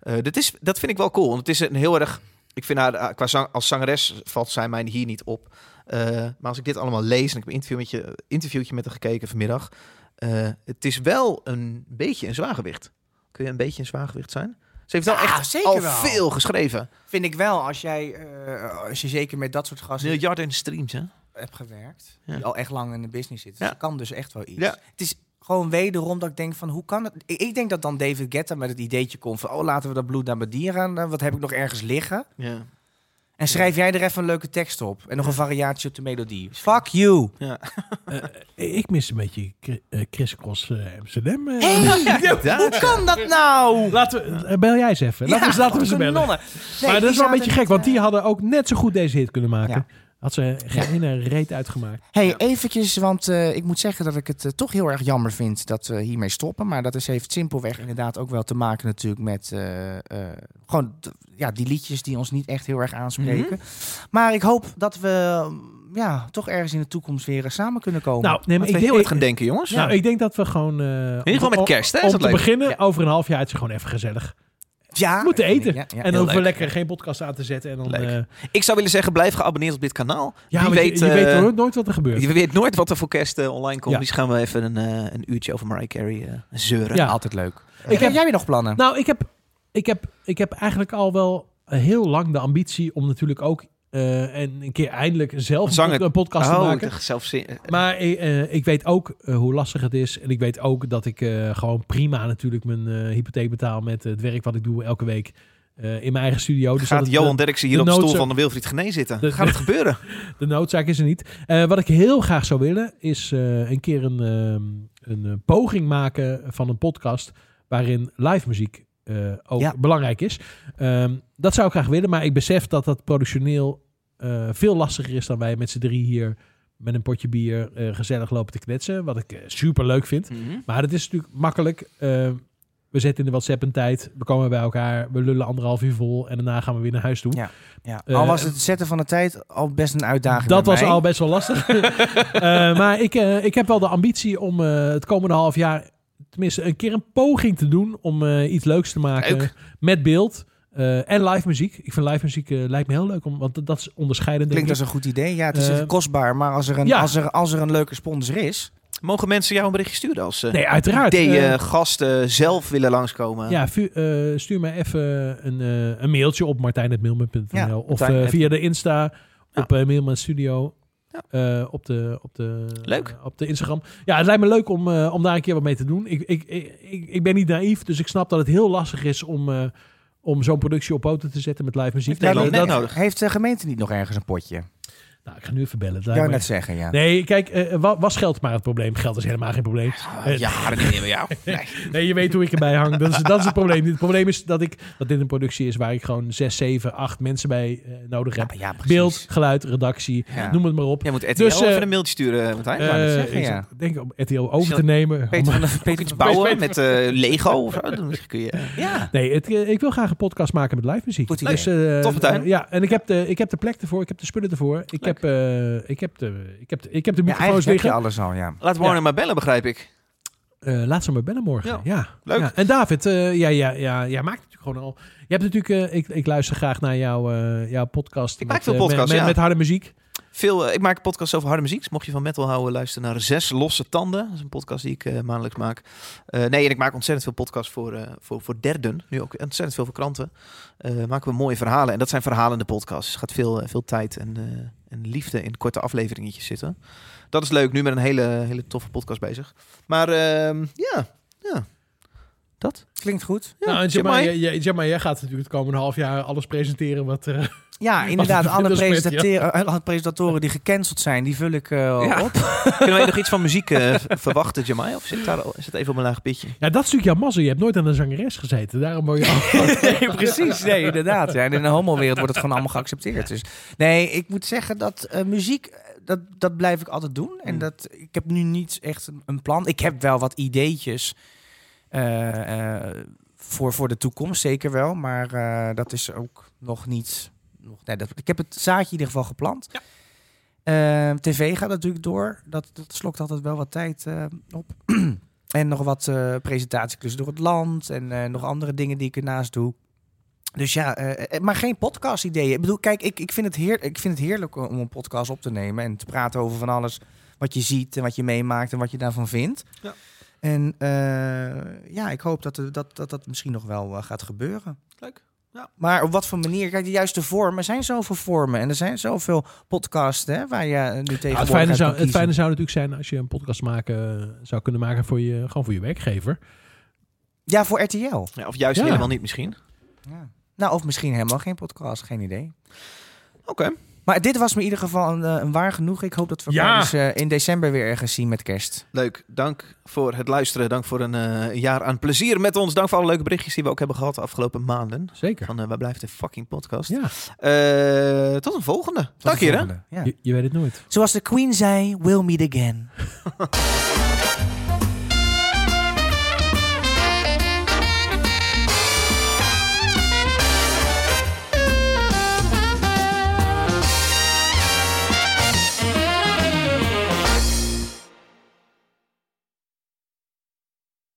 B: Eh, dit is, dat vind ik wel cool, want het is een heel erg. Ik vind haar eh, qua zang, als zangeres valt zij mij hier niet op. Eh, maar als ik dit allemaal lees en ik heb een interview met je, interviewtje met haar gekeken vanmiddag, eh, het is wel een beetje een zwaargewicht. Kun je een beetje een zwaargewicht zijn? Ze heeft wel
A: Ja,
B: echt
A: zeker
B: al
A: wel.
B: veel geschreven.
A: Vind ik wel, als jij, eh, als je zeker met dat soort gasten
B: Miljarden streams, hè?
A: hebt gewerkt,
B: Ja.
A: die al echt lang in de business zitten,
B: Ja.
A: dus je kan dus echt wel iets.
B: Ja.
A: Het is gewoon wederom dat ik denk van, hoe kan het? Ik, ik denk dat dan David Guetta met het ideetje komt van, oh laten we dat bloed naar mijn dier gaan, eh, wat heb ik nog ergens liggen?
B: Ja.
A: En schrijf jij er even een leuke tekst op en nog een variatie op de melodie. Fuck you!
D: Eh, Ik mis een beetje Chri- eh, Chris Cross eh, Amsterdam. eh.
A: Hoe kan dat nou?
D: Laten we, eh, bel jij eens even. Laten we,
A: Ja,
D: ze- laten we ze bellen.
A: kanonnen. Nee,
D: maar dat
A: die
D: is wel een beetje
A: zaten
D: gek, want
A: niet,
B: eh,
D: die hadden ook net zo goed deze hit kunnen maken.
A: Ja.
D: Had ze geen ene reet uitgemaakt.
A: Hey, eventjes, want eh, ik moet zeggen dat ik het eh, toch heel erg jammer vind dat we hiermee stoppen. Maar dat is, heeft simpelweg inderdaad ook wel te maken natuurlijk met eh, eh, gewoon d- ja, die liedjes die ons niet echt heel erg aanspreken.
D: Mhm.
A: Maar ik hoop dat we mm, ja, toch ergens in de toekomst weer eh, samen kunnen komen.
D: Nou, nee, maar
B: Laten
D: ik,
B: we heel hard
D: ik,
B: gaan denken, jongens.
D: nou, ik denk dat we gewoon... eh, om-
B: ieder geval met
D: om-
B: kerst, hè, is
D: Om
B: dat
D: te
B: leuk.
D: beginnen, over een half jaar is het gewoon even gezellig.
A: ja,
D: We moeten
A: vind ik,
D: eten.
A: ja, ja.
D: en dan hoeven we
B: leuk.
D: lekker geen podcast aan te zetten. En dan,
B: Leuk.
D: eh,
B: Ik zou willen zeggen, blijf geabonneerd op dit kanaal.
D: ja,
B: Wie
D: want je-
B: weet,
D: je,
B: eh,
D: weet nooit- nooit wat er gebeurt.
B: Je weet nooit wat er voor kerst eh, online komt.
D: Ja.
B: Dus gaan we even een, eh, een uurtje over Mariah Carey eh, zeuren.
D: Ja.
A: Altijd leuk.
D: Ik
A: Ik
D: heb-
A: heb Eh, jij weer nog plannen?
D: Nou, ik heb, ik, heb, ik heb eigenlijk al wel heel lang de ambitie om natuurlijk ook eh, en een keer eindelijk zelf
B: Zanger.
D: een pod- een podcast te
B: Oh,
D: maken.
B: ik zelf zin.
D: Maar eh, eh, ik weet ook eh, hoe lastig het is. En ik weet ook dat ik eh, gewoon prima natuurlijk mijn eh, hypotheek betaal met het werk wat ik doe elke week eh, in mijn eigen studio. Dus dat
B: Gaat
D: het,
B: Johan
D: eh,
B: Derksen hier
D: de
B: op de stoel
D: noodzaak-
B: van de Wilfried Genee zitten?
D: De-
B: Gaat het gebeuren?
D: de noodzaak is er niet. Eh, wat ik heel graag zou willen is eh, een keer een, ehm, een eh, poging maken van een podcast waarin live muziek eh, ook
A: Ja.
D: belangrijk is. Ehm, dat zou ik graag willen, maar ik besef dat dat productioneel eh, veel lastiger is dan wij met z'n drie hier met een potje bier eh, gezellig lopen te kletsen. Wat ik super leuk vind.
A: Mhm.
D: Maar het is natuurlijk makkelijk. eh, we zetten in de WhatsApp een tijd. We komen bij elkaar. We lullen anderhalf uur vol. En daarna gaan we weer naar huis toe.
A: Ja, ja.
D: eh,
A: al was het zetten van de tijd al best een uitdaging
D: Dat
A: bij
D: was
A: mij.
D: al best wel lastig. Eh, maar ik, eh, ik heb wel de ambitie om eh, het komende half jaar... tenminste een keer een poging te doen... om eh, iets leuks te maken
B: Leuk.
D: met beeld... eh, en live muziek. Ik vind live muziek eh, lijkt me heel leuk, om, want dat- dat is onderscheidend. denk
A: Klinkt als
D: ik.
A: een goed idee. Ja, het is
D: Eh,
A: kostbaar. Maar als er, een,
D: ja.
A: als, er, als er een leuke sponsor is...
B: Mogen mensen jou een berichtje sturen als eh
D: Nee, uiteraard.
B: ideeën,
D: Eh,
B: gasten zelf willen langskomen?
D: Ja, vu- eh, stuur me even een, eh, een mailtje op martijn.mailman.nl
A: Ja,
D: of
B: Martijn,
D: eh,
B: heb-
D: via de Insta
B: Ja.
D: op eh Mailman Studio.
B: Ja.
D: eh, op, de, op, de,
B: Leuk.
D: eh, op de Instagram. Ja, het lijkt me leuk om, eh, om daar een keer wat mee te doen. Ik, ik, ik, ik- ik ben niet naïef, dus ik snap dat het heel lastig is om, eh, om zo'n productie op poten te zetten met live muziek.
B: Heeft Nederland
D: dat,
B: net nodig.
A: Heeft de gemeente niet nog ergens een potje?
D: nou, ik ga nu even bellen. Het
A: Ik
D: lijkt
A: wou
D: me-
A: net zeggen, ja.
D: Nee, kijk, eh, wa- was geld maar het probleem? Geld is helemaal geen probleem.
A: Ah,
D: Eh,
B: Ja, dat niet bij jou. Nee.
D: Nee, je weet hoe ik erbij hang. Dat is, dat is het probleem. Het probleem is dat, ik, dat dit een productie is waar ik gewoon zes, zeven, acht mensen bij eh, nodig heb.
A: Ja, ja, precies.
D: Beeld, geluid, redactie,
A: Ja.
D: noem het maar op.
B: Jij moet RTL
D: Dus, eh,
B: even een mailtje sturen, Martijn.
D: Eh,
B: Maar dat is
A: zeggen,
D: ik
A: ja.
D: zat- denk om RTL over te
B: Zal-
D: nemen.
A: Peter
D: Om-
A: van der Peter
B: iets
A: van-
B: bouwen met eh, Lego of zo. Dan kun je...
A: Ja.
D: Nee, het, eh, ik wil Dus, eh, graag heb, eh, ik heb de, ik heb de, ik heb de
A: Ja,
D: microfoons
A: eigenlijk heb je
D: liggen.
A: alles al, ja.
B: Laat Warner maar bellen, begrijp ik.
D: Eh, laat ze maar bellen morgen. Ja,
B: Ja,
D: leuk.
B: leuk.
D: En David, eh, ja, ja, ja, jij maakt natuurlijk gewoon al. Je hebt natuurlijk, eh, ik, ik luister graag naar jouw, eh, jouw podcast.
B: Ik
D: met,
B: maak veel
D: eh, met-
B: podcasts,
D: met,
B: ja.
D: met harde muziek.
B: Veel, eh, ik maak podcasts over harde muziek. Dus mocht je van metal houden, luister naar Zes Losse Tanden. Dat is een podcast die ik eh, maandelijks maak. Eh, nee, en ik maak ontzettend veel podcasts voor, eh, voor, voor derden. Nu ook ontzettend veel voor kranten. Eh, maken we mooie verhalen. En dat zijn verhalende podcasts. Er gaat veel, eh, veel tijd en, eh, en liefde in korte afleveringetjes zitten. Dat is leuk. Nu met een hele, hele toffe podcast bezig. Maar ehm, ja, ja. Dat?
A: Klinkt goed.
B: Ja,
D: nou, en zeg,
B: zit
D: maar,
B: maar-
D: jij, jij- zeg maar, jij gaat natuurlijk het komende half jaar alles presenteren wat eh, er...
A: Ja, inderdaad.
D: dat
A: Alle,
D: is dus met, ja.
A: presentateren- eh, alle presentatoren die gecanceld zijn, die vul ik eh,
B: Ja.
A: op.
B: Kunnen wij nog iets van muziek eh, v- verwachten, Jamai? Of zit, daar, al- zit even op een laag pitje?
D: Ja, dat is natuurlijk jouw mazzel. Je hebt nooit aan een zangeres gezeten. Daarom word je al...
A: Nee, precies. Nee, inderdaad. Ja. En in de homo-wereld wordt het gewoon allemaal geaccepteerd. Dus nee, ik moet zeggen dat eh, muziek, eh, dat, dat blijf ik altijd doen. En
B: Mm.
A: dat, ik heb nu niet echt een, een plan. Ik heb wel wat ideetjes eh, eh, voor, voor de toekomst, zeker wel. Maar eh, dat is ook nog niet... Nog, nee, dat, ik heb het zaadje in ieder geval geplant. Eh, TV gaat natuurlijk door. Dat, dat slokt altijd wel wat tijd eh, op. en nog wat eh presentatieklussen door het land. En eh, nog andere dingen die ik ernaast doe. Dus ja, eh, eh, maar geen podcast-ideeën. Ik bedoel, kijk, ik, ik, vind het heer, ik vind het heerlijk om een podcast op te nemen. En te praten over van alles wat je ziet en wat je meemaakt en wat je daarvan vindt.
B: Ja.
A: En eh, ja, ik hoop dat, er- dat, dat dat misschien nog wel eh, gaat gebeuren.
B: Leuk. Ja.
A: Maar op wat voor manier? Kijk, de juiste vormen. Er zijn zoveel vormen en er zijn zoveel podcasts hè, waar je eh, nu
D: Ja,
A: tegen
D: het, fijne zou, het fijne zou natuurlijk zijn als je een podcast maken, eh, zou kunnen maken voor je, gewoon voor je werkgever.
A: Ja, voor RTL.
B: Ja, of juist
D: Ja.
B: helemaal niet misschien.
A: Ja. Nou, of misschien helemaal geen podcast. Geen idee.
B: Oké.
A: Maar dit was me in ieder geval een, eh, een waar genoeg. Ik hoop dat we
D: Ja.
A: elkaar dus, eh, in december weer ergens zien met kerst.
B: Leuk, dank voor het luisteren. Dank voor een eh, jaar aan plezier met ons. Dank voor alle leuke berichtjes die we ook hebben gehad de afgelopen maanden.
D: Zeker.
B: Van, eh, waar blijft de fucking podcast?
D: Ja,
B: Eh, tot een volgende. dank heren.
A: Ja.
D: je, je weet het nooit.
A: Zoals de Queen zei, we'll meet again.